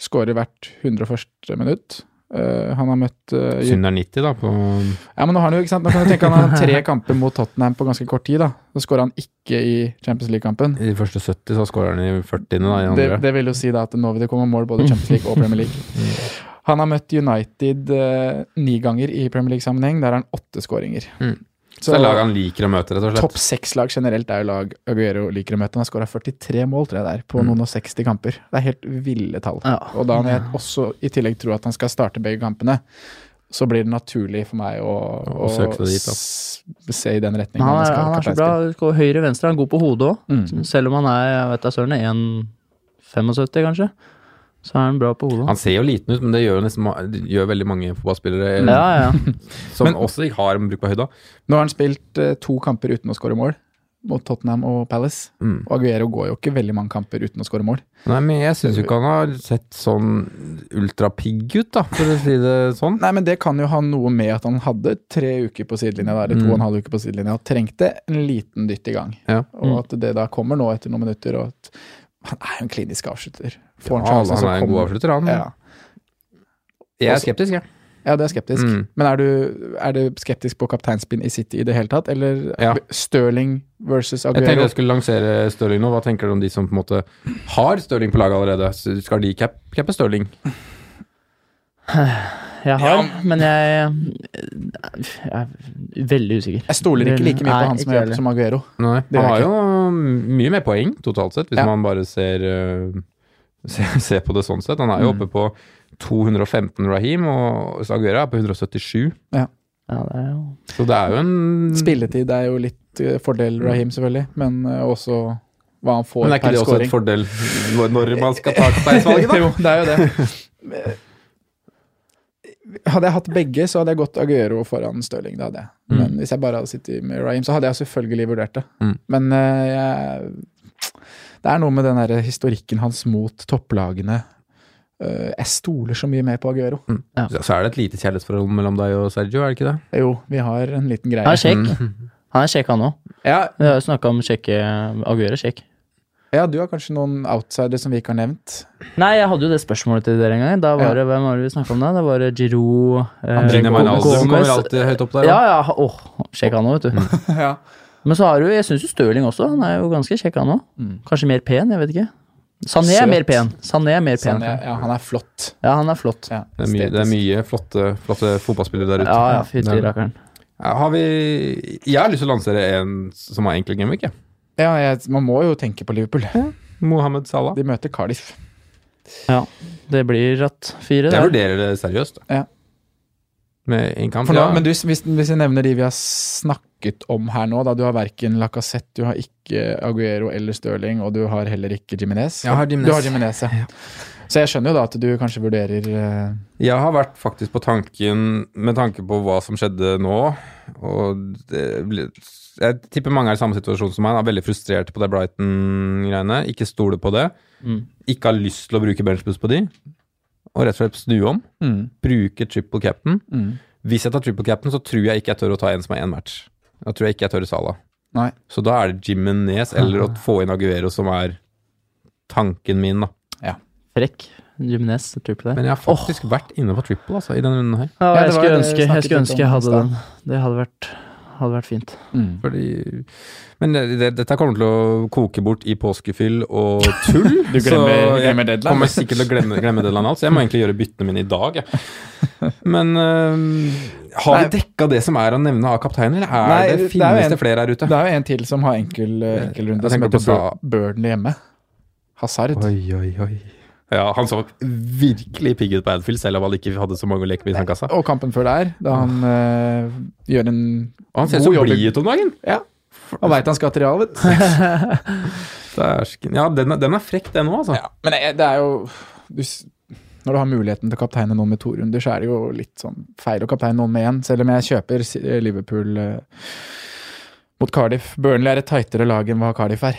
[SPEAKER 4] Skårer hvert 101. minutt. Eh, han har møtt eh, Ju-
[SPEAKER 2] Synd det er 90, da. På,
[SPEAKER 4] Ja, men nå har han jo, ikke sant? Nå kan du tenke han har tre kamper mot Tottenham på ganske kort tid. da. Så skårer han ikke i Champions League-kampen.
[SPEAKER 2] I de første 70 så skårer han i 40. Da, i andre.
[SPEAKER 4] Det, det vil jo si da at nå vil det komme mål både i Champions League og Premier League.
[SPEAKER 2] Mm.
[SPEAKER 4] Han har møtt United eh, ni ganger i Premier League-sammenheng. Der har han åtte skåringer.
[SPEAKER 2] Mm. så det er lag han liker å møte, rett og slett.
[SPEAKER 4] Topp seks-lag generelt er jo lag Aguero liker å møte. Han har skåra 43 mål tror jeg det er,
[SPEAKER 2] Mm.
[SPEAKER 4] på noen og 60 kamper. Det er helt ville tall.
[SPEAKER 3] Ja.
[SPEAKER 4] Og da når jeg også i tillegg tror at han skal starte begge kampene, så blir det naturlig for meg å,
[SPEAKER 2] Å søke seg dit, da.
[SPEAKER 4] s- se i den retningen.
[SPEAKER 3] Men han
[SPEAKER 4] det
[SPEAKER 3] er,
[SPEAKER 4] skal
[SPEAKER 3] han er så bra.
[SPEAKER 4] kapteinspille.
[SPEAKER 3] går Høyre, venstre. Han er god på hodet òg.
[SPEAKER 4] Mm.
[SPEAKER 3] Selv om han er jeg vet da søren 1,75 kanskje, så er han bra på hodet.
[SPEAKER 2] Han ser jo liten ut, men det gjør, jo nesten, ma- det gjør veldig mange fotballspillere eh,
[SPEAKER 3] Ja, ja. ja.
[SPEAKER 2] som også ikke har en brukbar høyde.
[SPEAKER 4] Nå har han spilt eh, to kamper uten å skåre mål, mot Tottenham og Palace.
[SPEAKER 2] Mm.
[SPEAKER 4] Og Aguero går jo ikke veldig mange kamper uten å skåre mål.
[SPEAKER 2] Nei, men jeg syns jo ikke han har sett sånn ultrapigg ut, da, for å si det sånn.
[SPEAKER 4] Nei, men Det kan jo ha noe med at han hadde tre uker på sidelinja, da, eller to og en halv uke på sidelinja, og trengte en liten dytt i gang.
[SPEAKER 2] Mm. Ja. Mm.
[SPEAKER 4] Og at det da kommer nå etter noen minutter, og at han er jo en klinisk avslutter. Får
[SPEAKER 2] Ja,
[SPEAKER 4] sjansen,
[SPEAKER 2] han
[SPEAKER 4] så
[SPEAKER 2] er en god
[SPEAKER 4] kommer-
[SPEAKER 2] avslutter, Mm. han.
[SPEAKER 4] Ja.
[SPEAKER 2] Jeg er skeptisk, jeg.
[SPEAKER 4] ja, det er skeptisk.
[SPEAKER 2] Mm.
[SPEAKER 4] Men er du, er du skeptisk på kapteinspinn i City i det hele tatt, eller
[SPEAKER 2] Ja.
[SPEAKER 4] Stirling versus
[SPEAKER 2] Jeg tenkte
[SPEAKER 4] Aguero?
[SPEAKER 2] jeg skulle lansere Stirling nå. Hva tenker du om de som på en måte har Stirling på laget allerede? Så Skal de cap- cappe Stirling?
[SPEAKER 3] Jeg har, men jeg, jeg er veldig usikker.
[SPEAKER 4] Jeg stoler ikke like mye
[SPEAKER 3] Mm. Nei,
[SPEAKER 4] på han som,
[SPEAKER 3] ikke
[SPEAKER 4] jeg-
[SPEAKER 3] heller.
[SPEAKER 4] som Aguero.
[SPEAKER 2] Nei.
[SPEAKER 4] Det
[SPEAKER 2] Han
[SPEAKER 4] gjør
[SPEAKER 2] har
[SPEAKER 4] jeg
[SPEAKER 2] jo um, mye mer poeng totalt sett, hvis
[SPEAKER 4] Ja.
[SPEAKER 2] man bare ser, eh, ser, ser på det sånn sett. Han
[SPEAKER 4] Mm.
[SPEAKER 2] er jo oppe på 215 Raheem, og Aguera er på 177.
[SPEAKER 3] Ja, det er jo
[SPEAKER 2] Så det er jo en
[SPEAKER 3] Mm.
[SPEAKER 4] Spilletid er jo litt eh, fordel Raheem, selvfølgelig, men eh, også hva han får
[SPEAKER 2] Mm. Men er ikke
[SPEAKER 4] per
[SPEAKER 2] det også
[SPEAKER 4] scoring.
[SPEAKER 2] et fordel når- når man skal ta kapteinsvalget, da?
[SPEAKER 4] jo, det er jo det. Eh, Hadde jeg hatt begge, så hadde jeg gått Aguero foran Stirling. Det hadde jeg. Men hvis jeg bare hadde sittet med Raheem, så hadde jeg selvfølgelig vurdert det.
[SPEAKER 2] Mm.
[SPEAKER 4] Men eh, jeg, det er noe med den der historikken hans mot topplagene. Eh, jeg stoler så mye mer på Aguero.
[SPEAKER 2] Så- Så er det et lite kjærlighetsforhold mellom deg og Sergio, er det ikke det?
[SPEAKER 4] Jo, vi har en liten greie.
[SPEAKER 3] Han er kjekk. Han er kjekk, han òg.
[SPEAKER 4] Ja,
[SPEAKER 3] Vi har jo snakka om kjekke Aguero er kjekk.
[SPEAKER 4] ja, du har kanskje noen outsidere som vi ikke har nevnt.
[SPEAKER 3] Nei, jeg hadde jo det spørsmålet til dere en gang. Da var
[SPEAKER 4] Ja.
[SPEAKER 3] det, Hvem var det vi snakka om da? Det var det Giroud eh,
[SPEAKER 2] Gina
[SPEAKER 3] Gomez.
[SPEAKER 2] Wijnaldum kommer alltid høyt opp der. da.
[SPEAKER 3] Ja, ja. Åh, sjekk han nå, vet du.
[SPEAKER 4] ja.
[SPEAKER 3] Men så har du, jeg syns jo Stirling også. Han er jo ganske kjekk, han òg. Kanskje mer pen, jeg vet ikke. Sané
[SPEAKER 4] Mm.
[SPEAKER 3] er
[SPEAKER 4] Søt.
[SPEAKER 3] mer pen. Sané er mer pen.
[SPEAKER 4] Sånn, ja, ja, han er flott.
[SPEAKER 3] Ja, han er flott. Ja,
[SPEAKER 4] Ja,
[SPEAKER 2] Det er mye, det er mye flotte, flotte fotballspillere der ute.
[SPEAKER 3] ja, fytti
[SPEAKER 2] Det er-
[SPEAKER 3] rakkeren.
[SPEAKER 2] Ja, Har vi Jeg har lyst til å lansere en som har enkel gameweek, jeg.
[SPEAKER 4] Ja, jeg, man må jo tenke på Liverpool.
[SPEAKER 2] Mohammed Salah.
[SPEAKER 4] De møter Cardiff.
[SPEAKER 3] Ja, det blir ratt
[SPEAKER 2] Jeg
[SPEAKER 3] fire. der.
[SPEAKER 2] vurderer det seriøst. da.
[SPEAKER 4] Ja.
[SPEAKER 2] Med en kamp.
[SPEAKER 4] For nå,
[SPEAKER 2] ja.
[SPEAKER 4] Men du, hvis, hvis jeg nevner de vi har snakket om her nå, da du har verken Lacassette, du har ikke Aguero eller Stirling, og du har heller ikke Jiminez.
[SPEAKER 2] Jeg har Jimenez.
[SPEAKER 4] Du har Jimenez, ja. Så jeg skjønner jo da at du kanskje vurderer eh,
[SPEAKER 2] Jeg har vært faktisk på tanken, med tanke på hva som skjedde nå, og det ble, jeg tipper mange er i samme situasjon som meg, da, veldig frustrert på det Brighton-greiene, ikke stoler på det,
[SPEAKER 3] Mm.
[SPEAKER 2] ikke har lyst til å bruke benchbus på de, og rett og slett snu om,
[SPEAKER 4] Mm.
[SPEAKER 2] bruke triple captain.
[SPEAKER 4] Mm.
[SPEAKER 2] Hvis jeg tar triple captain, så tror jeg ikke jeg tør å ta en som er én match. Da tror jeg ikke jeg tør Sala.
[SPEAKER 4] Nei.
[SPEAKER 2] Så da er det Jimenez eller å få inn Aguero som er tanken min, da.
[SPEAKER 3] Frekk. Jimenez, triple der.
[SPEAKER 2] Men jeg har faktisk vært inne på triple, altså, i denne runden her.
[SPEAKER 3] Ja,
[SPEAKER 4] Ja, det
[SPEAKER 3] jeg
[SPEAKER 4] var
[SPEAKER 3] skulle
[SPEAKER 4] det vi
[SPEAKER 3] ønske jeg,
[SPEAKER 4] snakket
[SPEAKER 3] skulle
[SPEAKER 4] litt
[SPEAKER 3] ønske jeg
[SPEAKER 4] om
[SPEAKER 3] hadde
[SPEAKER 4] i
[SPEAKER 3] den. Det hadde vært, hadde vært fint.
[SPEAKER 4] mm.
[SPEAKER 2] Fordi, men det, det, dette kommer til å koke bort i påskefyll og tull.
[SPEAKER 4] Du glemmer-
[SPEAKER 2] så jeg
[SPEAKER 4] glemmer deadline.
[SPEAKER 2] kommer sikkert til å glemme, glemme deadline alt, så jeg må egentlig gjøre byttene mine i dag. jeg. Men øhm, har vi dekka det som er å nevne av kapteiner? Er
[SPEAKER 4] Nei,
[SPEAKER 2] det,
[SPEAKER 4] det er jo
[SPEAKER 2] finnes
[SPEAKER 4] en-
[SPEAKER 2] det flere her ute?
[SPEAKER 4] Det er jo en til som har enkel, eh, enkelrunde,
[SPEAKER 2] Jeg
[SPEAKER 4] som
[SPEAKER 2] tenker
[SPEAKER 4] heter
[SPEAKER 2] på Sa-
[SPEAKER 4] Bur- Burnley hjemme. Hazard.
[SPEAKER 2] Oi, oi, oi. Ja, han så virkelig pigg ut på Adfield, selv om han ikke hadde så mange å leke med i sandkassa.
[SPEAKER 4] Og kampen før der, da han eh, gjør en
[SPEAKER 2] Og han ser
[SPEAKER 4] god
[SPEAKER 2] så
[SPEAKER 4] jobb i-
[SPEAKER 2] blid ut om dagen!
[SPEAKER 4] Ja. Han veit han skal til Real, vet du.
[SPEAKER 2] Dæsken. Ja, den er, den er frekk, den òg, altså.
[SPEAKER 4] Ja, men jeg- det er jo du, s- Når du har muligheten til å kapteine noen med to runder, så er det jo litt sånn feil å kapteine noen med én, selv om jeg kjøper si- eh, Liverpool eh, mot Cardiff. Burnley er et tightere lag enn hva Cardiff er.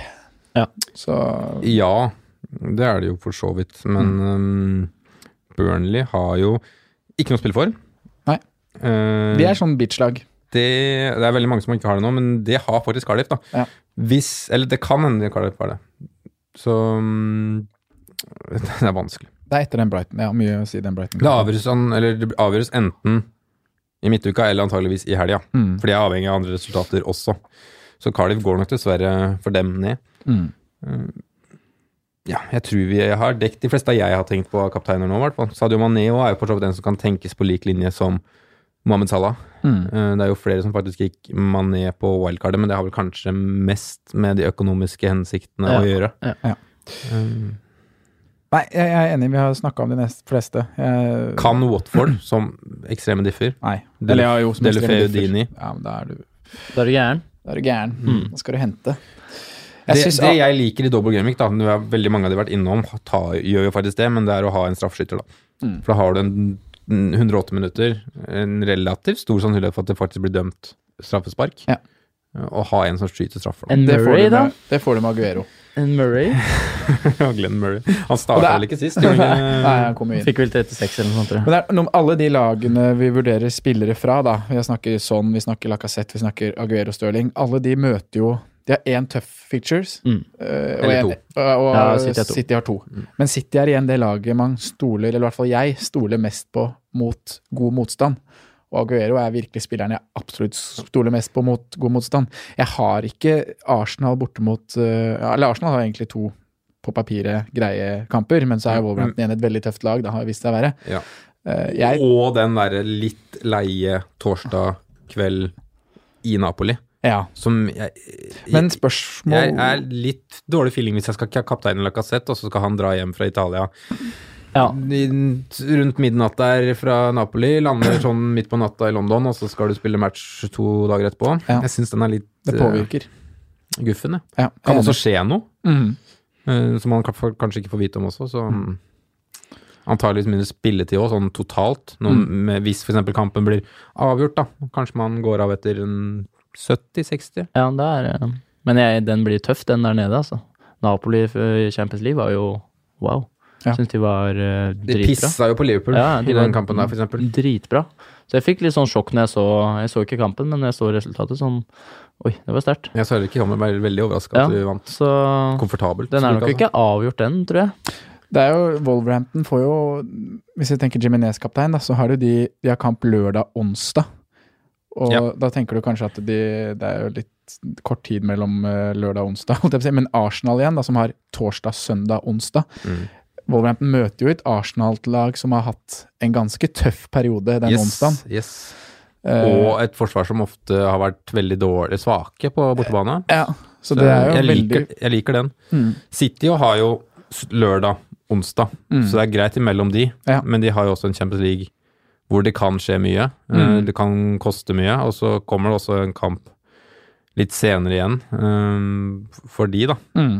[SPEAKER 3] Ja.
[SPEAKER 4] Så
[SPEAKER 2] Ja, det er det jo for så vidt. Men øhm, Burnley har jo ikke noe å spille for.
[SPEAKER 4] Nei.
[SPEAKER 2] Eh,
[SPEAKER 4] de er sånn bitch-lag.
[SPEAKER 2] det, det er veldig mange som ikke har det nå, men det har faktisk Cardiff. da.
[SPEAKER 4] Ja.
[SPEAKER 2] Hvis, eller det kan hende Cardiff har det. Så mm, det er vanskelig.
[SPEAKER 4] Det er etter den Brighton. Jeg har mye å si den Brighton.
[SPEAKER 2] Det avgjøres, an- eller det avgjøres enten i midtuka eller antageligvis i helga.
[SPEAKER 4] Mm.
[SPEAKER 2] For de er avhengig av andre resultater også. Så Cardiff går nok dessverre for dem ned.
[SPEAKER 4] Mm.
[SPEAKER 2] Ja, jeg tror vi har dekt de fleste av jeg har tenkt på av kapteiner nå, i hvert fall. Sadio Mané også er jo for så vidt en som kan tenkes på lik linje som Mohammed Salah.
[SPEAKER 4] Mm.
[SPEAKER 2] Eh, Det er jo flere som faktisk gikk Mané på wildcardet, men det har vel kanskje mest med de økonomiske hensiktene
[SPEAKER 3] Ja.
[SPEAKER 2] å gjøre.
[SPEAKER 4] Nei, jeg, jeg er enig, vi har snakka om de nest, fleste. Jeg,
[SPEAKER 2] Kan Watford, som ekstreme differ,
[SPEAKER 4] Nei.
[SPEAKER 2] Del-
[SPEAKER 4] Eller jeg har jo som
[SPEAKER 2] Delefeu
[SPEAKER 4] ekstreme differ.
[SPEAKER 2] Dini.
[SPEAKER 4] Ja, men da er du,
[SPEAKER 3] Da er du gæren.
[SPEAKER 4] da er du gæren. Da skal du hente.
[SPEAKER 2] Det,
[SPEAKER 4] Jeg synes-
[SPEAKER 2] det jeg liker i double gamic, da, nå er veldig mange av de har vært innom, ta, gjør jo faktisk det, men det er å ha en straffeskytter, da.
[SPEAKER 4] Mm.
[SPEAKER 2] For da har du en en 108 minutter, en relativt stor sannsynlighet for at det faktisk blir dømt straffespark.
[SPEAKER 4] Ja.
[SPEAKER 2] Og ha en som skyter straffer. da.
[SPEAKER 3] En
[SPEAKER 4] det, får
[SPEAKER 3] Murray,
[SPEAKER 4] du
[SPEAKER 3] da.
[SPEAKER 4] med, det får du med Aguero.
[SPEAKER 3] En Murray.
[SPEAKER 2] Ja, Glenn Murray. Han
[SPEAKER 4] Og det
[SPEAKER 2] starta
[SPEAKER 4] er-
[SPEAKER 2] vel ikke sist? gjorde han ikke?
[SPEAKER 4] Nei, han kommer jo inn.
[SPEAKER 3] Fikk vel 36 eller noe sånt, tror jeg.
[SPEAKER 4] Men det er noe, med alle de lagene vi vurderer spillere fra, da. Vi snakker Son, vi snakker Lacassette, vi snakker Aguero Stirling. Alle de møter jo De har én tøff features.
[SPEAKER 3] Mm.
[SPEAKER 4] eh,
[SPEAKER 2] Eller
[SPEAKER 4] en-
[SPEAKER 2] to.
[SPEAKER 4] Og, og
[SPEAKER 3] Ja, City
[SPEAKER 4] City,
[SPEAKER 3] har to.
[SPEAKER 4] har to.
[SPEAKER 2] Mm.
[SPEAKER 4] Men City er igjen det laget man stoler, eller i hvert fall jeg, stoler mest på mot god motstand. Og Aguero er virkelig spilleren jeg absolutt stoler mest på mot god motstand. Jeg har ikke Arsenal borte mot eh, Eller Arsenal har egentlig to på papiret greie kamper, men så er jo Wolverhampton igjen et veldig tøft lag. Det har vist seg å være.
[SPEAKER 2] Mm. Ja.
[SPEAKER 4] Eh, Jeg
[SPEAKER 2] Og den derre litt leie torsdag kveld i Napoli,
[SPEAKER 4] Ja,
[SPEAKER 2] som jeg,
[SPEAKER 4] men
[SPEAKER 2] jeg,
[SPEAKER 4] spørsmål
[SPEAKER 2] jeg er litt dårlig feeling hvis jeg skal ha kapteinen Lacassette, og så skal han dra hjem fra Italia
[SPEAKER 3] Ja.
[SPEAKER 2] I- rundt midnatt der fra Napoli, lander sånn midt på natta i London, og så skal du spille match to dager etterpå.
[SPEAKER 4] Ja.
[SPEAKER 2] Jeg syns den er litt
[SPEAKER 4] Det påvirker.
[SPEAKER 2] eh, guffen, jeg.
[SPEAKER 4] Ja,
[SPEAKER 2] Kan
[SPEAKER 4] enig.
[SPEAKER 2] også skje noe,
[SPEAKER 4] Mm.
[SPEAKER 2] eh, som man kan- får- kanskje ikke får vite om også, så mm. Antakeligvis mindre spilletid òg, sånn totalt. Noen, med, hvis f.eks. kampen blir avgjort, da. Kanskje man går av etter en 70-60.
[SPEAKER 3] Ja, det er eh, Men jeg, den blir tøff, den der nede, altså. Napoli eh, i Champions League var jo wow.
[SPEAKER 4] Ja.
[SPEAKER 3] Syns de var eh,
[SPEAKER 2] De
[SPEAKER 3] dritbra.
[SPEAKER 2] pissa jo på Liverpool
[SPEAKER 3] Ja, de
[SPEAKER 2] i
[SPEAKER 3] var
[SPEAKER 2] den kampen der, f.eks.
[SPEAKER 3] Dritbra. Så jeg fikk litt sånn sjokk når jeg så Jeg så ikke kampen, men jeg så resultatet sånn Oi, det var sterkt.
[SPEAKER 2] Jeg så heller ikke komme, ble veldig overraska
[SPEAKER 3] Ja,
[SPEAKER 2] at du vant
[SPEAKER 3] så
[SPEAKER 2] komfortabelt.
[SPEAKER 3] den er nok
[SPEAKER 2] slik, altså.
[SPEAKER 3] ikke avgjort, den, tror jeg.
[SPEAKER 4] Det er jo Wolverhampton får jo Hvis jeg tenker Jiminez-kaptein, da, så har du de De har kamp lørdag-onsdag. Og
[SPEAKER 2] Ja.
[SPEAKER 4] da tenker du kanskje at de Det er jo litt litt kort tid mellom eh, lørdag og onsdag, holdt jeg på å si. men Arsenal igjen, da, som har torsdag, søndag, onsdag.
[SPEAKER 2] Mm.
[SPEAKER 4] Wolverhampton møter jo et Arsenal-lag som har hatt en ganske tøff periode den
[SPEAKER 2] yes,
[SPEAKER 4] onsdagen.
[SPEAKER 2] yes.
[SPEAKER 4] Eh,
[SPEAKER 2] Og et forsvar som ofte har vært veldig dårlig svake på bortebane.
[SPEAKER 4] Eh, ja, så det er jo
[SPEAKER 2] jeg,
[SPEAKER 4] veldig Mm.
[SPEAKER 2] liker, jeg liker den. City jo har jo s- lørdag, onsdag, så det er greit imellom de.
[SPEAKER 4] Mm. Ja.
[SPEAKER 2] Men de har jo også en Champions League hvor det kan skje mye. Eh,
[SPEAKER 4] Mm.
[SPEAKER 2] Det kan koste mye. Og så kommer det også en kamp litt senere igjen eh, for de, da.
[SPEAKER 4] mm.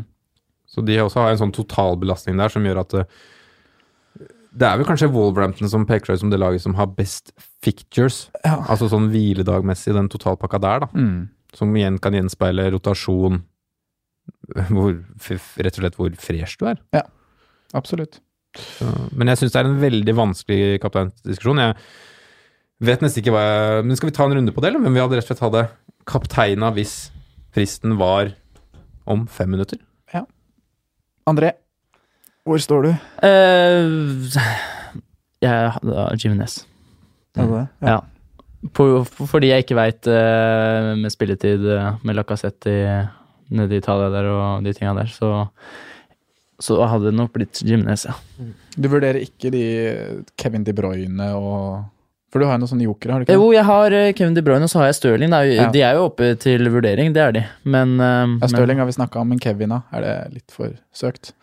[SPEAKER 2] Så de også har en sånn totalbelastning der som gjør at eh, det er vel kanskje Wolverhampton som peker seg ut som det laget som har best fictures.
[SPEAKER 4] Ja.
[SPEAKER 2] Altså sånn hviledagmessig, den totalpakka der, da
[SPEAKER 4] Mm.
[SPEAKER 2] som igjen kan gjenspeile rotasjon, hvor, f- rett og slett hvor fresh du er.
[SPEAKER 4] Absolutt.
[SPEAKER 2] Så, men jeg syns det er en veldig vanskelig kapteinsdiskusjon. Jeg vet nesten ikke hva jeg Men skal vi ta en runde på det, eller? Men vi hadde rett og slett hadde kapteina hvis fristen var om fem minutter.
[SPEAKER 4] André, hvor står du?
[SPEAKER 3] Eh, jeg hadde Jimenez.
[SPEAKER 4] Ja.
[SPEAKER 3] Ja. På, for- fordi jeg ikke veit med spilletid eh, med Lacassette i- nede i Italia der og de tinga der, så, så hadde det nok blitt Gymnes, ja.
[SPEAKER 4] Du vurderer ikke de Kevin De Bruyne og For du har jo noen sånne jokere, har du ikke?
[SPEAKER 3] Jo, jeg har eh, Kevin De Bruyne og så har jeg Stirling. da.
[SPEAKER 4] Ja.
[SPEAKER 3] De er jo oppe til vurdering, det er de. Men, eh,
[SPEAKER 4] Ja,
[SPEAKER 3] men-
[SPEAKER 4] Stirling har vi snakka om, men Kevin, da? Er det litt for søkt?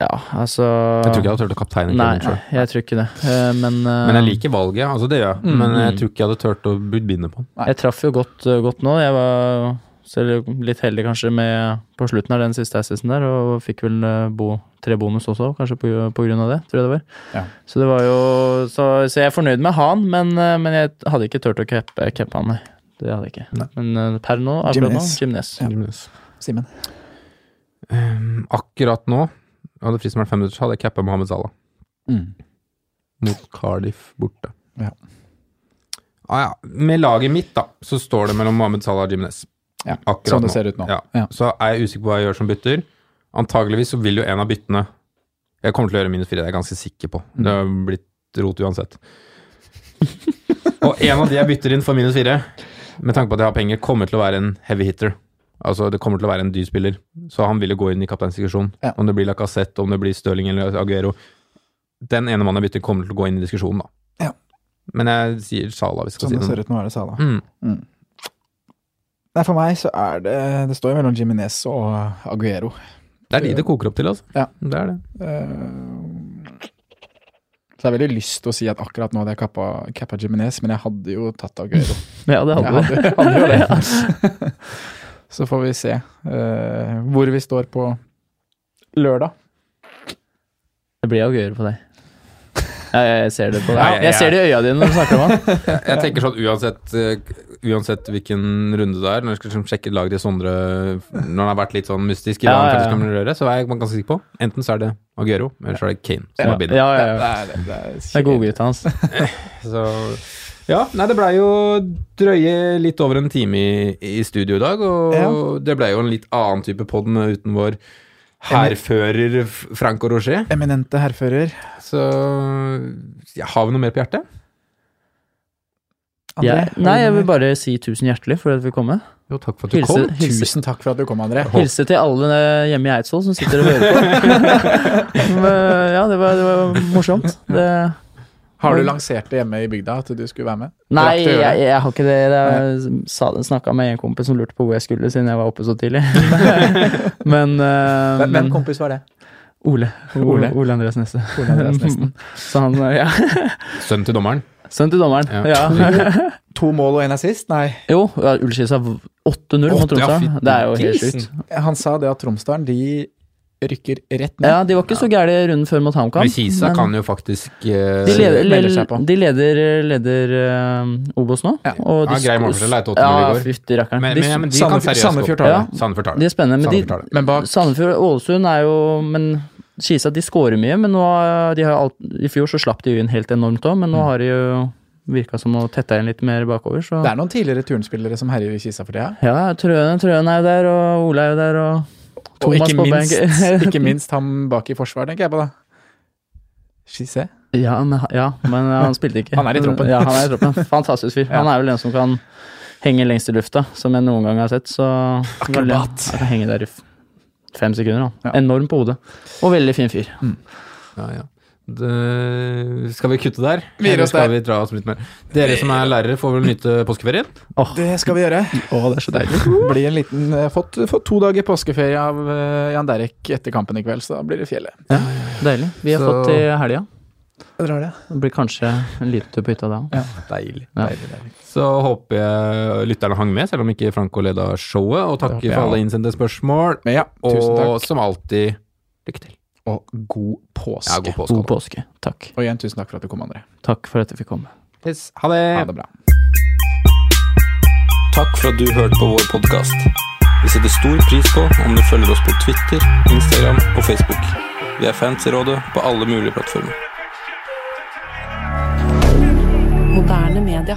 [SPEAKER 3] ja, altså
[SPEAKER 2] Jeg tror ikke jeg hadde turt å kapteine
[SPEAKER 3] Nei,
[SPEAKER 2] Kevin sjøl.
[SPEAKER 3] jeg tror ikke det. Eh, Men, eh,
[SPEAKER 2] Men jeg liker valget, altså det gjør jeg.
[SPEAKER 4] Mm.
[SPEAKER 2] Men jeg tror ikke jeg hadde turt å binde på den.
[SPEAKER 3] Jeg traff jo godt, eh, godt nå. Jeg var selv litt heldig kanskje med på slutten av den siste assisten der, og fikk vel eh, bo, tre bonus også, kanskje på, på grunn av det, tror jeg det var.
[SPEAKER 4] Ja.
[SPEAKER 3] Så det var jo Så, så jeg er fornøyd med han, men, eh, men jeg hadde ikke turt å cappe cappe han, nei. Det hadde jeg ikke. Men eh, per nå, akkurat nå,
[SPEAKER 4] Jimenez.
[SPEAKER 3] Gymnes.
[SPEAKER 4] Simen?
[SPEAKER 2] Ehm, Akkurat nå, hadde fristen vært fem minutter, så hadde jeg cappa Mohammed Salah.
[SPEAKER 4] Mm.
[SPEAKER 2] mot Cardiff borte.
[SPEAKER 4] Ja.
[SPEAKER 2] Ah, ja. Med laget mitt, da, så står det mellom Mohammed Salah og Jimenez.
[SPEAKER 4] Ja,
[SPEAKER 2] Akkurat
[SPEAKER 4] sånn det
[SPEAKER 2] nå.
[SPEAKER 4] ser ut nå.
[SPEAKER 2] Ja.
[SPEAKER 4] Ja.
[SPEAKER 2] Så er jeg usikker på hva jeg gjør som bytter. Antageligvis så vil jo en av byttene Jeg kommer til å gjøre minus fire, det er jeg ganske sikker på.
[SPEAKER 4] Mm.
[SPEAKER 2] Det har blitt rot uansett. og en av de jeg bytter inn for minus fire, med tanke på at jeg har penger, kommer til å være en heavy hitter. Altså, det kommer til å være en dyr spiller, så han vil jo gå inn i kapteinsdiskusjonen.
[SPEAKER 4] Ja.
[SPEAKER 2] Om det blir Lacassette, om det blir Stirling eller Aguero. Den ene mannen jeg bytter, kommer til å gå inn i diskusjonen, da.
[SPEAKER 4] Ja.
[SPEAKER 2] Men jeg sier Salah, hvis jeg skal
[SPEAKER 4] Sånn det
[SPEAKER 2] si
[SPEAKER 4] ser
[SPEAKER 2] noe.
[SPEAKER 4] ut nå, er det Sala.
[SPEAKER 2] Mm.
[SPEAKER 4] Nei, for meg så er det Det står jo mellom Jiminez og Aguero.
[SPEAKER 2] Det er de det koker opp til, altså.
[SPEAKER 4] Ja.
[SPEAKER 2] Det er det.
[SPEAKER 4] Eh, Så jeg har veldig lyst til å si at akkurat nå hadde jeg kappa, kappa Jiminez, men jeg hadde jo tatt Aguero.
[SPEAKER 3] Ja, det
[SPEAKER 4] Jeg
[SPEAKER 3] hadde du.
[SPEAKER 4] hadde, jeg hadde jo det. så får vi se eh, hvor vi står på lørdag.
[SPEAKER 3] Det blir Aguero på deg. Ja, jeg, jeg ser det på deg.
[SPEAKER 2] Ja, jeg-
[SPEAKER 3] Jeg ser det i øya dine når du snakker om han.
[SPEAKER 2] Jeg tenker sånn uansett, eh, uansett hvilken runde det er, når jeg skal liksom sjekke laget til Sondre når han har vært litt sånn mystisk i hva
[SPEAKER 3] Ja,
[SPEAKER 2] han
[SPEAKER 3] ja,
[SPEAKER 2] faktisk
[SPEAKER 3] ja.
[SPEAKER 2] kan røre, så er jeg ganske sikker på enten så er det Aguero, eller så er det Kane som
[SPEAKER 3] Ja,
[SPEAKER 2] er bidet.
[SPEAKER 3] ja, ja, ja.
[SPEAKER 4] Det er- det er-
[SPEAKER 3] Det er godgutta hans.
[SPEAKER 2] Så ja, nei, det blei jo drøye litt over en time i, i studio i dag, og
[SPEAKER 4] Ja.
[SPEAKER 2] det blei jo en litt annen type pod uten vår hærfører F- Franco Roger.
[SPEAKER 4] Eminente herrfører.
[SPEAKER 2] Så ja, har vi noe mer på hjertet?
[SPEAKER 4] André,
[SPEAKER 3] Jeg-
[SPEAKER 4] har du
[SPEAKER 3] Nei, jeg vil
[SPEAKER 4] noe mer?
[SPEAKER 3] bare si tusen hjertelig for at vi kom. med.
[SPEAKER 2] Jo, takk for at du
[SPEAKER 3] Hilse,
[SPEAKER 2] kom.
[SPEAKER 3] hilse,
[SPEAKER 4] Tusen takk for at du kom, André.
[SPEAKER 3] Hilse til alle hjemme i Eidsvoll som sitter og hører på. Men, eh, ja, det var, det var morsomt. Det,
[SPEAKER 4] Har du lansert det hjemme i bygda at du skulle være med?
[SPEAKER 3] nei,
[SPEAKER 4] Rakk du å
[SPEAKER 3] jeg,
[SPEAKER 4] gjøre det?
[SPEAKER 3] jeg har ikke det. Jeg snakka med en kompis som lurte på hvor jeg skulle siden jeg var oppe så tidlig. Men, eh,
[SPEAKER 4] Hvem- Hvem
[SPEAKER 3] men
[SPEAKER 4] kompis var det?
[SPEAKER 3] Ole. Ole,
[SPEAKER 4] Ole.
[SPEAKER 3] Ole Andreas Nesse.
[SPEAKER 4] Ole Andreas Nesten.
[SPEAKER 3] Så han, eh, ja.
[SPEAKER 2] Sønnen til dommeren.
[SPEAKER 3] Sønn til dommeren. Ja.
[SPEAKER 4] To mål og én assist? Nei.
[SPEAKER 3] Jo, ja, Ullskisa 8-0 mot
[SPEAKER 2] Åtte, ja,
[SPEAKER 3] Tromsø.
[SPEAKER 2] fytti
[SPEAKER 3] Det er jo helt
[SPEAKER 2] grisen.
[SPEAKER 3] sjukt.
[SPEAKER 4] Han sa det at Tromsdalen de rykker rett ned.
[SPEAKER 3] Ja, de var ikke så gærne i runden før mot HamKam.
[SPEAKER 2] Men Kisa
[SPEAKER 3] men-
[SPEAKER 2] kan jo faktisk eh,
[SPEAKER 3] De leder,
[SPEAKER 4] melder seg på.
[SPEAKER 3] de leder, leder eh, Obos nå.
[SPEAKER 4] Ja.
[SPEAKER 3] og de
[SPEAKER 2] Ja, grei
[SPEAKER 3] sk-
[SPEAKER 2] målforskjell er 8-0 i
[SPEAKER 3] Ja,
[SPEAKER 2] går.
[SPEAKER 3] fytti rakkeren.
[SPEAKER 2] Men,
[SPEAKER 3] De,
[SPEAKER 2] men, ja, men de
[SPEAKER 4] Sandefjord-
[SPEAKER 2] kan seriøst gå.
[SPEAKER 4] Sandefjord
[SPEAKER 3] tar det.
[SPEAKER 2] Ja, Sandefjord tar
[SPEAKER 3] de
[SPEAKER 2] det.
[SPEAKER 3] er spennende. Men
[SPEAKER 2] Sandefjord tar det.
[SPEAKER 3] de,
[SPEAKER 4] Men bak
[SPEAKER 3] Sandefjord og Ålesund er jo Men Kisa, de scorer mye, men nå eh, de har alt, I fjor så slapp de jo inn helt enormt òg, men nå har de jo virka som å tette igjen litt mer bakover, så
[SPEAKER 4] Det er noen tidligere turnspillere som herjer i Kisa for tida.
[SPEAKER 3] Ja, Trøen, Trøen er jo der, og Ole er jo der, og
[SPEAKER 4] Og
[SPEAKER 3] Thomas
[SPEAKER 4] ikke
[SPEAKER 3] på
[SPEAKER 4] minst,
[SPEAKER 3] benk.
[SPEAKER 4] ikke minst ham bak i forsvar, tenker jeg på, da. Skisse?
[SPEAKER 3] Ja, men, ja, men han spilte ikke.
[SPEAKER 4] Han er i troppen.
[SPEAKER 3] Ja, han er i troppen. Fantastisk fyr. Han er vel den som kan
[SPEAKER 5] henger lengst i lufta, som jeg noen gang har sett. Så
[SPEAKER 4] Akrobat.
[SPEAKER 5] Jeg kan henge der i f- fem sekunder. Da.
[SPEAKER 4] Ja.
[SPEAKER 5] Enorm på hodet. Og veldig fin fyr.
[SPEAKER 2] Ja, ja. Det, skal vi kutte der?
[SPEAKER 4] Vi gir
[SPEAKER 2] Eller
[SPEAKER 4] oss
[SPEAKER 2] skal
[SPEAKER 4] der.
[SPEAKER 2] vi dra oss litt mer? Dere som er lærere, får vel nyte påskeferien?
[SPEAKER 4] Det skal vi gjøre.
[SPEAKER 5] Å, det er så deilig.
[SPEAKER 4] Blir en liten, eh, fått, fått to dager påskeferie av eh, Jan Derek etter kampen i kveld, så da blir det fjellet.
[SPEAKER 5] Deilig. Vi har
[SPEAKER 2] Så-
[SPEAKER 5] fått til helga.
[SPEAKER 4] Jeg drar det.
[SPEAKER 5] Det blir kanskje en liten tur på hytta da òg.
[SPEAKER 2] Deilig.
[SPEAKER 5] Ja.
[SPEAKER 2] Så håper jeg lytterne hang med, selv om ikke Franco leda showet. Og
[SPEAKER 4] Det håper
[SPEAKER 2] takker
[SPEAKER 4] jeg
[SPEAKER 2] for alle
[SPEAKER 4] også.
[SPEAKER 2] innsendte spørsmål.
[SPEAKER 4] Men ja, tusen
[SPEAKER 2] Og
[SPEAKER 4] takk,
[SPEAKER 2] som alltid, lykke til.
[SPEAKER 4] og god påske.
[SPEAKER 2] Ja, god påske.
[SPEAKER 5] God
[SPEAKER 2] alle.
[SPEAKER 5] påske. Takk.
[SPEAKER 4] Og igjen, tusen takk for at du kom, André.
[SPEAKER 5] Takk for at jeg fikk komme.
[SPEAKER 2] Yes, Ha det.
[SPEAKER 4] Ha det bra.
[SPEAKER 6] Takk for at du hørte på vår podkast. Vi setter stor pris på om du følger oss på Twitter, Instagram og Facebook. Vi er fans i rådet på alle mulige plattformer.
[SPEAKER 1] Moderne media.